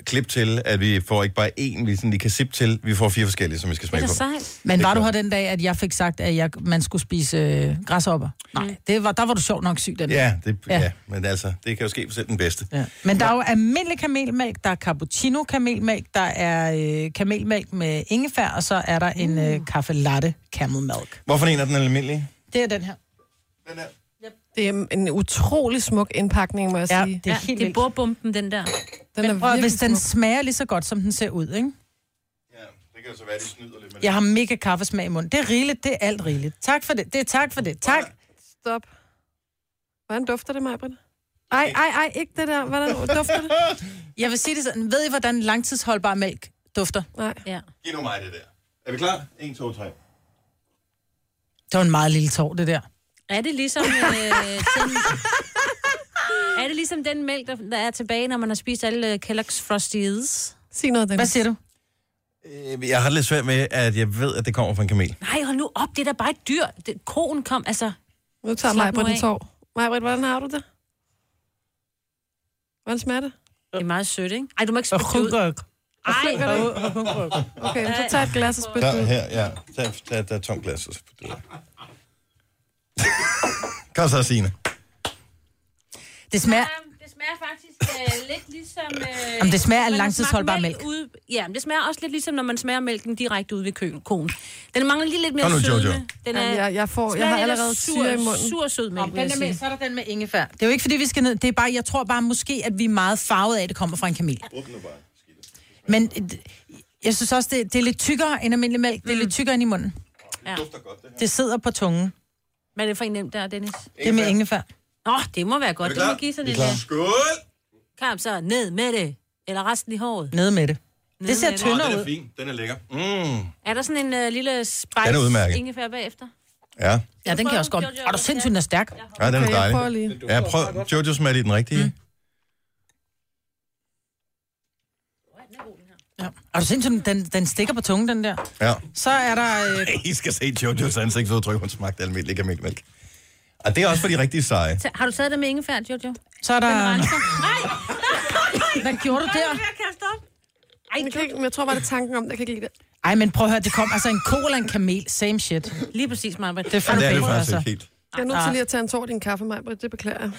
[SPEAKER 2] Klip til, at vi får ikke bare én, vi sådan lige kan sippe til. Vi får fire forskellige, som vi skal smage
[SPEAKER 5] Det er
[SPEAKER 2] på.
[SPEAKER 5] da sejt.
[SPEAKER 3] Men
[SPEAKER 2] Det
[SPEAKER 3] var
[SPEAKER 2] er
[SPEAKER 3] du her
[SPEAKER 2] klart.
[SPEAKER 3] den dag, at jeg fik sagt, at jeg, man skulle spise øh, græshopper?
[SPEAKER 5] Mm.
[SPEAKER 3] Nej, det var, der var du sjov nok syg den dag.
[SPEAKER 2] Ja, det,
[SPEAKER 3] Ja.
[SPEAKER 2] ja. ja, men altså, det kan jo ske for selv den bedste.
[SPEAKER 3] Ja. Men der er jo almindelig kamelmælk, der er cappuccino kamelmælk, der er øh, kamelmælk med ingefær, og så er der
[SPEAKER 5] Mm.
[SPEAKER 3] en øh, kaffe latte camel milk.
[SPEAKER 2] Hvorfor en er den almindelige?
[SPEAKER 3] Det er den her.
[SPEAKER 2] Den er.
[SPEAKER 4] Det er en utrolig smuk indpakning, må jeg
[SPEAKER 3] Ja,
[SPEAKER 4] sige.
[SPEAKER 3] det er
[SPEAKER 5] Ja,
[SPEAKER 3] ja, helt
[SPEAKER 5] det er
[SPEAKER 3] vildt.
[SPEAKER 5] bordbomben, den der.
[SPEAKER 4] Den
[SPEAKER 3] Men prøv, at-
[SPEAKER 4] virkelig
[SPEAKER 3] hvis den
[SPEAKER 4] smuk.
[SPEAKER 3] smager ligesom- lige så godt, som den ser ud, ikke?
[SPEAKER 2] Ja, det kan jo så være, at de snyder lidt med
[SPEAKER 3] Jeg har mega kaffesmag i munden. Det er rigeligt, det er alt rigeligt. Tak for det, det er tak for det. Tak.
[SPEAKER 4] Stop. Hvordan dufter det, Majbrit? Ej, ej, ej, ikke det der. Hvordan dufter det?
[SPEAKER 3] Jeg vil sige det sådan. Ved I, hvordan langtidsholdbar mælk dufter?
[SPEAKER 4] Nej.
[SPEAKER 5] Ja.
[SPEAKER 2] Giv nu mig det der. Er vi klar? 1, 2, 3.
[SPEAKER 3] Det var en meget lille tår, det der.
[SPEAKER 5] Er det ligesom... Øh, den, er det ligesom den mælk, der, der er tilbage, når man har spist alle øh, Kellogg's Frosties?
[SPEAKER 4] Sig noget,
[SPEAKER 3] Hvad
[SPEAKER 4] Dennis.
[SPEAKER 3] siger du?
[SPEAKER 2] Øh, Jeg har lidt svært med, at jeg ved, at det kommer fra en kamel.
[SPEAKER 5] Nej, hold nu op, det er da bare et dyr. Det, koen kom, altså...
[SPEAKER 4] Nu tager
[SPEAKER 5] Slap
[SPEAKER 4] Majbrit
[SPEAKER 5] nu
[SPEAKER 4] en
[SPEAKER 5] af.
[SPEAKER 4] tår. Majbrit, hvordan har du det? Hvordan smager det?
[SPEAKER 5] Det er meget sødt, ikke? Ej, du må ikke
[SPEAKER 3] Og
[SPEAKER 5] spytte det ud.
[SPEAKER 3] hunkerøk.
[SPEAKER 5] Ej,
[SPEAKER 4] Okay, så tag et glas og spyt det
[SPEAKER 2] Der,
[SPEAKER 4] ud.
[SPEAKER 2] her, ja. Tag, tag, tag et tomt glas. og så putter du det. Kom så, Signe.
[SPEAKER 3] Det smager,
[SPEAKER 5] det smager faktisk øh, lidt ligesom... Øh,
[SPEAKER 3] Jamen, det smager af
[SPEAKER 5] når man
[SPEAKER 3] langtidsholdbar
[SPEAKER 5] smager
[SPEAKER 3] mælk.
[SPEAKER 5] Ude, ja, men det smager også lidt ligesom, når man smager mælken direkte ude ved køen, konen. Den mangler lige lidt mere
[SPEAKER 2] Kom nu, Jojo.
[SPEAKER 5] sødme. Den er,
[SPEAKER 4] Jamen, jeg, jeg, får, jeg har allerede syre i munden.
[SPEAKER 5] Sur, sød mælk, vil jeg sige.
[SPEAKER 3] så er der den med ingefær. Det er jo ikke, fordi vi skal ned. Det er bare, jeg tror bare måske, at vi er meget farvet af, at det kommer fra en kamel. Men øh, jeg synes også, det, det er lidt tykkere end almindelig mælk.
[SPEAKER 4] Mm.
[SPEAKER 3] Det er lidt tykkere end i munden.
[SPEAKER 5] Ja.
[SPEAKER 3] Det sidder på tungen.
[SPEAKER 5] Hvad er det for en nem der, Dennis?
[SPEAKER 3] Det er med ingefær.
[SPEAKER 5] Nå, det må være godt.
[SPEAKER 2] Er vi
[SPEAKER 5] Det må
[SPEAKER 2] klar?
[SPEAKER 5] give sådan
[SPEAKER 2] Vi er
[SPEAKER 5] en...
[SPEAKER 2] klar. Skål!
[SPEAKER 5] Kom så, ned med det. Eller resten i håret.
[SPEAKER 3] Nede med det. det ser
[SPEAKER 5] med det.
[SPEAKER 3] tyndere ud.
[SPEAKER 2] fin. Den er lækker. Mm.
[SPEAKER 5] Er der sådan en øh, lille spice
[SPEAKER 2] Den er udmærket.
[SPEAKER 5] ingefær bagefter?
[SPEAKER 2] Ja.
[SPEAKER 3] Ja, den kan jeg også godt. Er du sindssygt, den er stærk?
[SPEAKER 2] ja, den er
[SPEAKER 4] Okay, jeg
[SPEAKER 2] dejlig.
[SPEAKER 4] prøver lige.
[SPEAKER 2] Ja, prøv. Jojo smager lige den rigtige. Mm.
[SPEAKER 3] Ja. Er du sindssygt, den, den stikker på tungen, den der?
[SPEAKER 2] Ja.
[SPEAKER 3] Så er der... Øh,
[SPEAKER 2] I skal se Jojos ansigtsudtryk. Hun smagte almindelig kamelmælk. Og det er også for de rigtige seje.
[SPEAKER 5] Ta- Har du taget det med ingefær, Jojo?
[SPEAKER 3] så er der...
[SPEAKER 5] Renser. Nej,
[SPEAKER 3] Hvad gjorde du der?
[SPEAKER 5] jeg kaster op.
[SPEAKER 4] Jeg, kan ikke, men jeg tror bare, det er tanken om, det. jeg kan ikke lide det.
[SPEAKER 3] Ej, men prøv at høre, det kom altså en ko eller en kamel. Same shit.
[SPEAKER 5] Lige præcis, Maja.
[SPEAKER 3] Det er
[SPEAKER 2] Men
[SPEAKER 3] fandme
[SPEAKER 2] det er det
[SPEAKER 3] bedre,
[SPEAKER 2] faktisk
[SPEAKER 3] altså.
[SPEAKER 2] ikke helt.
[SPEAKER 4] Jeg er nødt til lige at tage en tår af din kaffe, Majbrit. Det beklager jeg.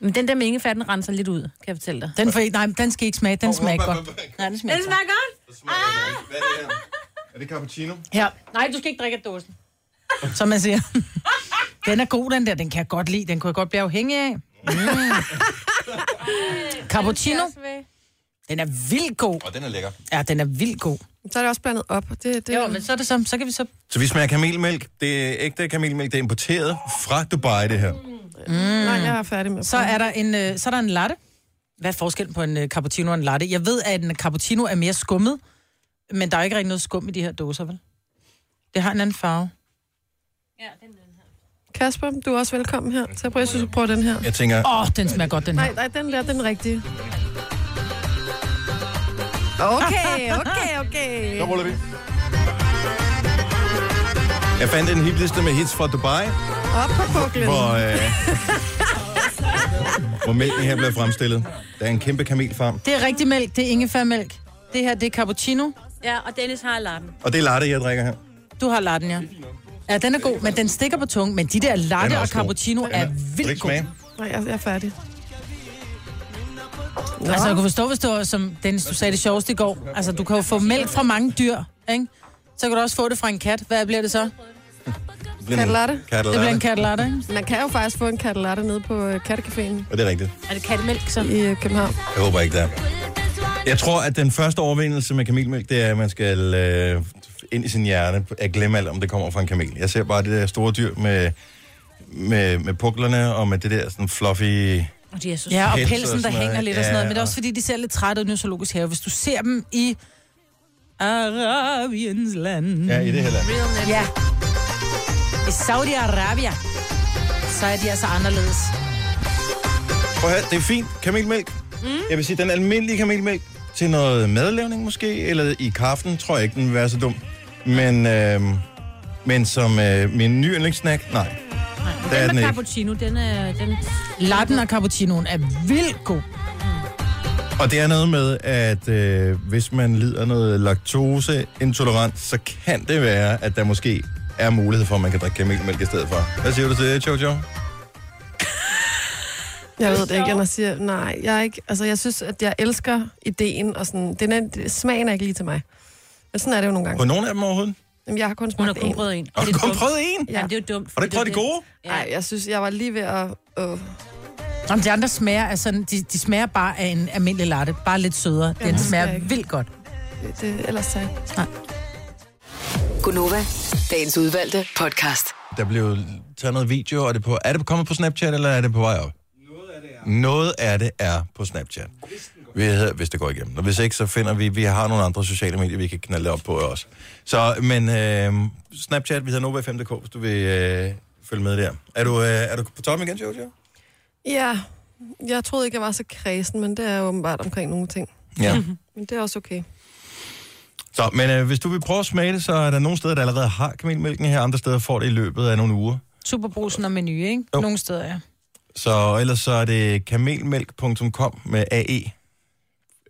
[SPEAKER 5] Men den der med ingefær, den renser lidt ud, kan jeg fortælle dig.
[SPEAKER 3] Den, for, nej, men den skal ikke smage. Den smager ikke godt. Nej, den smager ikke godt.
[SPEAKER 5] smager godt.
[SPEAKER 2] Hvad er det her? Er det cappuccino?
[SPEAKER 3] Ja. Nej, du skal ikke drikke af dåsen. Som man siger. Den er god, den der. Den kan jeg godt lide. Den kunne jeg godt blive afhængig af. Mm. Cappuccino. Den er vildt god.
[SPEAKER 2] Og den er lækker.
[SPEAKER 3] Ja, den er vildt god.
[SPEAKER 4] Så er det også blandet op. Det, det,
[SPEAKER 3] Jo, men så er det så, så kan vi så...
[SPEAKER 2] Så vi smager kamelmælk. Det er ægte kamelmælk. Det er importeret fra Dubai, det her.
[SPEAKER 4] Nej, jeg er færdig med
[SPEAKER 3] Mm. Så er der en, øh, så er der en latte. Hvad er forskellen på en øh, cappuccino og en latte? Jeg ved, at en cappuccino er mere skummet, men der er jo ikke rigtig noget skum i de her dåser, vel? Det har en anden farve.
[SPEAKER 4] Kasper, du er også velkommen her. Så jeg prøver, jeg synes, du prøver den her.
[SPEAKER 2] Jeg tænker,
[SPEAKER 3] Åh, oh, den smager godt, den her.
[SPEAKER 4] Nej, nej, den der, den er rigtig. Okay, okay, okay.
[SPEAKER 2] Så ruller vi. Jeg fandt en hitliste med hits fra Dubai,
[SPEAKER 4] Op på puklen.
[SPEAKER 2] hvor, øh, hvor mælken her blev fremstillet. Der er en kæmpe kamelfarm.
[SPEAKER 3] Det er rigtig mælk, det er ingefærmælk. Det her, det er cappuccino.
[SPEAKER 5] Ja, og Dennis har lappen.
[SPEAKER 2] Og det er latte, jeg drikker her.
[SPEAKER 3] Du har latten, ja. Ja, den er god, men den stikker på tungen. Men de der latte og
[SPEAKER 2] også god.
[SPEAKER 3] cappuccino
[SPEAKER 2] Den
[SPEAKER 3] er
[SPEAKER 2] Vil du ikke
[SPEAKER 3] vildt gode.
[SPEAKER 2] smage?
[SPEAKER 4] Nej, jeg, jeg er færdig. Nå.
[SPEAKER 3] Altså, jeg kunne forstå, hvis det var, som Dennis, du sagde det sjoveste i går. Altså, du kan jo få mælk fra mange dyr, ikke? Så kan du også få det fra en kat. Hvad bliver det så? Det
[SPEAKER 2] Det bliver en
[SPEAKER 4] Kat latte.
[SPEAKER 2] Kat
[SPEAKER 3] bliver en
[SPEAKER 2] latte.
[SPEAKER 3] kat latte, ikke?
[SPEAKER 4] Man kan jo faktisk få en kattelatte nede på øh, kattecaféen
[SPEAKER 2] Og det er rigtigt.
[SPEAKER 5] Er det kattemælk, så?
[SPEAKER 4] i øh, København.
[SPEAKER 2] Jeg håber ikke, det er. Jeg tror, at den første overvindelse med kamelmælk, det er, at man skal øh, ind i sin hjerne at glemme alt, om det kommer fra en kamel. Jeg ser bare det der store dyr med, med, med puklerne og med det der sådan fluffy...
[SPEAKER 5] Og de er så
[SPEAKER 3] Ja, og
[SPEAKER 2] Pels og
[SPEAKER 3] pelsen, der
[SPEAKER 2] sådan noget,
[SPEAKER 3] hænger lidt
[SPEAKER 2] ja,
[SPEAKER 3] og sådan noget. Men det er
[SPEAKER 2] og-
[SPEAKER 3] også, fordi de ser lidt trætte ud i en zoologisk have. Hvis du ser dem i Arabiens land,
[SPEAKER 2] Ja, i det her land.
[SPEAKER 3] Ja. I Saudi-Arabia, så er de altså anderledes.
[SPEAKER 2] Prøv at høre, det er fint. Kamelmælk. Mm. Jeg vil sige, den almindelige kamelmælk til noget madlavning måske, eller i kaffen, tror jeg ikke, den vil være så dum. Men, øh, men som øh, min nye yndlingssnack, nej. Der er
[SPEAKER 5] Den
[SPEAKER 2] den
[SPEAKER 5] med
[SPEAKER 2] ikke.
[SPEAKER 5] cappuccino, den er... Den...
[SPEAKER 3] Latten og cappuccinoen er vildt god.
[SPEAKER 2] Og det er noget med, at øh, hvis man lider noget laktoseintolerant, så kan det være, at der måske er mulighed for, at man kan drikke kamelmælk i stedet for. Hvad siger du til det, Jojo?
[SPEAKER 4] Jeg ved det ikke, jeg siger, nej, jeg er ikke, altså jeg synes, at jeg elsker ideen, og sådan, den er, smagen er ikke lige til mig. Men sådan er det jo nogle
[SPEAKER 2] På
[SPEAKER 4] gange.
[SPEAKER 2] nogen af dem overhovedet?
[SPEAKER 4] Jamen, jeg har kun
[SPEAKER 5] Hun
[SPEAKER 4] smagt
[SPEAKER 5] har kun
[SPEAKER 4] en.
[SPEAKER 5] prøvet en.
[SPEAKER 2] Har
[SPEAKER 5] Det
[SPEAKER 2] du
[SPEAKER 5] er
[SPEAKER 2] kun
[SPEAKER 5] dumt.
[SPEAKER 2] prøvet en?
[SPEAKER 5] Ja, det er jo dumt.
[SPEAKER 2] Har du ikke prøvet de gode?
[SPEAKER 4] Nej, jeg synes, jeg var lige ved at... Øh,
[SPEAKER 3] Jamen, de andre smager, altså, de, de smager bare af en almindelig latte. Bare lidt sødere. Den
[SPEAKER 4] det skal
[SPEAKER 3] smager
[SPEAKER 4] jeg ikke.
[SPEAKER 3] vildt godt.
[SPEAKER 4] det, ellers så...
[SPEAKER 1] Gunova, dagens udvalgte podcast.
[SPEAKER 2] Der blev taget noget video, og det på, er det kommet på Snapchat, eller er det på vej op? Noget af det er på Snapchat. Vi hedder, hvis det går igennem. Og hvis ikke, så finder vi, vi har nogle andre sociale medier, vi kan knalde op på også. Så, men øh, Snapchat, vi hedder Nova5.dk, hvis du vil øh, følge med der. Er du, øh, er du på toppen igen, Jojo?
[SPEAKER 4] Ja, jeg troede ikke, jeg var så kredsen, men det er åbenbart omkring nogle ting.
[SPEAKER 2] Ja.
[SPEAKER 4] Men det er også okay.
[SPEAKER 2] Så, men øh, hvis du vil prøve at smage det, så er der nogle steder, der allerede har kamelmælken her, andre steder får det i løbet af nogle uger.
[SPEAKER 3] Superbrusen og menu, ikke?
[SPEAKER 2] Jo.
[SPEAKER 3] Nogle steder, ja.
[SPEAKER 2] Så og ellers så er det kamelmælk.com med AE.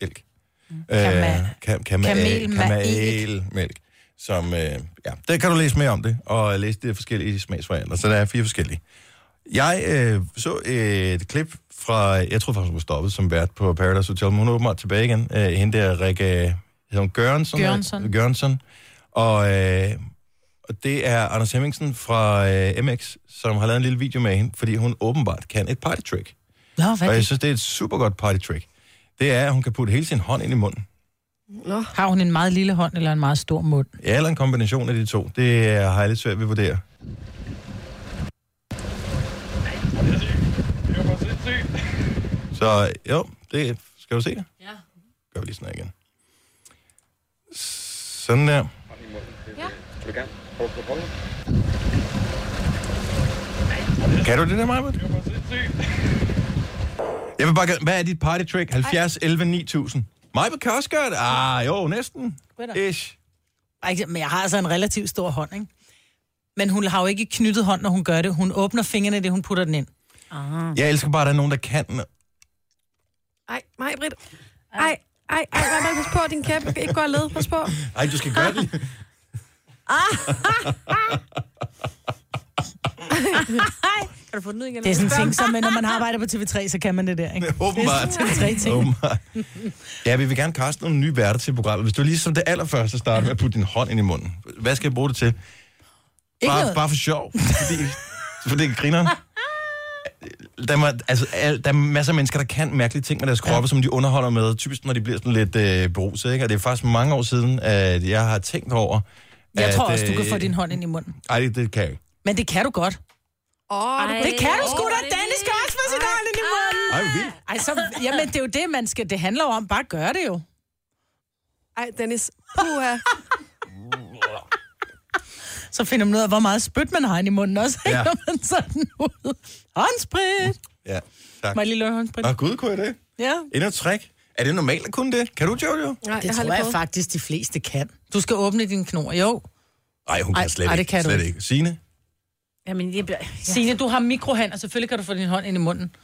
[SPEAKER 2] Elk.
[SPEAKER 3] Kama-
[SPEAKER 2] Øh, kam- kama-
[SPEAKER 3] Kamelmælk.
[SPEAKER 2] Kamelmælk. Som, øh, ja, der kan du læse mere om det, og læse de forskellige smagsvarianter. Så der er fire forskellige. Jeg øh, så et klip fra, jeg tror faktisk, hun var stoppet som vært på Paradise Hotel, men hun er åbenbart tilbage igen. Øh, hende der, Rikke, hedder hun Gørensson?
[SPEAKER 3] Gørenson.
[SPEAKER 2] Gørensson. Og, øh, og det er Anders Hemmingsen fra øh, MX, som har lavet en lille video med hende, fordi hun åbenbart kan et partytrick.
[SPEAKER 3] Nå, hvad
[SPEAKER 2] Og
[SPEAKER 3] er
[SPEAKER 2] jeg
[SPEAKER 3] det?
[SPEAKER 2] synes, det er et super godt partytrick. Det er, at hun kan putte hele sin hånd ind i munden.
[SPEAKER 3] Har hun en meget lille hånd eller en meget stor mund?
[SPEAKER 2] Ja, eller en kombination af de to. Det er, har jeg lidt svært ved at vurdere. Så jo, det skal du se det. Ja. Gør vi lige sådan her igen. Sådan der. Ja. Kan du det der, Marvind? Jeg vil bare gerne... Hvad er dit party trick? 70, 11, 9000. Majbet kan også gøre det. Ah, jo, næsten. Ish.
[SPEAKER 3] Ej, ikke- Men jeg har altså en relativt stor hånd, ikke? Men hun har jo ikke knyttet hånd, når hun gør det. Hun åbner fingrene, det hun putter den ind.
[SPEAKER 5] Ah.
[SPEAKER 2] Jeg elsker bare, at der er nogen, der kan.
[SPEAKER 4] Ej, mig, Britt. Ej, ej, ej, hvad pas på, din kæppe ikke går af led. Pas på.
[SPEAKER 2] Ej, du skal gøre det.
[SPEAKER 5] Ah. Kan du få den ud igen?
[SPEAKER 3] Det er sådan en ting, som når man arbejder på TV3, så kan man det der, ikke?
[SPEAKER 2] Åbenbart.
[SPEAKER 3] Det er sådan TV3-ting.
[SPEAKER 2] Åbenbart. Ja, vi vil gerne kaste nogle nye værter til programmet. Hvis du lige som det allerførste starter med at putte din hånd ind i munden. Hvad skal jeg bruge det til? Bare,
[SPEAKER 3] noget.
[SPEAKER 2] bare for sjov. Fordi, fordi grineren. Der er, altså, al- der er masser af mennesker, der kan mærkelige ting med deres kroppe, ja. som de underholder med. Typisk, når de bliver sådan lidt øh, beruset, ikke? Og det er faktisk mange år siden, at jeg har tænkt over...
[SPEAKER 3] Jeg
[SPEAKER 2] at,
[SPEAKER 3] tror også, du
[SPEAKER 2] øh,
[SPEAKER 3] kan få din hånd ind i munden.
[SPEAKER 2] Ej, det, det kan jeg ikke.
[SPEAKER 3] Men det kan du godt.
[SPEAKER 4] Åh, oh,
[SPEAKER 3] Det kan du sgu da. Dennis kan også få sin hånd ind i munden.
[SPEAKER 2] Ej, hvor vildt.
[SPEAKER 3] Ej, så, jamen, det er jo det, man skal... Det handler jo om. Bare gør det jo.
[SPEAKER 4] Ej, Dennis. Puha.
[SPEAKER 3] Så finder man ud af, hvor meget spyt man har ind i munden også. Ja.
[SPEAKER 2] Ja.
[SPEAKER 3] Når man sådan ud. Håndsprit.
[SPEAKER 2] Ja, tak.
[SPEAKER 3] Må jeg lige låne håndsprit?
[SPEAKER 2] Nå, gud, kunne jeg det?
[SPEAKER 3] Ja.
[SPEAKER 2] Endnu et trick. Er det normalt at kunne det? Kan du, Jojo?
[SPEAKER 4] Nej,
[SPEAKER 3] Det tror
[SPEAKER 4] lige
[SPEAKER 3] jeg
[SPEAKER 4] prøvet.
[SPEAKER 3] faktisk, de fleste kan. Du skal åbne din knor. Jo.
[SPEAKER 2] Nej, hun kan
[SPEAKER 3] Ej,
[SPEAKER 2] slet
[SPEAKER 3] ej, det
[SPEAKER 2] ikke.
[SPEAKER 3] kan du
[SPEAKER 2] slet
[SPEAKER 3] ikke.
[SPEAKER 2] ikke. Signe?
[SPEAKER 5] Jamen, jeg bliver...
[SPEAKER 3] Signe, du har mikrohand, og selvfølgelig kan du få din hånd ind i munden.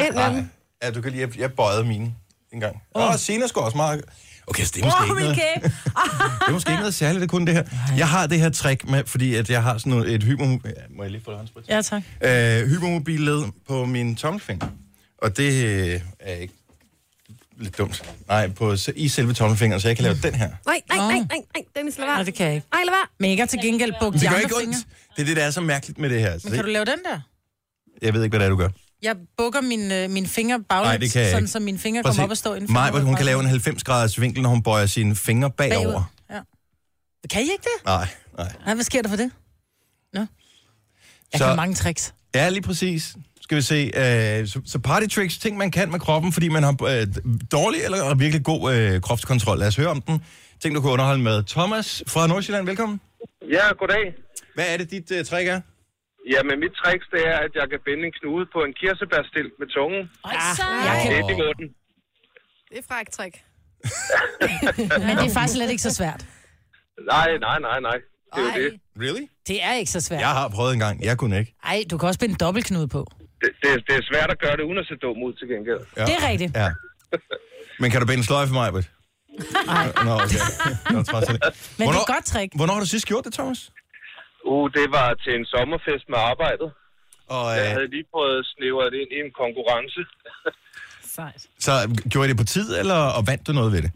[SPEAKER 4] Ind med den.
[SPEAKER 2] Ja, du kan lige... Jeg, jeg bøjede mine en gang. Åh, oh. Signe skulle også meget... Okay, så Ah, det er måske, ikke, noget,
[SPEAKER 5] kæft.
[SPEAKER 2] det er måske ikke noget særligt, det kun det her. Jeg har det her trick med, fordi at jeg har sådan noget, et hyper... Ja, Må jeg lige få håndsprit?
[SPEAKER 3] Ja, tak.
[SPEAKER 2] øh, hypermobil led på min tommelfinger. Og det øh, er ikke lidt dumt. Nej, på, i selve tommelfingeren, så jeg kan lave den her.
[SPEAKER 4] Nej, nej, nej, nej, nej, Dennis, lad være.
[SPEAKER 3] Nej, det kan jeg ikke.
[SPEAKER 4] Ej, lad være.
[SPEAKER 3] Men ikke til gengæld bukke
[SPEAKER 2] Det
[SPEAKER 3] de
[SPEAKER 2] gør
[SPEAKER 3] andre
[SPEAKER 2] ikke ondt.
[SPEAKER 3] fingre.
[SPEAKER 2] Det er det, der er så mærkeligt med det her. Så
[SPEAKER 3] Men kan du
[SPEAKER 2] det,
[SPEAKER 3] lave den der?
[SPEAKER 2] jeg ved ikke, hvad det er, du gør.
[SPEAKER 3] Jeg bukker min, øh, min finger
[SPEAKER 2] Nej, det
[SPEAKER 3] baglæns,
[SPEAKER 2] kan jeg
[SPEAKER 3] sådan
[SPEAKER 2] ikke.
[SPEAKER 3] så mine fingre kommer op og står inden for
[SPEAKER 2] Maj, hvor hun
[SPEAKER 3] hovedet.
[SPEAKER 2] kan lave en 90-graders vinkel, når hun bøjer sine fingre bagover.
[SPEAKER 3] bagud. Ja. Kan I ikke det?
[SPEAKER 2] Nej, nej.
[SPEAKER 3] Nej, hvad sker der for det? Nå. Jeg
[SPEAKER 2] Så-
[SPEAKER 3] så... kan mange tricks.
[SPEAKER 2] Ja, lige præcis. Skal vi se. Øh, så, så party tricks, ting man kan med kroppen, fordi man har øh, dårlig eller virkelig god øh, kropskontrol. Lad os høre om den. Ting, du kan underholde med. Thomas fra Nordsjælland, velkommen.
[SPEAKER 7] Ja, goddag.
[SPEAKER 2] Hvad er det, dit øh, trick er?
[SPEAKER 7] Jamen, mit tricks, det er, at jeg kan binde en knude på en kirsebærstilt med tungen.
[SPEAKER 5] Ej, så...
[SPEAKER 3] Jeg
[SPEAKER 7] Det
[SPEAKER 3] kan...
[SPEAKER 7] er niveau den.
[SPEAKER 4] Det er fræk trick.
[SPEAKER 3] Men det er faktisk slet ikke så svært.
[SPEAKER 7] Nej, nej, nej, nej. Det er jo det.
[SPEAKER 2] Really?
[SPEAKER 3] Det er ikke så svært.
[SPEAKER 2] Jeg har prøvet en gang. Jeg kunne ikke.
[SPEAKER 3] Ej, du kan også binde en dobbeltknude på.
[SPEAKER 7] Det, det, det er svært at gøre det, uden at se dum ud til gengæld.
[SPEAKER 2] Ja.
[SPEAKER 3] Det er rigtigt.
[SPEAKER 2] Ja. Men kan du binde en sløjfe for mig, Britt? Nej. Nå, okay. Nå, trods alt.
[SPEAKER 3] Men det er
[SPEAKER 2] Hvornår-
[SPEAKER 3] et godt trick.
[SPEAKER 2] Hvornår har du sidst gjort det, Thomas?
[SPEAKER 7] Uh, det var til en sommerfest med arbejdet.
[SPEAKER 2] Og,
[SPEAKER 7] Jeg
[SPEAKER 2] øh,
[SPEAKER 7] havde lige prøvet at snævre det ind i en konkurrence.
[SPEAKER 5] Sejt.
[SPEAKER 2] så gjorde I det på tid, eller og vandt du noget ved det?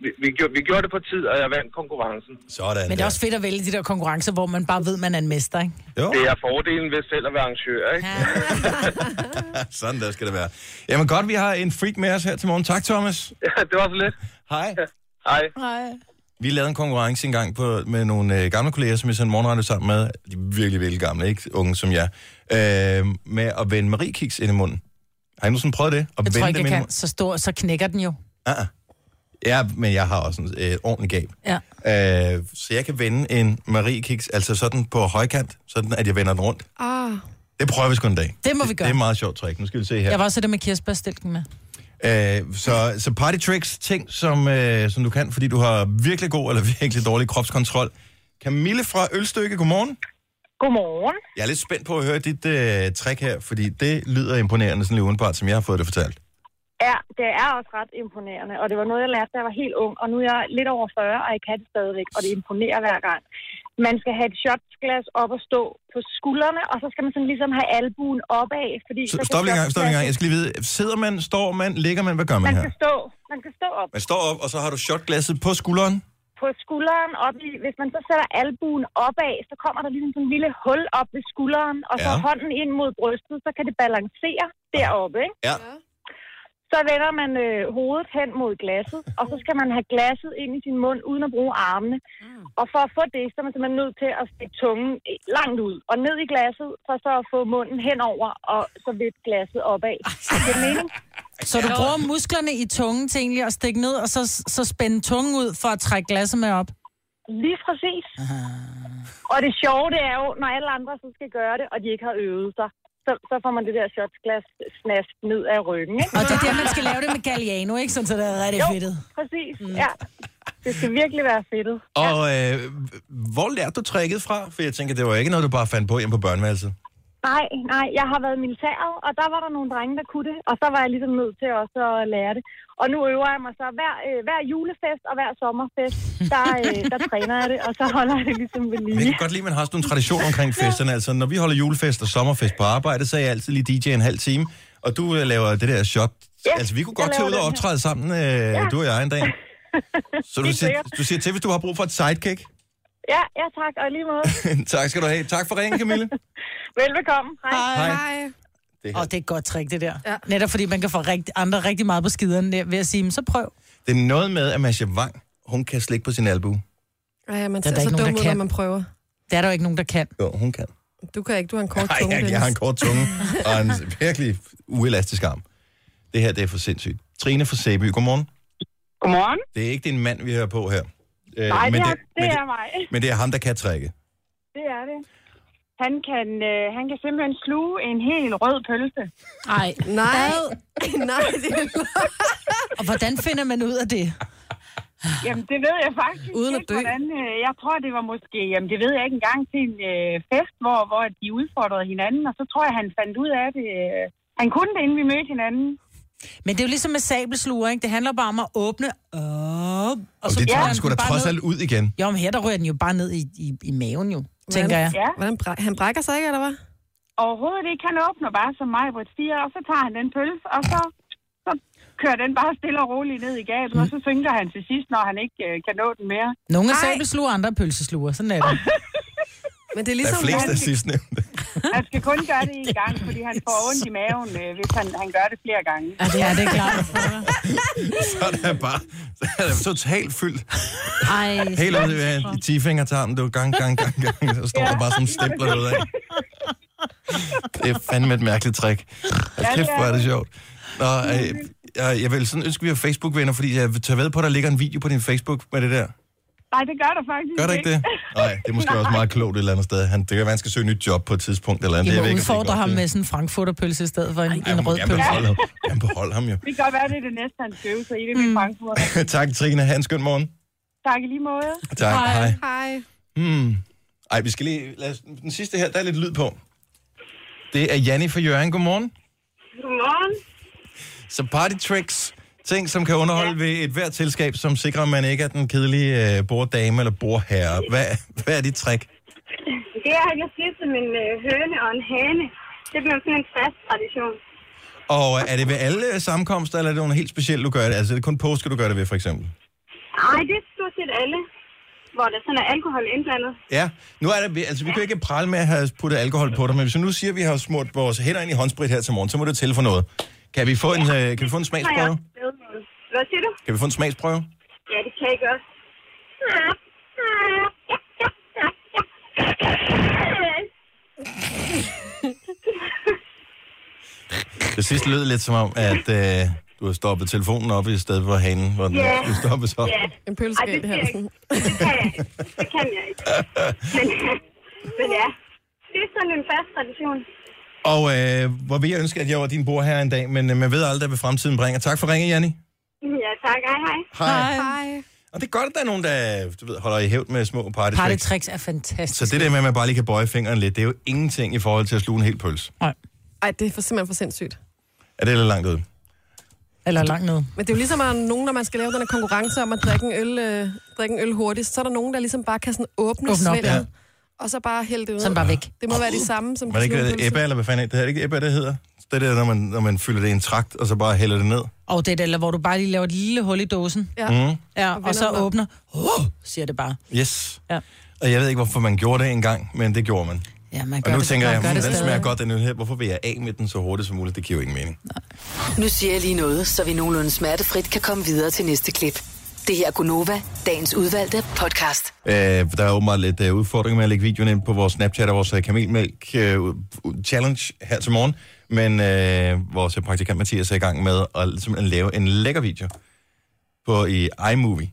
[SPEAKER 7] Vi, vi, gjorde, vi gjorde det på tid, og jeg vandt konkurrencen.
[SPEAKER 2] Sådan
[SPEAKER 3] Men det er også fedt at vælge de der konkurrencer, hvor man bare ved, man er en mester, ikke?
[SPEAKER 2] Jo.
[SPEAKER 7] Det er fordelen ved selv at være arrangør, ikke?
[SPEAKER 2] Sådan der skal det være. Jamen godt, vi har en freak med os her til morgen. Tak, Thomas.
[SPEAKER 7] Ja, det var så lidt.
[SPEAKER 2] Hej.
[SPEAKER 7] Hej.
[SPEAKER 2] Vi lavede en konkurrence engang på, med nogle øh, gamle kolleger, som vi sendte morgenradio sammen med. De er virkelig, virkelig gamle, ikke unge som jeg. Øh, med at vende mariekiks ind i munden. Har I nu sådan prøvet det? At
[SPEAKER 3] Jeg tror
[SPEAKER 2] vende
[SPEAKER 3] ikke,
[SPEAKER 2] dem
[SPEAKER 3] jeg
[SPEAKER 2] ind i
[SPEAKER 3] kan. Så stor, så knækker den jo.
[SPEAKER 2] munden? Ah, ah. Ja, men jeg har også en øh, ordentlig gab.
[SPEAKER 3] Ja.
[SPEAKER 2] Øh, så jeg kan vende en mariekiks, altså sådan på højkant, sådan at jeg vender den rundt.
[SPEAKER 4] Ah.
[SPEAKER 2] Det prøver vi sgu en dag.
[SPEAKER 3] Det må vi gøre.
[SPEAKER 2] Det er et meget sjovt trick. Nu skal vi se her.
[SPEAKER 3] Jeg var også det med kirsebærstilken med.
[SPEAKER 2] Øh, så, så party tricks, ting som, øh, som du kan, fordi du har virkelig god eller virkelig dårlig kropskontrol. Camille fra Ølstykke, godmorgen.
[SPEAKER 8] Godmorgen.
[SPEAKER 2] Jeg er lidt spændt på at høre dit øh, trick her, fordi det lyder imponerende, sådan lige udenbart, som jeg har fået det fortalt.
[SPEAKER 8] Ja, det er også ret imponerende, og det var noget, jeg lærte, da jeg var helt ung, og nu er jeg lidt over 40, og jeg kan det stadigvæk, og det imponerer hver gang. Man skal have et shotglas op og stå på skuldrene, og så skal man sådan ligesom have albuen opad, fordi...
[SPEAKER 2] Så,
[SPEAKER 8] kan
[SPEAKER 2] stop lige en gang, stop lige en gang.
[SPEAKER 8] shotglasset-
[SPEAKER 2] Jeg skal lige vide, sidder man, står man, ligger man, hvad gør man
[SPEAKER 8] Man
[SPEAKER 2] her?
[SPEAKER 8] skal stå, man skal stå op
[SPEAKER 2] Man står op, og så har du shotglasset på skulderen.
[SPEAKER 8] på skulderen, op i, hvis man så sætter albuen opad, så kommer der ligesom sådan en lille hul op ved skulderen, og så
[SPEAKER 2] Ja.
[SPEAKER 8] ja. hånden ind mod brystet, så kan det balancere deroppe, ikke?
[SPEAKER 2] Ja.
[SPEAKER 8] Så vender man øh, hovedet hen mod glasset, og så skal man have glasset ind i sin mund, uden at bruge armene. Og for at få det, så er man simpelthen nødt til at stikke tungen øh, langt ud, og ned i glasset, for så at få munden henover, og så vidt glasset opad. Det er mening.
[SPEAKER 3] Så du bruger musklerne i tungen til egentlig at stikke ned, og så, så spænde tungen ud for at trække glasset med op.
[SPEAKER 8] Lige præcis. Og det sjove, det er jo, når alle andre så skal gøre det, og de ikke har øvet sig, så, så får man det der shotsglas snask ned af ryggen, ikke?
[SPEAKER 3] Og det er der, man skal lave det med Galliano, ikke? Sådan, så det er rigtig
[SPEAKER 8] Jo,
[SPEAKER 3] fedtet. Mm.
[SPEAKER 8] præcis. Ja. Det skal virkelig være fedtet.
[SPEAKER 2] Og øh, hvor lærte du tricket fra? For jeg tænker, det var ikke noget, du bare fandt på hjemme på børneværelset.
[SPEAKER 8] Nej, nej, jeg har været i militæret, og der var der nogle drenge, der kunne det, og så var jeg ligesom nødt til også at lære det. Og nu øver jeg mig så hver, øh, hver julefest og hver sommerfest, der, øh, der træner jeg det, og så holder jeg det ligesom ved
[SPEAKER 2] Men jeg
[SPEAKER 8] lige.
[SPEAKER 2] kan godt lide, at man har sådan nogle traditioner omkring festerne. Altså, når vi holder julefest og sommerfest på arbejde, så er jeg altid lige DJ en halv time. Og du øh, laver det der shot.
[SPEAKER 8] Ja,
[SPEAKER 2] altså, vi kunne
[SPEAKER 8] jeg
[SPEAKER 2] godt tage
[SPEAKER 8] laver
[SPEAKER 2] ud og
[SPEAKER 8] den her.
[SPEAKER 2] optræde sammen, øh, du og jeg en dag. Så du
[SPEAKER 8] Helt
[SPEAKER 2] siger,
[SPEAKER 8] sikkert.
[SPEAKER 2] du siger til, hvis du har brug for et sidekick.
[SPEAKER 8] Ja, ja tak, og i lige måde.
[SPEAKER 2] tak skal du have. Tak for ringen, Camille.
[SPEAKER 8] Velbekomme. Hej.
[SPEAKER 2] Hej.
[SPEAKER 4] Hej.
[SPEAKER 2] Det,
[SPEAKER 3] Og det er et godt trick, det der. Ja. Netop fordi man kan få rigtig, andre rigtig meget på skiderne der, ved at sige, "Men så prøv.
[SPEAKER 2] det er noget med, at Masha Wang, hun kan slikke på sin albue.
[SPEAKER 4] Ej, man
[SPEAKER 3] Der er
[SPEAKER 4] ser
[SPEAKER 3] der
[SPEAKER 4] så
[SPEAKER 3] ikke nogen,
[SPEAKER 4] dum
[SPEAKER 3] der
[SPEAKER 4] ud,
[SPEAKER 3] kan.
[SPEAKER 4] når man prøver.
[SPEAKER 3] Det er der jo ikke nogen, der kan.
[SPEAKER 2] Jo, hun kan.
[SPEAKER 4] Du kan ikke, du har en kort
[SPEAKER 2] Nej,
[SPEAKER 4] tunge.
[SPEAKER 2] jeg, jeg har en kort tunge og en virkelig uelastisk arm. Det her, det er for sindssygt. Trine fra Sæby, godmorgen.
[SPEAKER 8] Godmorgen.
[SPEAKER 2] Det er ikke din mand, vi hører på her. Øh,
[SPEAKER 8] Nej, det, er, det
[SPEAKER 2] men
[SPEAKER 8] er mig.
[SPEAKER 2] Men det er ham, der kan trække.
[SPEAKER 8] Det er det. Han kan, øh, han kan simpelthen sluge en helt rød pølse.
[SPEAKER 5] Nej.
[SPEAKER 4] Nej, nej, det er
[SPEAKER 3] Og hvordan finder man ud af det?
[SPEAKER 8] Jamen, det ved jeg faktisk
[SPEAKER 4] Uden at
[SPEAKER 8] ikke,
[SPEAKER 4] dø.
[SPEAKER 8] hvordan... Øh, jeg tror, det var måske... Jamen, det ved jeg ikke engang til en øh, fest, hvor, hvor de udfordrede hinanden, og så tror jeg, han fandt ud af det. Øh, han kunne det, inden vi mødte hinanden.
[SPEAKER 3] Men det er jo ligesom med sabelsluger, ikke? Det handler bare om at åbne op.
[SPEAKER 2] Og det
[SPEAKER 3] ryger
[SPEAKER 2] tager
[SPEAKER 3] den
[SPEAKER 2] han sgu da
[SPEAKER 3] bare
[SPEAKER 2] trods
[SPEAKER 3] ned.
[SPEAKER 2] alt ud igen.
[SPEAKER 3] Jo, men her der rører den jo bare ned i, i, i maven jo, tænker jeg.
[SPEAKER 8] Ja,
[SPEAKER 4] Hvordan bræ- han brækker sig ikke, eller hvad?
[SPEAKER 8] overhovedet ikke. Han åbner bare, som mig, hvor siger, og så tager han den pølse, og så, så kører den bare stille og roligt ned i gabet, og så synker han til sidst, når han ikke øh, kan nå den mere.
[SPEAKER 3] Nogle er
[SPEAKER 4] Ej.
[SPEAKER 3] sabelsluger, andre er pølsesluger. Sådan er det.
[SPEAKER 4] Men det er
[SPEAKER 2] Der
[SPEAKER 4] ligesom...
[SPEAKER 2] er flest af sidstnævnte.
[SPEAKER 8] Han skal kun gøre det en gang, fordi han får ondt i maven, øh, hvis han, han gør det flere gange.
[SPEAKER 3] Ja, det er det klart.
[SPEAKER 2] Så er der bare så er der totalt fyldt.
[SPEAKER 5] Ej.
[SPEAKER 2] Helt ud i- i tifingertarmen. Du gang, gang, gang, gang. Så står der bare sådan stempler ud af. Det er fandme et mærkeligt trick. Hold altså, kæft, hvor er det sjovt. Nå, øh, jeg, jeg vil sådan ønske, at vi var Facebook-venner, fordi jeg tager ved på, at der ligger en video på din Facebook med det der.
[SPEAKER 8] Nej, det gør der faktisk
[SPEAKER 2] Gør der ikke det? Nej, det er måske også meget klogt et eller andet sted. Han, det kan være, han skal søge nyt job på et tidspunkt eller andet.
[SPEAKER 3] Jeg
[SPEAKER 2] Jeg ved
[SPEAKER 3] må
[SPEAKER 2] ikke, om det er
[SPEAKER 3] udfordre
[SPEAKER 2] godt,
[SPEAKER 3] ham
[SPEAKER 2] det.
[SPEAKER 3] med sådan en frankfurterpølse i stedet for en,
[SPEAKER 2] Ej,
[SPEAKER 3] en rød
[SPEAKER 2] jeg
[SPEAKER 3] pølse.
[SPEAKER 2] beholder ham. Jeg beholder ham jo.
[SPEAKER 8] Det kan godt være, det er det næste, han skal øve sig i. Det er mm. Frankfurt.
[SPEAKER 2] tak, Trine. Ha' en skøn morgen.
[SPEAKER 8] Tak i lige måde.
[SPEAKER 2] Tak. Hej. Hej.
[SPEAKER 4] Hej.
[SPEAKER 2] Hmm. Ej, vi skal lige... Lad os, den sidste her, der er lidt lyd på. Det er Janni fra Jørgen. Godmorgen.
[SPEAKER 8] Godmorgen.
[SPEAKER 2] Så party tricks. Ting, som kan underholde ja. ved et hvert selskab, som sikrer, at man ikke er den kedelige øh, borddame eller bordherre. Hvad, hvad er dit trick?
[SPEAKER 8] Det er, at jeg siger som en øh, høne og en hane. Det bliver sådan en fast tradition.
[SPEAKER 2] Og er det ved alle sammenkomster, eller er det nogle helt specielle, du gør det? Altså, er det kun påske, du gør det ved, for eksempel?
[SPEAKER 8] Nej, det er stort set alle, hvor der sådan er alkohol indblandet.
[SPEAKER 2] Ja, nu er det, altså vi kan jo ikke prale med at have puttet alkohol på dig, men hvis vi nu siger, at vi har smurt vores hænder ind i håndsprit her til morgen, så må det tælle for noget. Kan vi få en, øh, kan vi få en
[SPEAKER 8] Har jeg
[SPEAKER 2] smagsprøve?
[SPEAKER 8] også lavet noget. Hvad siger du?
[SPEAKER 2] Kan vi få en smagsprøve?
[SPEAKER 8] Ja, det kan jeg godt.
[SPEAKER 2] Det sidste lød lidt som om, at øh, du har stoppet telefonen op i stedet for hanen, hvor den
[SPEAKER 8] Ja.
[SPEAKER 2] yeah. stoppet øh, så.
[SPEAKER 8] Ja,
[SPEAKER 4] En
[SPEAKER 8] Ej, det
[SPEAKER 4] pølsegalt
[SPEAKER 8] kan
[SPEAKER 4] her.
[SPEAKER 8] jeg ikke. Det kan jeg ikke. Det kan jeg ikke. Men, men ja, det er sådan en fast tradition.
[SPEAKER 2] Og øh, hvor vil jeg ønske, at jeg var din bord her en dag, men øh, man ved aldrig, hvad fremtiden bringer. Tak for ringet, Janni.
[SPEAKER 8] Ja, tak. Hej, hej.
[SPEAKER 2] Hej.
[SPEAKER 4] Hej.
[SPEAKER 2] Og det er godt, at der er nogen, der du ved, holder i hævd med små party tricks.
[SPEAKER 3] Partytricks er fantastisk.
[SPEAKER 2] Så det der med, at man bare lige kan bøje fingeren lidt, det er jo ingenting i forhold til at sluge en hel pølse.
[SPEAKER 3] Nej,
[SPEAKER 4] Ej, det er for, simpelthen for sindssygt.
[SPEAKER 2] Er det lidt langt ud?
[SPEAKER 3] eller langt ned.
[SPEAKER 4] Men det er jo ligesom, at der er nogen, når man skal lave den her konkurrence om at drikke en øl, øh, drikke en øl hurtigt, så er der nogen, der ligesom bare kan sådan åbne,
[SPEAKER 3] Åbne op,
[SPEAKER 4] svælget,
[SPEAKER 2] ja.
[SPEAKER 4] og så bare hælde det ud.
[SPEAKER 3] Sådan bare væk.
[SPEAKER 4] Det må være det samme som
[SPEAKER 2] Var det ikke
[SPEAKER 4] de
[SPEAKER 2] det,
[SPEAKER 4] små
[SPEAKER 2] der Ebba, eller hvad fanden er det? hedder? Er det ikke Ebba, det hedder? Det der, når man, når man fylder det i en trakt, og så bare hælder det ned.
[SPEAKER 3] Og det er der, hvor du bare lige laver et lille hul i dåsen.
[SPEAKER 4] Ja.
[SPEAKER 2] Mm.
[SPEAKER 3] Ja, og,
[SPEAKER 4] vender
[SPEAKER 3] så
[SPEAKER 4] den om.
[SPEAKER 3] åbner. Oh, siger det bare.
[SPEAKER 2] Yes.
[SPEAKER 3] Ja.
[SPEAKER 2] Og jeg ved ikke, hvorfor man gjorde det engang, men det gjorde man.
[SPEAKER 3] Ja, man
[SPEAKER 2] Og
[SPEAKER 3] gør
[SPEAKER 2] nu
[SPEAKER 3] det,
[SPEAKER 2] tænker
[SPEAKER 3] man
[SPEAKER 2] jeg,
[SPEAKER 3] gør
[SPEAKER 2] "Hmm,
[SPEAKER 3] det
[SPEAKER 2] den
[SPEAKER 3] stadig."
[SPEAKER 2] smager godt, den øl her. Hvorfor vil jeg af med den så hurtigt som muligt? Det giver jo ingen mening.
[SPEAKER 1] Nu siger jeg lige noget, så vi nogenlunde smertefrit kan komme videre til næste klip. Det her er Gunova, dagens udvalgte podcast.
[SPEAKER 2] Øh, der er åbenbart lidt øh, udfordringer med at lægge videoen ind på vores Snapchat og vores øh, kamelmælk øh, u- challenge her til morgen. Men øh, vores praktikant Mathias er i gang med at simpelthen lave en lækker video på i iMovie.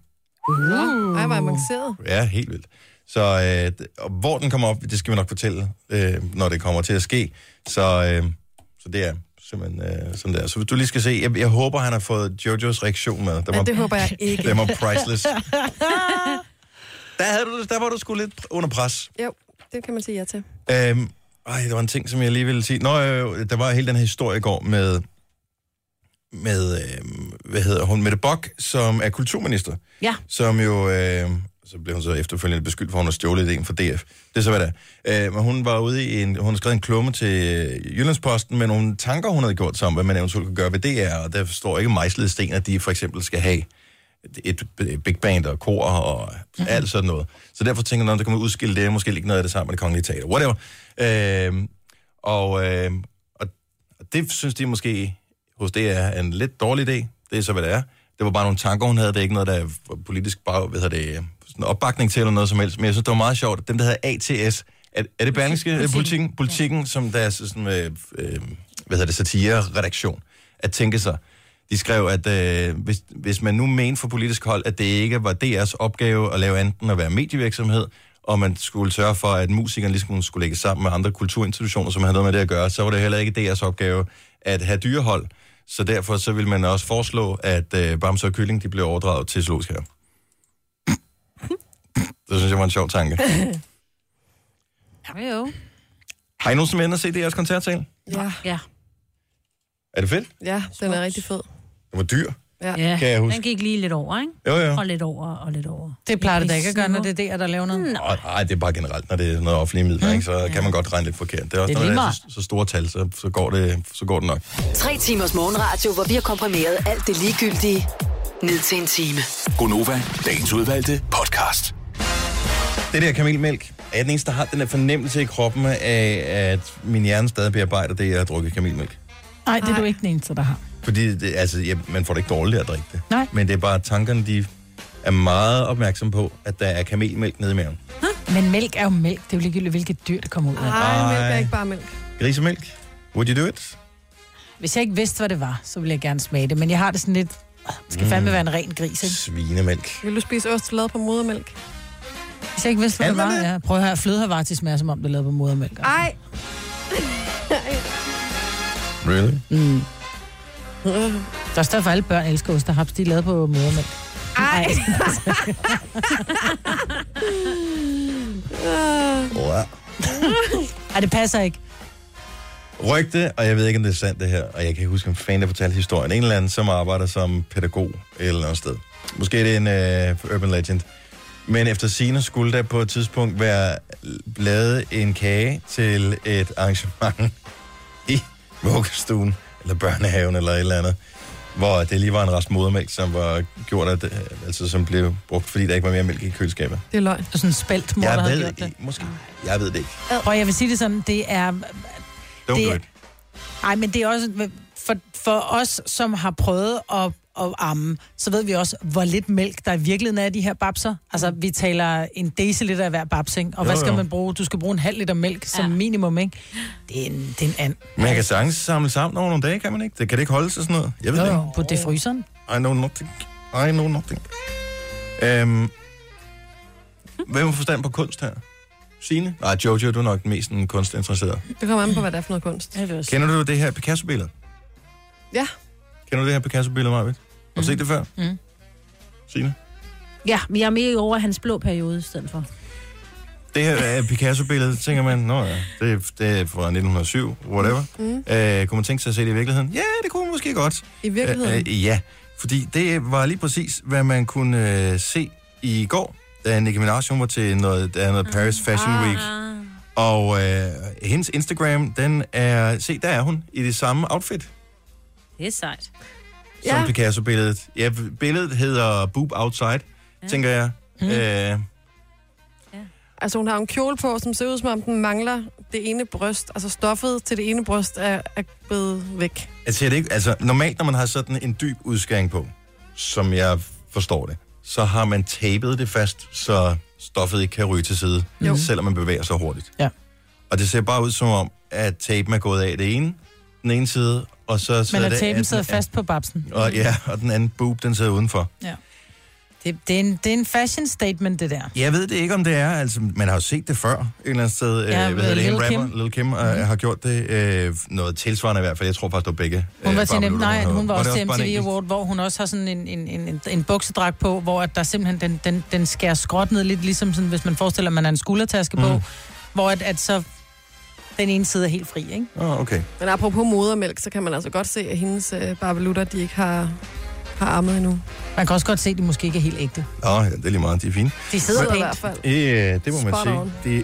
[SPEAKER 4] pølser. Ej, hvor avanceret.
[SPEAKER 2] Ja, helt vildt. Så øh, d- og hvor den kommer op, det skal vi nok fortælle, øh, når det kommer til at ske. Så, øh, så det er simpelthen øh, sådan der. Så hvis du lige skal se, jeg, jeg håber, han har fået Jojos reaktion med. Den
[SPEAKER 4] Ja,
[SPEAKER 2] var,
[SPEAKER 4] det håber jeg ikke.
[SPEAKER 2] den var priceless. der, havde du, der var du sgu lidt under pres.
[SPEAKER 4] Jo, det kan man sige ja til.
[SPEAKER 2] Øhm, ej, der var en ting, som jeg lige ville sige. Nå, øh, der var hele den her historie i går med, med øh, hvad hedder hun, Mette Bock, som er kulturminister.
[SPEAKER 5] Ja.
[SPEAKER 2] Som jo, øh, så blev hun så efterfølgende beskyldt for, at hun har stjålet ideen fra DF. Det er så, hvad det er. Øh, men hun var ude i en, hun har skrevet en klumme til øh, Jyllandsposten med nogle tanker, hun havde gjort sammen, hvad man eventuelt kunne gøre ved DR, og der står ikke mejslet sten, at de for eksempel skal have et et big band og kor og alt sådan noget. Så derfor tænker jeg, at der kan man udskille det, måske ligge noget af det sammen med det kongelige teater, whatever. Øhm, og, øhm, og, og det synes de måske hos det er en lidt dårlig idé. Det er så, hvad det er. Det var bare nogle tanker, hun havde. Det er ikke noget, der er politisk bag, hvad hedder det, sådan opbakning til eller noget som helst. Men jeg synes, det var meget sjovt. Dem, der hedder ATS, er, er det Berlingske Politikken, politikken, politikken som deres sådan, øh, øh, hvad hedder det, satire-redaktion, at tænke sig, de skrev, at øh, hvis, hvis man nu mente fra politisk hold, at det ikke var DR's opgave at lave enten at være medievirksomhed, og man skulle sørge for, at musikerne ligesom skulle lægge sammen med andre kulturinstitutioner, som havde noget med det at gøre, så var det heller ikke DR's opgave at have dyrehold. Så derfor så ville man også foreslå, at øh, Bamse og Kylling de blev overdraget til zoologisk have. Det synes jeg var en sjov tanke.
[SPEAKER 5] Ja, jo.
[SPEAKER 2] Har I nogen som ender set DR's koncertsal?
[SPEAKER 4] Ja,
[SPEAKER 5] Ja.
[SPEAKER 2] Er det fedt?
[SPEAKER 4] ja den er rigtig fed.
[SPEAKER 2] Det var dyr.
[SPEAKER 5] ja.
[SPEAKER 2] Kan jeg huske.
[SPEAKER 5] Den gik lige lidt over, ikke?
[SPEAKER 2] Jo, jo.
[SPEAKER 5] Og lidt over, og lidt over.
[SPEAKER 3] Det plejer det da
[SPEAKER 5] Jeg
[SPEAKER 3] ikke at gøre, når det
[SPEAKER 5] siger-
[SPEAKER 3] er der, der laver noget.
[SPEAKER 2] Og, ej, det er bare generelt, når det er sådan noget offentlige midler, ikke? så kan man godt regne lidt forkert. Det er også,
[SPEAKER 3] Mm. Det er
[SPEAKER 2] når
[SPEAKER 3] lige
[SPEAKER 2] det er
[SPEAKER 3] meget.
[SPEAKER 2] så, så store tal, så, så, går det, så går det nok.
[SPEAKER 1] Tre timers morgenradio, hvor vi har komprimeret alt det ligegyldige ned til en time.
[SPEAKER 6] Gonova, dagens udvalgte podcast.
[SPEAKER 2] Det der kamelmælk, er jeg den eneste, der har den der fornemmelse i kroppen af, at min hjerne stadig bearbejder det, jeg har drukket kamelmælk.
[SPEAKER 3] Nej, det er du ikke den eneste, der har.
[SPEAKER 2] Fordi det, altså, ja, man får det ikke dårligt af at drikke det.
[SPEAKER 3] Nej.
[SPEAKER 2] Men det er bare, at tankerne de er meget opmærksomme på, at der er kamelmælk nede i maven.
[SPEAKER 3] Men mælk er jo mælk. Det er jo ligegyldigt, hvilket dyr, det kommer ud af.
[SPEAKER 4] Ej, mælk er
[SPEAKER 2] Ej.
[SPEAKER 4] ikke bare mælk.
[SPEAKER 2] Grisemælk, would you do it?
[SPEAKER 3] Hvis jeg ikke vidste, hvad det var, så ville jeg gerne smage det. Men jeg har det sådan lidt... "Åh, Det
[SPEAKER 2] Mm.
[SPEAKER 3] skal fandme være en ren gris, ikke?
[SPEAKER 2] Svinemælk.
[SPEAKER 4] Vil du spise ost lavet på modermælk?
[SPEAKER 3] Hvis jeg ikke vidste, hvad det
[SPEAKER 2] Kan
[SPEAKER 3] var,
[SPEAKER 2] man det?
[SPEAKER 3] ja. Prøv at høre, fløde har varet til smager, som om det er lavet på modermælk.
[SPEAKER 4] Ej,
[SPEAKER 2] Really?
[SPEAKER 3] Mm. Der står for alle børn elsker ost og haps, de er lavet på modermælk.
[SPEAKER 4] ej.
[SPEAKER 2] Wow.
[SPEAKER 3] Ej, det passer ikke.
[SPEAKER 2] rygte, og jeg ved ikke, om det er sandt det her, og jeg kan ikke huske, om fanden der fortalte historien. En eller anden, som arbejder som pædagog eller noget sted. Måske er det en øh, urban legend. Men efter sine skulle der på et tidspunkt være lavet en kage til et arrangement i vuggestuen, eller børnehaven, eller et eller andet, hvor det lige var en rest modermælk, som var gjort af, det- altså som blev brugt, fordi der ikke var mere mælk i køleskabet.
[SPEAKER 4] Det er løgn.
[SPEAKER 3] Det er sådan en spelt mor, der
[SPEAKER 2] Jeg
[SPEAKER 3] har
[SPEAKER 2] ved,
[SPEAKER 3] gjort det.
[SPEAKER 2] måske, jeg ved det ikke.
[SPEAKER 3] Prøv, jeg vil sige det sådan, det er
[SPEAKER 2] Don't
[SPEAKER 3] Det-
[SPEAKER 2] do it.
[SPEAKER 3] Nej, men det er også... For, for os, som har prøvet at, at amme, så ved vi også, hvor lidt mælk der i virkeligheden er i de her babser. Altså, vi taler en deciliter af hver babs, ikke? Og
[SPEAKER 2] Jo,
[SPEAKER 3] jo, hvad skal
[SPEAKER 2] jo.
[SPEAKER 3] jo. man bruge? Du skal bruge en halv liter mælk som
[SPEAKER 5] Ja.
[SPEAKER 3] minimum, ikke? Det er en, det er en and.
[SPEAKER 2] Men jeg kan sagtens samle sammen over nogle dage, kan man ikke? Det kan det ikke holde sig sådan noget. Jeg ved
[SPEAKER 3] Jo,
[SPEAKER 2] det
[SPEAKER 3] jo, på det fryseren.
[SPEAKER 2] ikke. I know nothing. I know nothing. Øhm, hvem har forstand på kunst her? Signe? Nej, Jojo, du er nok den mest sådan, kunstinteresserede.
[SPEAKER 4] Det kommer an på, hvad det er for noget kunst.
[SPEAKER 2] Kender du det her Picasso-billede?
[SPEAKER 4] Ja.
[SPEAKER 3] Mm.
[SPEAKER 2] Kender du det her Picasso-billede, Marvitt? Har du set det før?
[SPEAKER 3] Mhm.
[SPEAKER 2] Signe?
[SPEAKER 5] Ja, men jeg er mere over hans blå periode i stedet for.
[SPEAKER 2] Det her er Picasso-billede, tænker man, nå ja, det, det er fra 1907, whatever. Mm. Øh, kunne man tænke sig at se det i virkeligheden? Ja, det kunne man måske godt.
[SPEAKER 4] I virkeligheden?
[SPEAKER 2] Øh, øh, ja, fordi det var lige præcis, hvad man kunne øh, se i går, da Nicki Minaj hun var til noget, der er noget Paris Fashion Week. Og øh, hendes Instagram, den er... Se, der er hun i det samme outfit
[SPEAKER 5] Det er sejt.
[SPEAKER 2] ja. som
[SPEAKER 4] Ja.
[SPEAKER 2] Picasso-billedet. Ja, billedet hedder Boob Outside, ja. tænker jeg. Mm. Øh,
[SPEAKER 4] Altså, hun har en kjole på, som ser ud, som om den mangler det ene bryst. Altså, stoffet til det ene bryst er, er blevet væk.
[SPEAKER 2] Altså, det ikke, altså, normalt, når man har sådan en dyb udskæring på, som jeg forstår det, så har man tapet det fast, så stoffet ikke kan ryge til side, jo. selvom man bevæger sig hurtigt.
[SPEAKER 3] Ja.
[SPEAKER 2] Og det ser bare ud som om, at tapen er gået af det ene, den ene side, og så
[SPEAKER 3] Men
[SPEAKER 2] sidder
[SPEAKER 3] at
[SPEAKER 2] det
[SPEAKER 3] tapen
[SPEAKER 2] den
[SPEAKER 3] sidder
[SPEAKER 2] anden-
[SPEAKER 3] fast på babsen.
[SPEAKER 2] Og, ja, og den anden boob, den sidder udenfor.
[SPEAKER 3] Det, det, er en, det er en fashion statement, det der.
[SPEAKER 2] Jeg ved det ikke, om det er. Altså, man har jo set det før et eller andet sted.
[SPEAKER 3] Ja,
[SPEAKER 2] øh,
[SPEAKER 3] med
[SPEAKER 2] hedder det, hende
[SPEAKER 3] Lil'
[SPEAKER 2] rapper,
[SPEAKER 3] Kim. Mhm.
[SPEAKER 2] Lil Kim øh, har gjort det. Øh, noget tilsvarende i hvert fald. Jeg tror faktisk, det var begge.
[SPEAKER 3] Hun
[SPEAKER 2] øh,
[SPEAKER 3] var, til
[SPEAKER 2] Barbara
[SPEAKER 3] nem,
[SPEAKER 2] Luther,
[SPEAKER 3] nej,
[SPEAKER 2] hun
[SPEAKER 3] hun var,
[SPEAKER 2] det
[SPEAKER 3] også til
[SPEAKER 2] bare en
[SPEAKER 3] MTV
[SPEAKER 2] enkelt?
[SPEAKER 3] Award, hvor hun også har sådan en, en, en, en, en buksedragt på, hvor at der simpelthen den, den, den skærer skråt ned lidt, ligesom sådan, hvis man forestiller, at man har en skuldertaske på,
[SPEAKER 2] Mm.
[SPEAKER 3] hvor at, at så den ene side er helt fri, ikke?
[SPEAKER 2] Åh, oh, okay.
[SPEAKER 4] Men apropos modermælk, så kan man altså godt se, at hendes øh, barbelutter, de ikke har, har armet endnu.
[SPEAKER 3] Man kan også godt se, at de måske ikke er helt ægte.
[SPEAKER 2] Nå, ja, det er lige meget. De er fine.
[SPEAKER 3] De sidder
[SPEAKER 4] Sidder i hvert
[SPEAKER 3] pænt.
[SPEAKER 4] fald.
[SPEAKER 2] Ja, det må man
[SPEAKER 4] Spot
[SPEAKER 2] sige.
[SPEAKER 4] on.
[SPEAKER 2] Det...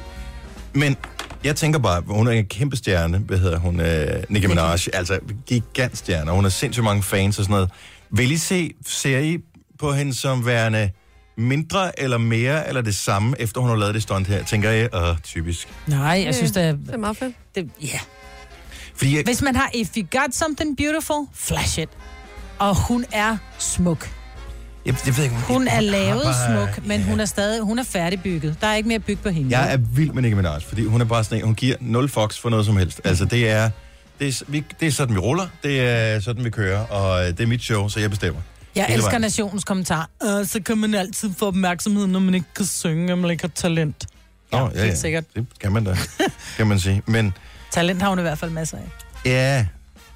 [SPEAKER 2] Men jeg tænker bare, hun er en kæmpe stjerne, hvad hedder hun, øh, Nicki Minaj, altså gigantstjerne, og hun har sindssygt mange fans og sådan noget. Vil I se, ser I på hende som værende mindre eller mere, eller det samme, efter hun har lavet det stunt her, tænker jeg, og typisk.
[SPEAKER 3] Nej, jeg synes, det er...
[SPEAKER 4] Det er meget fedt.
[SPEAKER 3] Det, ja.
[SPEAKER 2] Fordi jeg,
[SPEAKER 3] Hvis man har If You Got Something Beautiful, flash it. Og hun er smuk.
[SPEAKER 2] jeg, jeg ved ikke,
[SPEAKER 3] Hun er
[SPEAKER 2] har
[SPEAKER 3] lavet
[SPEAKER 2] bare-
[SPEAKER 3] smuk, men
[SPEAKER 2] ja.
[SPEAKER 3] hun er stadig hun er færdigbygget. Der er ikke mere byg på hende.
[SPEAKER 2] Jeg er vild med Nicki Minaj, fordi hun er bare sådan en, hun giver nul fox for noget som helst. Altså, det er, det er, vi, det er sådan, vi ruller, det er sådan, vi kører, og øh, det er mit show, så jeg bestemmer.
[SPEAKER 3] Jeg
[SPEAKER 2] Hele
[SPEAKER 3] elsker
[SPEAKER 2] vejen.
[SPEAKER 3] nationens kommentar. Øh, så kan man altid få opmærksomhed, når man ikke kan synge, og man ikke har talent.
[SPEAKER 2] Nå,
[SPEAKER 3] Ja, helt sikkert.
[SPEAKER 2] Det kan man da, kan man sige. Men
[SPEAKER 3] Talent har hun i hvert fald masser af.
[SPEAKER 2] ja,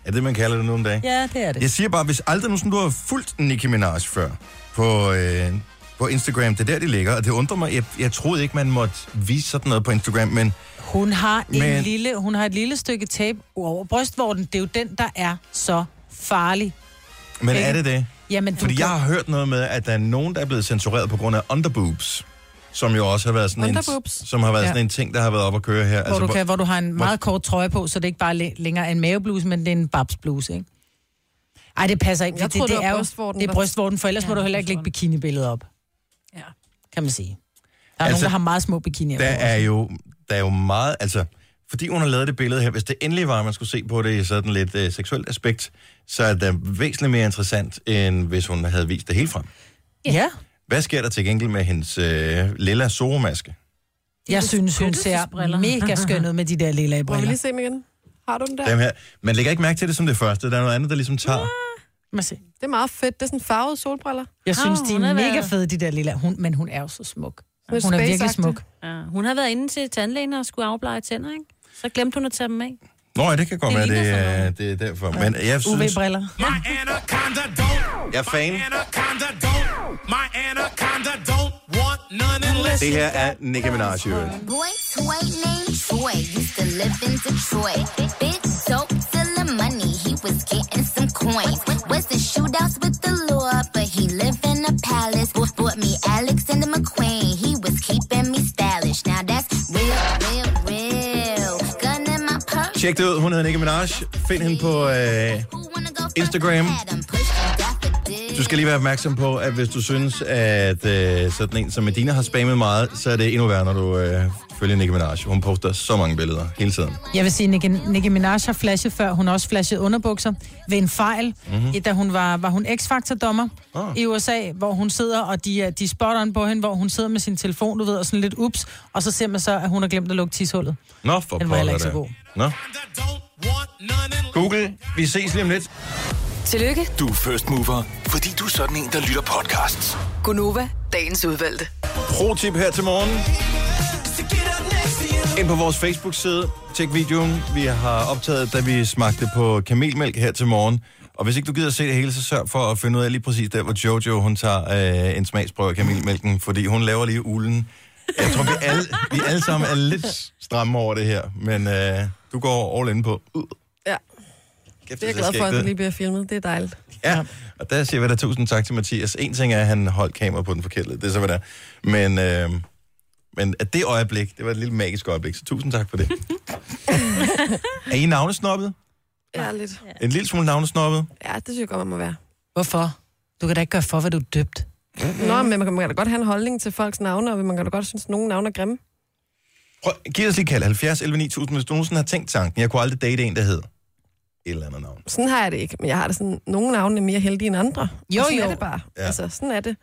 [SPEAKER 2] er det, man kalder det nu om dagen?
[SPEAKER 3] Ja, det er det.
[SPEAKER 2] Jeg siger bare, hvis aldrig nogensinde du har fulgt Nicki Minaj før på, øh, på Instagram, det er der, de ligger, og det undrer mig, jeg, jeg troede ikke, man måtte vise sådan noget på Instagram, men
[SPEAKER 3] Hun har, en
[SPEAKER 2] Men-
[SPEAKER 3] men... lille, hun har et lille stykke tape over brystvorten. Det er jo den, der er så farlig.
[SPEAKER 2] Men
[SPEAKER 3] Ikke?
[SPEAKER 2] er det det?
[SPEAKER 3] Jamen, du
[SPEAKER 2] Fordi
[SPEAKER 3] kan-
[SPEAKER 2] jeg har hørt noget med, at der er nogen, der er blevet censureret på grund af underboobs, som jo også har været sådan, en,
[SPEAKER 4] Underboobs?
[SPEAKER 2] som har været
[SPEAKER 3] Ja.
[SPEAKER 2] sådan en ting, der har været op at køre her.
[SPEAKER 3] Hvor, altså, du, kan, hvor du har en
[SPEAKER 2] hvor-
[SPEAKER 3] meget kort trøje på, så det ikke bare læ- længere er en mavebluse, men det er en babsbluse, ikke? Ej, det passer ikke.
[SPEAKER 4] Jeg
[SPEAKER 3] det,
[SPEAKER 4] troede,
[SPEAKER 3] det,
[SPEAKER 4] det var
[SPEAKER 3] er jo-
[SPEAKER 4] brystvorten,
[SPEAKER 3] Det er
[SPEAKER 4] der-
[SPEAKER 3] brystvorten, for ellers ja,
[SPEAKER 5] Ja,
[SPEAKER 3] må du heller ikke lægge bikinibilledet op.
[SPEAKER 5] Ja.
[SPEAKER 3] Kan man sige. Der er
[SPEAKER 2] Altså,
[SPEAKER 3] altså, nogen, der har meget små bikinier
[SPEAKER 2] der
[SPEAKER 3] på.
[SPEAKER 2] er jo, der er jo meget, altså, fordi hun har lavet det billede her, hvis det endelig var, at man skulle se på det i sådan lidt øh, seksuelt aspekt, så er det væsentligt mere interessant, end hvis hun havde vist det hele frem.
[SPEAKER 3] Ja.
[SPEAKER 2] Hvad sker der til gengæld med hendes øh, lilla sovemaske?
[SPEAKER 3] Jeg synes, hun ser
[SPEAKER 5] beskyttelsesbriller.
[SPEAKER 3] mega skøn ud med de der lille
[SPEAKER 4] Må vi
[SPEAKER 3] briller.
[SPEAKER 4] lige se dem igen? Har du dem der?
[SPEAKER 2] Dem her. Man lægger ikke mærke til det som det første, der er noget andet, der ligesom tager.
[SPEAKER 3] Må se.
[SPEAKER 4] Det er meget fedt. Det er sådan farvede solbriller.
[SPEAKER 3] Jeg
[SPEAKER 5] Åh,
[SPEAKER 3] synes, de
[SPEAKER 5] Ah, hun
[SPEAKER 3] er
[SPEAKER 5] er
[SPEAKER 3] mega
[SPEAKER 5] været-
[SPEAKER 3] fede, de der lille. Hun, men hun er jo så smuk.
[SPEAKER 4] Lidt
[SPEAKER 3] Hun er virkelig
[SPEAKER 4] spaceagtig.
[SPEAKER 3] smuk.
[SPEAKER 5] Ja. Hun har været inde til tandlægen og skulle afblege tænder, ikke? Så glemte hun at tage dem af.
[SPEAKER 2] Nå, ja, det kan godt
[SPEAKER 5] Det
[SPEAKER 2] være, det,
[SPEAKER 5] ligner sådan
[SPEAKER 2] er-
[SPEAKER 5] noget.
[SPEAKER 2] det er derfor. Men jeg synes,
[SPEAKER 3] UV-briller.
[SPEAKER 9] My anaconda don't.
[SPEAKER 2] jeg er fan.
[SPEAKER 9] Anaconda don't. My anaconda don't want none unless.
[SPEAKER 2] Det her er Nicki Minaj, i øvrigt.
[SPEAKER 10] Boy toy named Troy used to live in Detroit. Bitch, so stealing money, he was getting some coins. Was in shootouts with the law, but he lived in a palace. Bought, bought me Alexander McQueen, he was keeping me stylish. Now that's real, real, real. Gun in my purse.
[SPEAKER 2] Tjek det ud, hun hedder Nicki Minaj. Find hende på...
[SPEAKER 10] Who
[SPEAKER 2] Øh...
[SPEAKER 10] wanna go first?
[SPEAKER 2] Instagram.
[SPEAKER 10] I had 'em pushing daffodils.
[SPEAKER 2] Du skal lige være opmærksom på, at hvis du synes, at øh, sådan en som Medina har spammet meget, så er det endnu værre, når du øh, følger Nicki Minaj. Hun poster så mange billeder hele tiden.
[SPEAKER 3] Jeg vil sige, Nicki, Nicki Minaj har flashet før. Hun har også flashet underbukser ved en fejl, mm-hmm. da hun var, var hun X-Factor-dommer
[SPEAKER 2] Mhm. Ah.
[SPEAKER 3] oh. i USA, hvor hun sidder, og de, er- de spotter on på hende, hvor hun sidder med sin telefon, du ved, og sådan lidt ups, og så ser man så, at hun har glemt at lukke tishullet.
[SPEAKER 2] Nå, for
[SPEAKER 3] Den var heller ikke så
[SPEAKER 2] da.
[SPEAKER 3] god.
[SPEAKER 2] Nå.
[SPEAKER 9] Anaconda don't want none unless.
[SPEAKER 2] Google, vi ses lige om lidt.
[SPEAKER 1] Tillykke,
[SPEAKER 6] Du er first mover, fordi du er sådan en, der lytter podcasts.
[SPEAKER 1] Gunova, dagens udvalgte.
[SPEAKER 2] Pro-tip her til morgen. Ind på vores Facebook-side, tjek videoen. Vi har optaget, da vi smagte på kamelmælk her til morgen. Og hvis ikke du gider at se det hele, så sørg for at finde ud af lige præcis der, hvor Jojo hun tager øh, en smagsprøve af kamelmælken, fordi hun laver lige ulen. Jeg tror, vi alle, vi alle sammen er lidt stramme over det her, men øh, du går all in på. Uh,
[SPEAKER 4] Ja.
[SPEAKER 2] kæft,
[SPEAKER 4] Det er jeg
[SPEAKER 2] ser
[SPEAKER 4] glad for,
[SPEAKER 2] skægt
[SPEAKER 4] at
[SPEAKER 2] ud.
[SPEAKER 4] den lige bliver filmet. Det er dejligt.
[SPEAKER 2] Ja, og der siger vi da tusind tak til Mathias. En ting er, at han holdt kamera på den forkælede. Det er så, hvad der. Men, øh, men at det øjeblik, det var et lille magisk øjeblik, så tusind tak for det. er I navnesnobbet?
[SPEAKER 4] Ja, lidt.
[SPEAKER 2] En lille smule navnesnobbet?
[SPEAKER 4] Ja, det synes jeg godt, man må være.
[SPEAKER 3] Hvorfor? Du kan da ikke gøre for, hvad du er døbt.
[SPEAKER 4] Nå, men man kan, man kan da godt have en holdning til folks navne, og man kan da godt synes, at nogle navne er grimme.
[SPEAKER 2] Prøv, giv os lige kald 70 11 9000, hvis du nogensinde har tænkt tanken. Jeg kunne aldrig date en, der hed et eller andet navn.
[SPEAKER 4] Sådan har jeg det ikke, men jeg har det sådan, nogle navne er mere heldige end andre.
[SPEAKER 3] Jo,
[SPEAKER 4] og sådan
[SPEAKER 3] jo.
[SPEAKER 4] er det bare.
[SPEAKER 2] Ja.
[SPEAKER 4] Ja. Altså, sådan er det.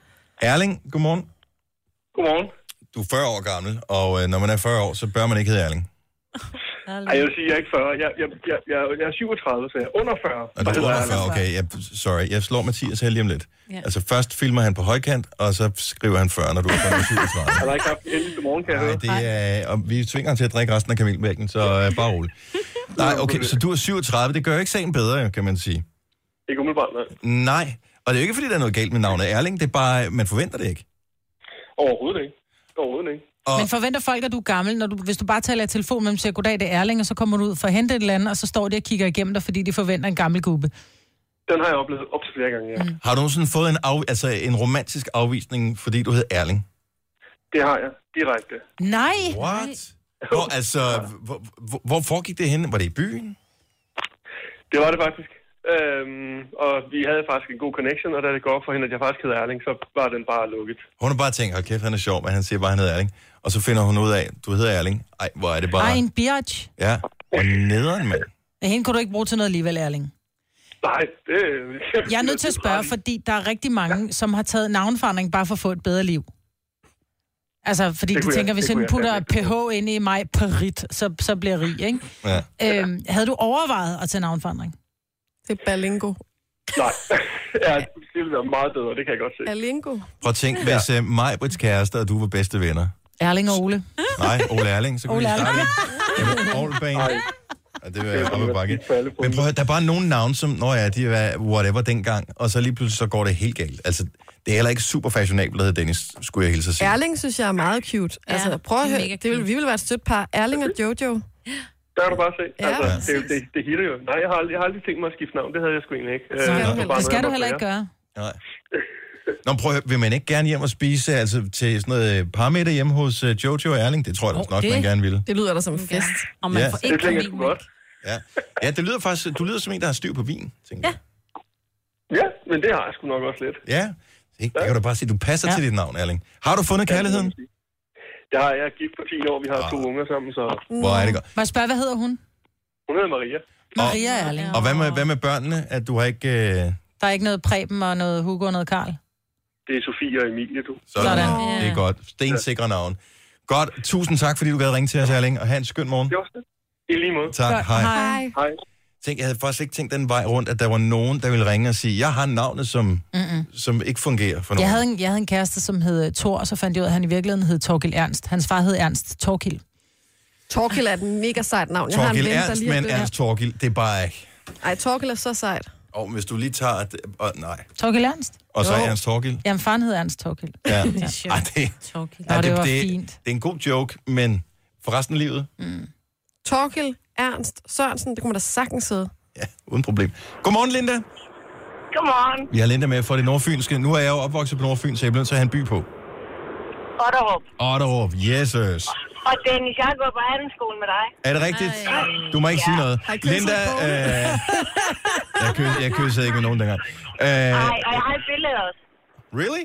[SPEAKER 2] Erling, godmorgen.
[SPEAKER 7] Godmorgen.
[SPEAKER 2] Du er 40 år gammel, og øh, når man er 40 år, så bør man ikke hedde Erling.
[SPEAKER 7] Ej, jeg vil sige, jeg er ikke 40. Jeg, jeg, jeg, jeg, jeg er 37, så jeg er under 40.
[SPEAKER 2] Og du er under 40, okay. Jeg, sorry, jeg slår Mathias her lige om lidt.
[SPEAKER 5] Ja.
[SPEAKER 2] Altså først filmer han på højkant, og så skriver han 40, når du er 37.
[SPEAKER 7] Jeg har ikke haft den heldigste morgen, kan jeg
[SPEAKER 2] Nej,
[SPEAKER 7] høre.
[SPEAKER 2] det er, og vi tvinger ham til at drikke resten af kamelmælken, så øh, bare rolig. Nej, okay, så du er 37, det gør jo ikke sagen bedre, jo, kan man sige.
[SPEAKER 7] Ikke umiddelbart, nej.
[SPEAKER 2] Nej, og det er jo ikke, fordi der er noget galt med navnet Erling, det er bare, man forventer det ikke.
[SPEAKER 7] Overhovedet ikke. Overhovedet ikke.
[SPEAKER 2] Og-
[SPEAKER 3] Men forventer folk, at du er gammel, når du, hvis du bare taler i telefon med dem, siger, goddag, det er Erling, og så kommer du ud for at hente et eller andet, og så står de og kigger igennem dig, fordi de forventer en gammel gubbe.
[SPEAKER 7] Den har jeg oplevet op til flere gange, ja.
[SPEAKER 2] Mm. Har du nogensinde fået en, af, altså en romantisk afvisning, fordi du hed Erling?
[SPEAKER 7] Det har jeg. Direkte.
[SPEAKER 3] Nej!
[SPEAKER 2] What? Hvor, altså, hvor, hvor, hvor foregik det henne? Var det i byen?
[SPEAKER 7] Det var det faktisk. Øhm, og vi havde faktisk en god connection, og da det går op for hende, at jeg faktisk hedder Erling, så var den bare lukket.
[SPEAKER 2] Hun har bare tænkt, hold kæft, han er sjov, men han siger bare, han hedder Erling. Og så finder hun ud af, du hedder Erling. Ej, hvor er det bare...
[SPEAKER 3] Ej, en biatch.
[SPEAKER 2] Ja, og nederen, mand.
[SPEAKER 3] Hende kunne du ikke bruge til noget alligevel, Erling.
[SPEAKER 7] Nej, det...
[SPEAKER 3] Jeg er nødt til at spørge, fordi der er rigtig mange, som har taget navnforandring bare for at få et bedre liv. Altså, fordi
[SPEAKER 7] Det
[SPEAKER 3] de
[SPEAKER 7] kunne jeg-
[SPEAKER 3] tænker, hvis
[SPEAKER 7] det kunne
[SPEAKER 3] jeg
[SPEAKER 7] jeg
[SPEAKER 3] putter
[SPEAKER 7] sagtens
[SPEAKER 3] ph ind i mig, perit, så, så bliver jeg rig, ikke?
[SPEAKER 2] Ja.
[SPEAKER 3] Øhm, havde du overvejet at tage navnforandring?
[SPEAKER 4] Det er Balingo.
[SPEAKER 7] Nej. ja, det ville være meget bedre, det kan jeg godt se.
[SPEAKER 4] Balingo.
[SPEAKER 2] Prøv at tænke, hvis uh, mig, Brits kæreste og du var bedste venner.
[SPEAKER 3] Erling og Ole.
[SPEAKER 2] Nej, Ole Erling, så kunne vi
[SPEAKER 3] Ole
[SPEAKER 2] starte Aarhusbanen. Ja, det var op ad bakke. Men prøv at høre, der er bare nogle navne, som, nå ja, de var whatever dengang, og så lige pludselig så går det helt galt. Altså, det er heller ikke super fashionabelt, at hedde Dennis, skulle jeg hilse at sige.
[SPEAKER 4] Erling synes jeg er meget cute.
[SPEAKER 5] Ja,
[SPEAKER 4] Altså, prøv at
[SPEAKER 5] det er
[SPEAKER 4] høre.
[SPEAKER 5] mega
[SPEAKER 4] Det vil, vi vil være et stødt par. Erling og Jojo.
[SPEAKER 7] Der kan du bare se.
[SPEAKER 4] Ja,
[SPEAKER 7] altså, det,
[SPEAKER 4] præcis.
[SPEAKER 7] det, det hitter jo. Nej, jeg har, aldrig, jeg har aldrig tænkt mig at skifte navn. Det havde jeg sgu egentlig ikke. Øh,
[SPEAKER 4] skal du
[SPEAKER 7] var
[SPEAKER 4] heller-
[SPEAKER 7] bare
[SPEAKER 3] Det skal
[SPEAKER 7] noget,
[SPEAKER 3] du
[SPEAKER 7] jeg
[SPEAKER 3] heller
[SPEAKER 7] måtte
[SPEAKER 3] ikke gøre.
[SPEAKER 2] Nej. Nå, prøv at høre, vil man ikke gerne hjem og spise altså, til sådan noget øh, parmiddag hjemme hos øh, Jojo og Erling? Det tror jeg da
[SPEAKER 5] Åh,
[SPEAKER 2] også nok,
[SPEAKER 5] det-
[SPEAKER 2] man gerne ville.
[SPEAKER 4] Det lyder da som en fest.
[SPEAKER 5] Og man
[SPEAKER 2] Ja.
[SPEAKER 5] får
[SPEAKER 7] lære.
[SPEAKER 5] ikke
[SPEAKER 7] Det tænker jeg sgu
[SPEAKER 5] kamelmælk.
[SPEAKER 7] godt.
[SPEAKER 2] Ja. ja, det lyder faktisk, du lyder som en, der har styr på vin, tænker jeg.
[SPEAKER 7] Ja, men det har jeg sgu nok også lidt.
[SPEAKER 2] Ja. Ikke? Jeg kan du bare sige, du passer ja.
[SPEAKER 3] Ja.
[SPEAKER 2] til dit navn, Erling. Har du fundet kærligheden?
[SPEAKER 7] Det har jeg gift på 10 år. Vi har to
[SPEAKER 2] Ah.
[SPEAKER 7] unger sammen, så
[SPEAKER 2] Hvor er det godt.
[SPEAKER 3] Må jeg spørge, hvad hedder hun?
[SPEAKER 7] hun hedder Maria.
[SPEAKER 3] Maria Erling.
[SPEAKER 2] Og hvad med, hvad med børnene? At du har ikke... Øh...
[SPEAKER 3] Der er ikke noget Preben og noget Hugo og noget Karl.
[SPEAKER 7] Det er Sofie og Emilie, du.
[SPEAKER 2] Sådan.
[SPEAKER 3] Sådan.
[SPEAKER 2] Sådan. Det er godt. Stensikre navn. Godt. Tusind tak, fordi du gad ringe til os, Erling. Og have en skøn morgen.
[SPEAKER 7] Det var det. I lige måde.
[SPEAKER 2] Tak.
[SPEAKER 3] Godt.
[SPEAKER 2] Hej.
[SPEAKER 3] Hej.
[SPEAKER 7] Hej.
[SPEAKER 2] Tænk, jeg havde faktisk ikke tænkt den vej rundt, at der var nogen, der ville ringe og sige, jeg har navnet, som,
[SPEAKER 3] Mm-mm.
[SPEAKER 2] som ikke fungerer for nogen.
[SPEAKER 3] Jeg havde, en, jeg havde en kæreste, som hed øh, Thor, og så fandt jeg ud af, at han i virkeligheden hed Torkil Ernst. Hans far hed Ernst Torkil.
[SPEAKER 4] Torkil er et mega sejt navn. Jeg har en
[SPEAKER 2] Torgild
[SPEAKER 4] ven, der
[SPEAKER 2] Ernst,
[SPEAKER 4] lige
[SPEAKER 2] men
[SPEAKER 4] er
[SPEAKER 2] Ernst Torgild, det er bare ikke...
[SPEAKER 4] blevet- Ej, Torkil er så sejt.
[SPEAKER 2] Og hvis du lige tager... Det, og, nej.
[SPEAKER 3] Torkil Ernst?
[SPEAKER 2] Og så
[SPEAKER 3] Jo.
[SPEAKER 2] Ernst Torgild.
[SPEAKER 3] Jamen, faren hed Ernst Torkil.
[SPEAKER 2] Ja. Ej,
[SPEAKER 3] er
[SPEAKER 2] det,
[SPEAKER 3] sjovt. Torkil. Nå,
[SPEAKER 2] ej,
[SPEAKER 3] det, var
[SPEAKER 2] det,
[SPEAKER 3] fint. Mm.
[SPEAKER 2] det er en god joke, men for resten af livet,
[SPEAKER 4] Torkil, Ernst, Sørensen, det kunne man da sagtens hedde.
[SPEAKER 2] ja, uden problem. Godmorgen, Linda.
[SPEAKER 8] Godmorgen.
[SPEAKER 2] Vi har Linda med fra det nordfynske. Nu er jeg jo opvokset på Nordfyn, så jeg bliver nødt til at have en by på.
[SPEAKER 8] Otterup.
[SPEAKER 2] Otterup, Jesus.
[SPEAKER 8] Og Dennis, jeg går på handelsskolen med dig.
[SPEAKER 2] Er det rigtigt? Du må ikke sige noget.
[SPEAKER 4] Har I kysset
[SPEAKER 2] Linda,
[SPEAKER 4] på
[SPEAKER 2] øh, jeg, køs, jeg kyssede ikke med nogen dengang. Øh,
[SPEAKER 8] Nej, og jeg har et billede også.
[SPEAKER 2] really?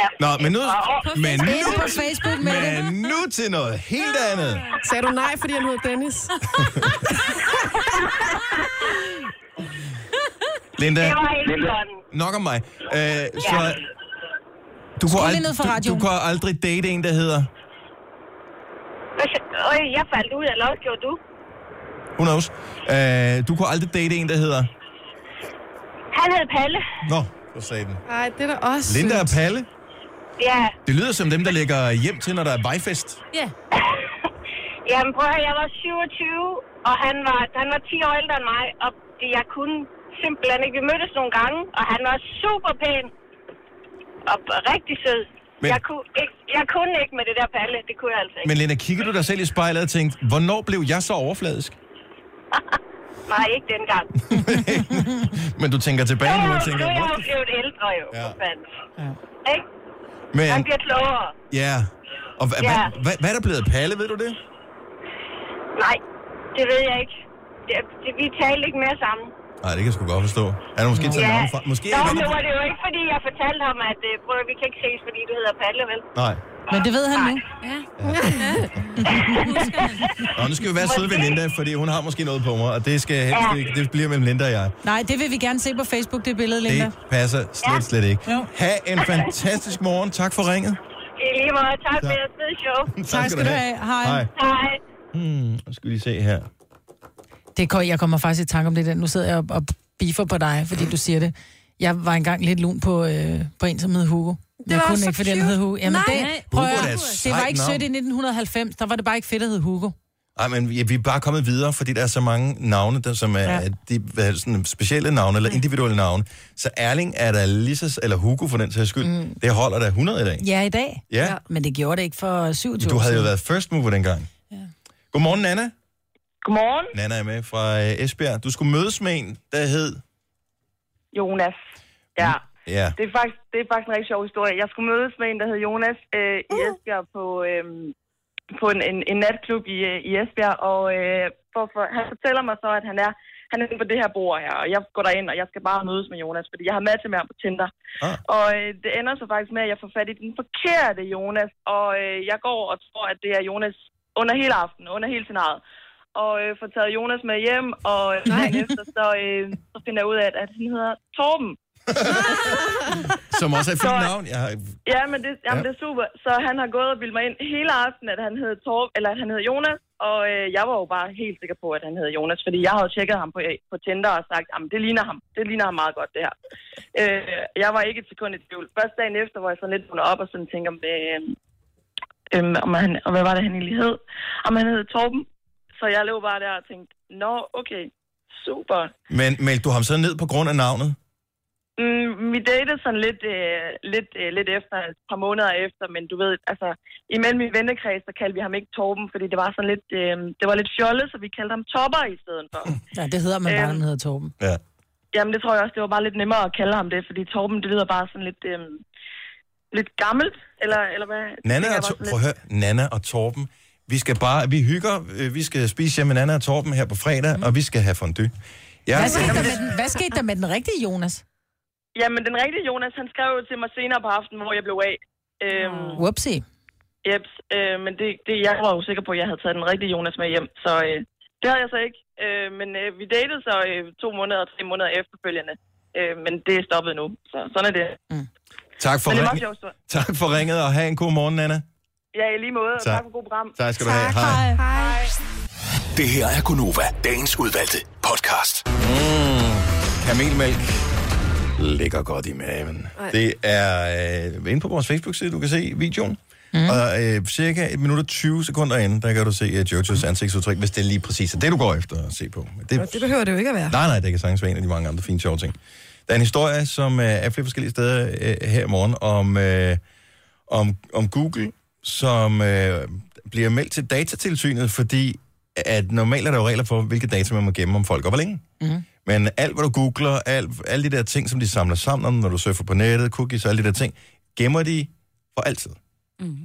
[SPEAKER 8] Ja.
[SPEAKER 2] Nå, men nu,
[SPEAKER 8] Og-
[SPEAKER 2] men nu,
[SPEAKER 3] Inde på Facebook med det.
[SPEAKER 2] men nu til noget helt andet.
[SPEAKER 4] Sagde du nej, fordi han hed Dennis?
[SPEAKER 2] Linda,
[SPEAKER 8] Det var helt sådan.
[SPEAKER 2] nok om mig. Øh, så, du kunne,
[SPEAKER 3] lige ned fra
[SPEAKER 2] ald- du, du
[SPEAKER 3] radioen.
[SPEAKER 2] kunne aldrig date en, der hedder...
[SPEAKER 8] Øj, jeg faldt ud, eller også gjorde du.
[SPEAKER 2] Who knows? Øh, du kunne aldrig date en, der hedder...
[SPEAKER 8] Han hed Palle.
[SPEAKER 2] Nå, du sagde den.
[SPEAKER 4] Nej, det er da også
[SPEAKER 2] Linda og
[SPEAKER 4] sødt.
[SPEAKER 2] Palle.
[SPEAKER 8] Ja.
[SPEAKER 2] Det lyder som dem, der lægger hjem til, når der er vejfest.
[SPEAKER 5] Ja.
[SPEAKER 8] Jamen prøv at høre, jeg var 27, og han var, han var 10 år ældre end mig, og det- jeg kunne
[SPEAKER 11] simpelthen ikke. Vi mødtes nogle gange, og han var super pæn. Og rigtig sød.
[SPEAKER 2] Men-
[SPEAKER 11] Men... Jeg, kunne ikke, jeg kunne ikke med det der palle. Det kunne jeg altså ikke.
[SPEAKER 2] Men Lena, kigger du dig selv i spejlet og tænkte, hvornår blev jeg så overfladisk?
[SPEAKER 11] Nej, ikke dengang.
[SPEAKER 2] Men du tænker tilbage nu og
[SPEAKER 11] nu
[SPEAKER 2] tænker,
[SPEAKER 11] er jeg jo
[SPEAKER 2] "Hvor-"
[SPEAKER 11] blevet ældre jo, ja. for fanden. Ja. Ikke? Man
[SPEAKER 2] men
[SPEAKER 11] bliver klogere.
[SPEAKER 2] ja. Og hva,
[SPEAKER 11] Ja.
[SPEAKER 2] hva, hva, hvad er der blevet af Palle, ved du det?
[SPEAKER 11] Nej, det ved jeg ikke. Det, det, vi talte ikke mere sammen.
[SPEAKER 2] Nej, det kan jeg sgu godt forstå. Han er måske taget navnet fra. Måske
[SPEAKER 11] Nå,
[SPEAKER 2] er han-
[SPEAKER 11] nu var det jo ikke, fordi jeg fortalte ham, at øh, prøv, at- vi kan ikke ses, fordi du hedder Palle, vel?
[SPEAKER 2] Nej.
[SPEAKER 3] Men det ved han nu.
[SPEAKER 11] Ja.
[SPEAKER 2] Nå, nu skal vi være søde ved Linda, fordi hun har måske noget på mig, og det skal helst
[SPEAKER 3] Ja.
[SPEAKER 2] ikke. Det bliver mellem Linda og jeg.
[SPEAKER 3] Nej, det vil vi gerne se på Facebook, det billede, Linda.
[SPEAKER 2] Det passer slet, slet ikke.
[SPEAKER 3] Jo.
[SPEAKER 2] Ha' en fantastisk morgen. Tak for ringet.
[SPEAKER 11] I lige måde. Tak
[SPEAKER 2] Tak.
[SPEAKER 11] for jeres fede show.
[SPEAKER 2] Tak skal du du have. have. Hej. Hej.
[SPEAKER 11] Hej.
[SPEAKER 2] Hmm, nu skal vi lige se her.
[SPEAKER 3] Det kom, jeg kommer faktisk i tanke om det der. Nu sidder jeg og, og beefer på dig, fordi du siger det. Jeg var engang lidt lun på, øh, på en, som hed Hugo. Men
[SPEAKER 4] var
[SPEAKER 3] jeg kunne
[SPEAKER 4] også så
[SPEAKER 3] ikke, fordi han
[SPEAKER 4] cute.
[SPEAKER 3] hed Hugo. Jamen,
[SPEAKER 4] Nej.
[SPEAKER 3] det,
[SPEAKER 4] Nej.
[SPEAKER 3] prøv
[SPEAKER 2] Hugo er
[SPEAKER 3] at,
[SPEAKER 2] da et
[SPEAKER 3] det var
[SPEAKER 2] sejt
[SPEAKER 3] ikke
[SPEAKER 2] navn.
[SPEAKER 3] sødt i 1990. Der var det bare ikke fedt at hedde Hugo.
[SPEAKER 2] Ej, men vi vi er bare kommet videre, fordi der er så mange navne, der som er ja.
[SPEAKER 3] Ja.
[SPEAKER 2] de, hvad, er det, sådan, specielle navne eller individuelle navne. Så Erling er der lige så, eller Hugo for den sags skyld, mm. det holder der 100 i dag.
[SPEAKER 3] Ja, i dag.
[SPEAKER 2] Ja.
[SPEAKER 3] Men det gjorde det ikke for 27
[SPEAKER 2] Du
[SPEAKER 3] år
[SPEAKER 2] havde jo
[SPEAKER 3] siden.
[SPEAKER 2] været first mover dengang. Ja. Godmorgen, Nana.
[SPEAKER 12] Godmorgen.
[SPEAKER 2] Nana er med fra øh, Esbjerg. Du skulle mødes med en, der hed...
[SPEAKER 12] Jonas. Ja.
[SPEAKER 2] Ja.
[SPEAKER 12] Det er, faktisk, det er faktisk en rigtig sjov historie. Jeg skulle mødes med en, der hed Jonas øh, i Esbjerg på, øh, på en, en, en natklub i, øh, i Esbjerg, og øh, for, for, han fortæller mig så, at han er han er inde på det her bord her, og jeg går derind, og jeg skal bare mødes med Jonas, fordi jeg har matchet med ham på Tinder.
[SPEAKER 2] Ah.
[SPEAKER 12] Og øh, det ender så faktisk med, at jeg får fat i den forkerte Jonas, og øh, jeg går og tror, at det er Jonas under hele aftenen, under hele scenariet. Og øh, får taget Jonas med hjem, og øh, dagen efter, så, øh, så finder jeg ud af, at, at han hedder Torben.
[SPEAKER 2] Som også er et fint
[SPEAKER 12] Så-
[SPEAKER 2] navn. Jeg har,
[SPEAKER 12] Ja, men det, jamen, ja.
[SPEAKER 2] Ja.
[SPEAKER 12] det er super. Så han har gået og bildt mig ind hele aftenen, at han hed Torb, eller at han hed Jonas. Og øh, jeg var jo bare helt sikker på, at han hed Jonas, fordi jeg havde tjekket ham på, på Tinder og sagt, jamen det ligner ham. Det ligner ham meget godt, det her. Øh, jeg var ikke et sekund i tvivl. Først dagen efter, hvor jeg sådan lidt vågner op og sådan tænker, øh, øh, om han, og hvad var det, han egentlig hed? Om han hed Torben. Så jeg lå bare der og tænkte, nå, okay, super.
[SPEAKER 2] men meldte du ham så ned på grund af navnet?
[SPEAKER 12] Mm, vi datede sådan lidt, øh, lidt, øh, lidt efter, et par måneder efter, men du ved, altså, imellem min vennekreds, så kaldte vi ham ikke Torben, fordi det var sådan lidt, øh, det var lidt fjollet, så vi kaldte ham Topper i stedet for. Øh,
[SPEAKER 3] Ja, det hedder man bare, når man hedder Torben.
[SPEAKER 2] Ja.
[SPEAKER 12] Jamen, det tror jeg også, det var bare lidt nemmere at kalde ham det, fordi Torben, det lyder bare sådan lidt, øh, lidt gammelt, eller, eller hvad? Det
[SPEAKER 2] Nana
[SPEAKER 12] tænker
[SPEAKER 2] og,
[SPEAKER 12] jeg var
[SPEAKER 2] Tor-
[SPEAKER 12] sådan
[SPEAKER 2] prøv at høre, Nana og Torben. Vi skal bare, vi hygger, øh, vi skal spise hjemme med Nana og Torben her på fredag, mm. og vi skal have fondue. Ja,
[SPEAKER 3] Hvad skete, der med den, hvad skete der med den rigtige Jonas?
[SPEAKER 12] Jamen, den rigtige Jonas, han skrev jo til mig senere på aftenen, hvor jeg blev af. Øhm,
[SPEAKER 3] Whoopsie.
[SPEAKER 12] Jeps, øh, men det, det, jeg var jo sikker på, at jeg havde taget den rigtige Jonas med hjem, så øh, det havde jeg så ikke. Øh, men øh, vi datede så øh, to måneder og tre måneder efterfølgende, øh, men det er stoppet nu, så sådan er det.
[SPEAKER 2] tak, for
[SPEAKER 12] Men det er
[SPEAKER 2] ringet.
[SPEAKER 12] meget sjovt.
[SPEAKER 2] tak for ringet, og have en god morgen, Nana.
[SPEAKER 12] Ja, i lige måde, og
[SPEAKER 2] Tak.
[SPEAKER 12] tak, tak for god program.
[SPEAKER 2] Tak skal du have. Hej.
[SPEAKER 12] Hej.
[SPEAKER 6] Det her er Gunova, dagens udvalgte podcast.
[SPEAKER 2] Mm, kamelmælk ligger godt i maven.
[SPEAKER 6] Ej.
[SPEAKER 2] Det er øh, inde på vores Facebook-side, du kan se videoen. Mm. Og øh, cirka 1 minut og 20 sekunder inde, der kan du se uh, Jojos ansigtsudtryk, hvis det lige præcis er det, du går efter at se på. Men
[SPEAKER 4] Det, det behøver det jo ikke at være.
[SPEAKER 2] Nej, nej, det kan sagtens være en af de mange andre fine sjove ting. Der er en historie, som øh, er flere forskellige steder øh, her i morgen, om, øh, om, om Google, som øh, bliver meldt til datatilsynet, fordi at normalt er der jo regler for, hvilke data man må gemme om folk, og hvor længe.
[SPEAKER 3] Mm.
[SPEAKER 13] Mhm.
[SPEAKER 2] Men alt, hvad du googler, alt, alle de der ting, som de samler sammen om, når du surfer på nettet, cookies og alle de der ting, gemmer de for altid.
[SPEAKER 3] Mm.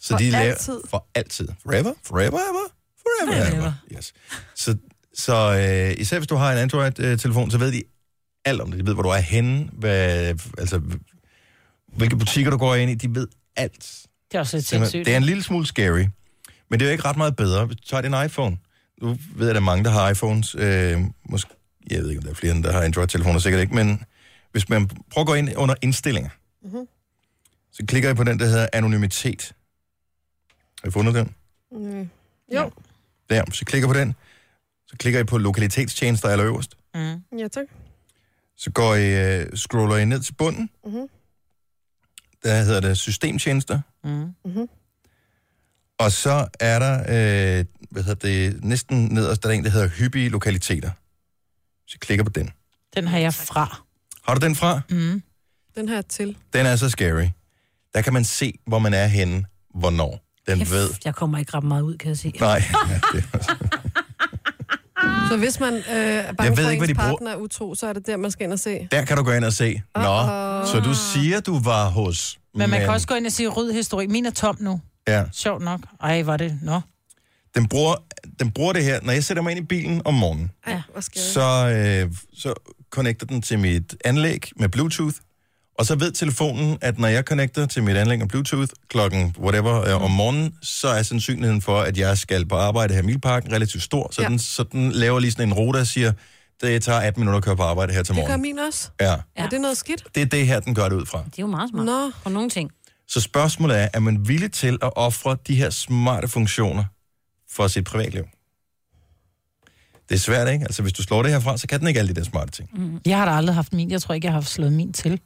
[SPEAKER 2] Så
[SPEAKER 3] For
[SPEAKER 2] de laver,
[SPEAKER 3] altid.
[SPEAKER 2] For altid. Forever? Forever ever? Forever ever. Yes. Så, så øh, især hvis du har en Android-telefon, så ved de alt om det. De ved, hvor du er henne, hvad, altså, hvilke butikker du går ind i. De ved alt.
[SPEAKER 3] Det er også lidt
[SPEAKER 2] Simpelthen.
[SPEAKER 3] sindssygt.
[SPEAKER 2] Det er en lille smule scary, men det er jo ikke ret meget bedre. Hvis du tager din iPhone, nu ved jeg, at der er mange, der har iPhones. Øh, måske, jeg ved ikke, om der er flere, end der har Android-telefoner, sikkert ikke, men hvis man prøver at gå ind under indstillinger,
[SPEAKER 4] Mhm.
[SPEAKER 2] så klikker jeg på den, der hedder anonymitet. Har I fundet den?
[SPEAKER 4] Mm. Jo.
[SPEAKER 2] Der, så klikker jeg på den. Så klikker I på lokalitetstjenester allerøverst.
[SPEAKER 4] Mm. Ja, tak.
[SPEAKER 2] Så går I, øh, scroller I ned til bunden.
[SPEAKER 4] Mm-hmm.
[SPEAKER 2] Der hedder det systemtjenester.
[SPEAKER 5] Mm.
[SPEAKER 4] Mm-hmm.
[SPEAKER 2] Og så er der, øh, hvad hedder det, næsten nederst, der er en, der hedder hyppige lokaliteter. Hvis jeg klikker på den.
[SPEAKER 3] Den har jeg fra.
[SPEAKER 2] Har du den fra?
[SPEAKER 3] Mm.
[SPEAKER 4] Den her til.
[SPEAKER 2] Den er så scary. Der kan man se, hvor man er henne, hvornår. Den Kæft. ved.
[SPEAKER 5] Jeg kommer ikke ret meget ud, kan jeg se.
[SPEAKER 2] Nej.
[SPEAKER 4] Så hvis man øh, er bange
[SPEAKER 2] Jeg ved
[SPEAKER 4] for,
[SPEAKER 2] ikke, hvad
[SPEAKER 4] at
[SPEAKER 2] de bruger.
[SPEAKER 4] ens partner er utro, så er det der, man skal ind og se.
[SPEAKER 2] Der kan du gå ind og se. Nå, uh-oh. så du siger, du var hos...
[SPEAKER 3] Men man kan også gå ind og sige rød historik. Min er tom nu.
[SPEAKER 2] Ja.
[SPEAKER 3] Sjovt nok. Ej, var det. Nå.
[SPEAKER 2] Den bruger, den bruger det her. Når jeg sætter mig ind i bilen om morgenen,
[SPEAKER 4] Ja.
[SPEAKER 2] så, øh, så connecter den til mit anlæg med Bluetooth. Og så ved telefonen, at når jeg connecter til mit anlæg med Bluetooth klokken whatever øh, om
[SPEAKER 4] Mm.
[SPEAKER 2] morgenen, så er sandsynligheden for, at jeg skal på arbejde her i Milparken relativt stor. Så,
[SPEAKER 4] Ja.
[SPEAKER 2] ja. den, så den laver lige sådan en rute og siger, det tager 18 minutter at køre på arbejde her til
[SPEAKER 4] Det gør
[SPEAKER 2] morgen.
[SPEAKER 4] min også.
[SPEAKER 2] Ja.
[SPEAKER 4] Ja. Er det noget skidt?
[SPEAKER 2] Det er det her, den gør det ud fra.
[SPEAKER 5] Det er jo meget smart.
[SPEAKER 4] Nå.
[SPEAKER 5] På nogle ting.
[SPEAKER 2] Så spørgsmålet er, er man villig til at ofre de her smarte funktioner for sit privatliv? Det er svært, ikke? Altså, hvis du slår det her fra, så kan den ikke alle de der smarte ting.
[SPEAKER 3] Mm. Jeg har da aldrig haft min. Jeg tror ikke, jeg har haft slået min til.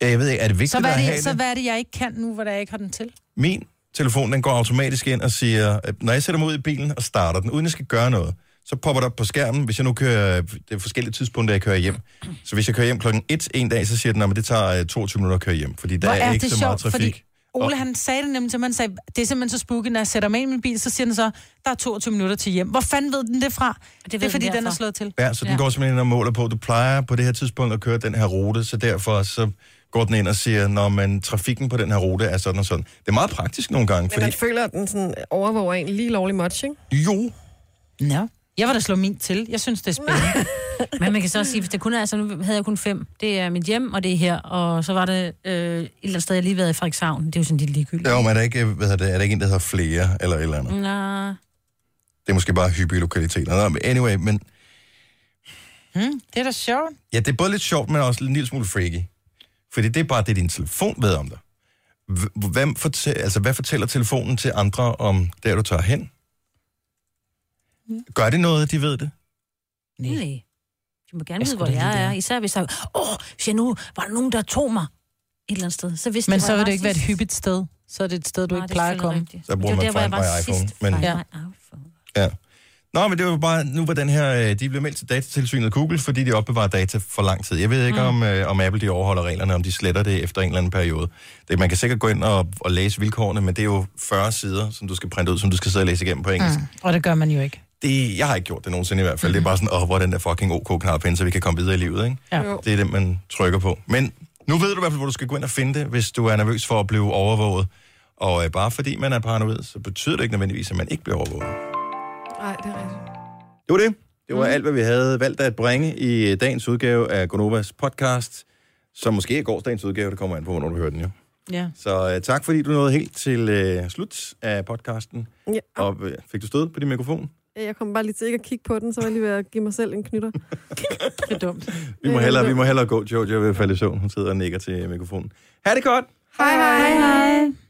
[SPEAKER 2] Ja, Jeg ved ikke, er det vigtigt
[SPEAKER 3] Så hvad,
[SPEAKER 2] at
[SPEAKER 3] er
[SPEAKER 2] have
[SPEAKER 3] det,
[SPEAKER 2] det?
[SPEAKER 3] så hvad er det, jeg ikke kan nu, hvor jeg ikke har den til?
[SPEAKER 2] Min telefon, den går automatisk ind og siger, at når jeg sætter mig ud i bilen og starter den, uden jeg skal gøre noget, så popper det op på skærmen, hvis jeg nu kører, det er forskellige tidspunkter, jeg kører hjem. Så hvis jeg kører hjem klokken 1 en dag, så siger den, at det tager øh, 22 minutter at køre hjem, fordi der
[SPEAKER 3] Hvor
[SPEAKER 2] er,
[SPEAKER 3] er
[SPEAKER 2] ikke
[SPEAKER 3] det
[SPEAKER 2] så meget
[SPEAKER 3] sjovt,
[SPEAKER 2] trafik.
[SPEAKER 3] fordi Ole,
[SPEAKER 2] Og-
[SPEAKER 3] han sagde det nemlig til mig, han sagde, det er simpelthen så spooky, når jeg sætter mig ind i min bil, så siger den så, der er 22 minutter til hjem. Hvor fanden ved den det fra? Det, det er,
[SPEAKER 5] den
[SPEAKER 3] fordi den er
[SPEAKER 5] derfra.
[SPEAKER 3] slået til.
[SPEAKER 2] Ja, så den ja. går simpelthen ind og måler på, du plejer på det her tidspunkt at køre den her rute, så derfor så går den ind og siger, når man trafikken på den her rute er sådan og sådan. Det er meget praktisk nogle gange,
[SPEAKER 4] Men
[SPEAKER 2] fordi...
[SPEAKER 4] man føler, at den sådan overvåger en lige lovlig much, ikke?
[SPEAKER 2] Jo.
[SPEAKER 3] Nå. Jeg var da slå min til. Jeg synes, det er spændende.
[SPEAKER 5] Men man kan så også sige, hvis det kun er, så nu havde jeg kun fem. Det er mit hjem, og det er her. Og så var det øh, et eller andet sted, jeg lige været i Frederikshavn. Det er jo sådan lidt ligegyldigt.
[SPEAKER 2] Jo, men er der ikke, øh, hvad hedder det, er der ikke en, der hedder flere eller et eller andet?
[SPEAKER 5] Nå.
[SPEAKER 2] Det er måske bare hyppige lokaliteter. Nå, men anyway, men
[SPEAKER 3] Hmm, det er da sjovt.
[SPEAKER 2] ja, det er både lidt sjovt, men også en lille smule freaky. Fordi det er bare det, din telefon ved om dig. H- Hvem fortæ- altså, hvad fortæller telefonen til andre om der, du tager hen?
[SPEAKER 5] Mm.
[SPEAKER 2] Gør det noget, at de ved det?
[SPEAKER 5] Nej. Nej. De må gerne
[SPEAKER 3] Jeg
[SPEAKER 5] vide,
[SPEAKER 3] skulle
[SPEAKER 5] hvor
[SPEAKER 3] da lige
[SPEAKER 5] jeg
[SPEAKER 3] der.
[SPEAKER 5] er. Især hvis jeg... Åh, hvis jeg nu var der nogen, der tog mig et eller andet sted. Så vidste
[SPEAKER 3] Men
[SPEAKER 5] jeg, hvor
[SPEAKER 3] så
[SPEAKER 5] jeg
[SPEAKER 3] vil det
[SPEAKER 5] var
[SPEAKER 3] ikke være et
[SPEAKER 5] sidst.
[SPEAKER 3] hyppigt sted. Så er det et sted, du
[SPEAKER 5] Nej,
[SPEAKER 3] ikke
[SPEAKER 5] det er
[SPEAKER 3] plejer at
[SPEAKER 5] selvfølgelig
[SPEAKER 3] komme.
[SPEAKER 5] rigtigt.
[SPEAKER 2] Så bruger
[SPEAKER 5] Det var
[SPEAKER 2] man
[SPEAKER 5] der, hvor jeg
[SPEAKER 2] Find My
[SPEAKER 5] var sidst.
[SPEAKER 2] iPhone, men-
[SPEAKER 5] Find
[SPEAKER 2] Ja.
[SPEAKER 5] My iPhone.
[SPEAKER 2] Ja. Nå, men det var bare, nu var den her, øh, de blev meldt til datatilsynet Google, fordi de opbevarer data for lang tid. Jeg ved ikke, mm. om, øh, om Apple de overholder reglerne, om de sletter det efter en eller anden periode. Det, man kan sikkert gå ind og, og læse vilkårene, men det er jo 40 sider, som du skal printe ud, som du skal sidde og læse igennem på engelsk. Mm.
[SPEAKER 3] Mm. Og det gør man jo ikke.
[SPEAKER 2] Det, jeg har ikke gjort det nogensinde i hvert fald. Mm. Det er bare sådan, åh, hvor er den der fucking OK-knap hen, så vi kan komme videre i livet, ikke?
[SPEAKER 3] Ja.
[SPEAKER 2] Det er den, man trykker på. Men nu ved du i hvert fald, hvor du skal gå ind og finde det, hvis du er nervøs for at blive overvåget. Og øh, bare fordi man er paranoid, så betyder det ikke nødvendigvis, at man ikke bliver overvåget.
[SPEAKER 4] Nej, det er rigtigt.
[SPEAKER 2] Det var det. Det
[SPEAKER 3] Mm.
[SPEAKER 2] var alt, hvad vi havde valgt at bringe i øh, dagens udgave af Gonovas podcast, som måske er gårsdagens udgave, det kommer an på, hvornår du hører den jo.
[SPEAKER 3] Ja.
[SPEAKER 2] Så uh, tak, fordi du nåede helt til uh, slut af podcasten.
[SPEAKER 4] Ja.
[SPEAKER 2] Og uh, fik du stød på din mikrofon?
[SPEAKER 4] Jeg kom bare lige til ikke at kigge på den, så var jeg lige ved at give mig selv en knytter.
[SPEAKER 3] det er dumt.
[SPEAKER 2] Vi må, hellere, vi må hellere gå, Jojo, jeg vil falde i søvn. Hun sidder og nikker til mikrofonen. Ha' det godt!
[SPEAKER 4] Hej, hej, hej.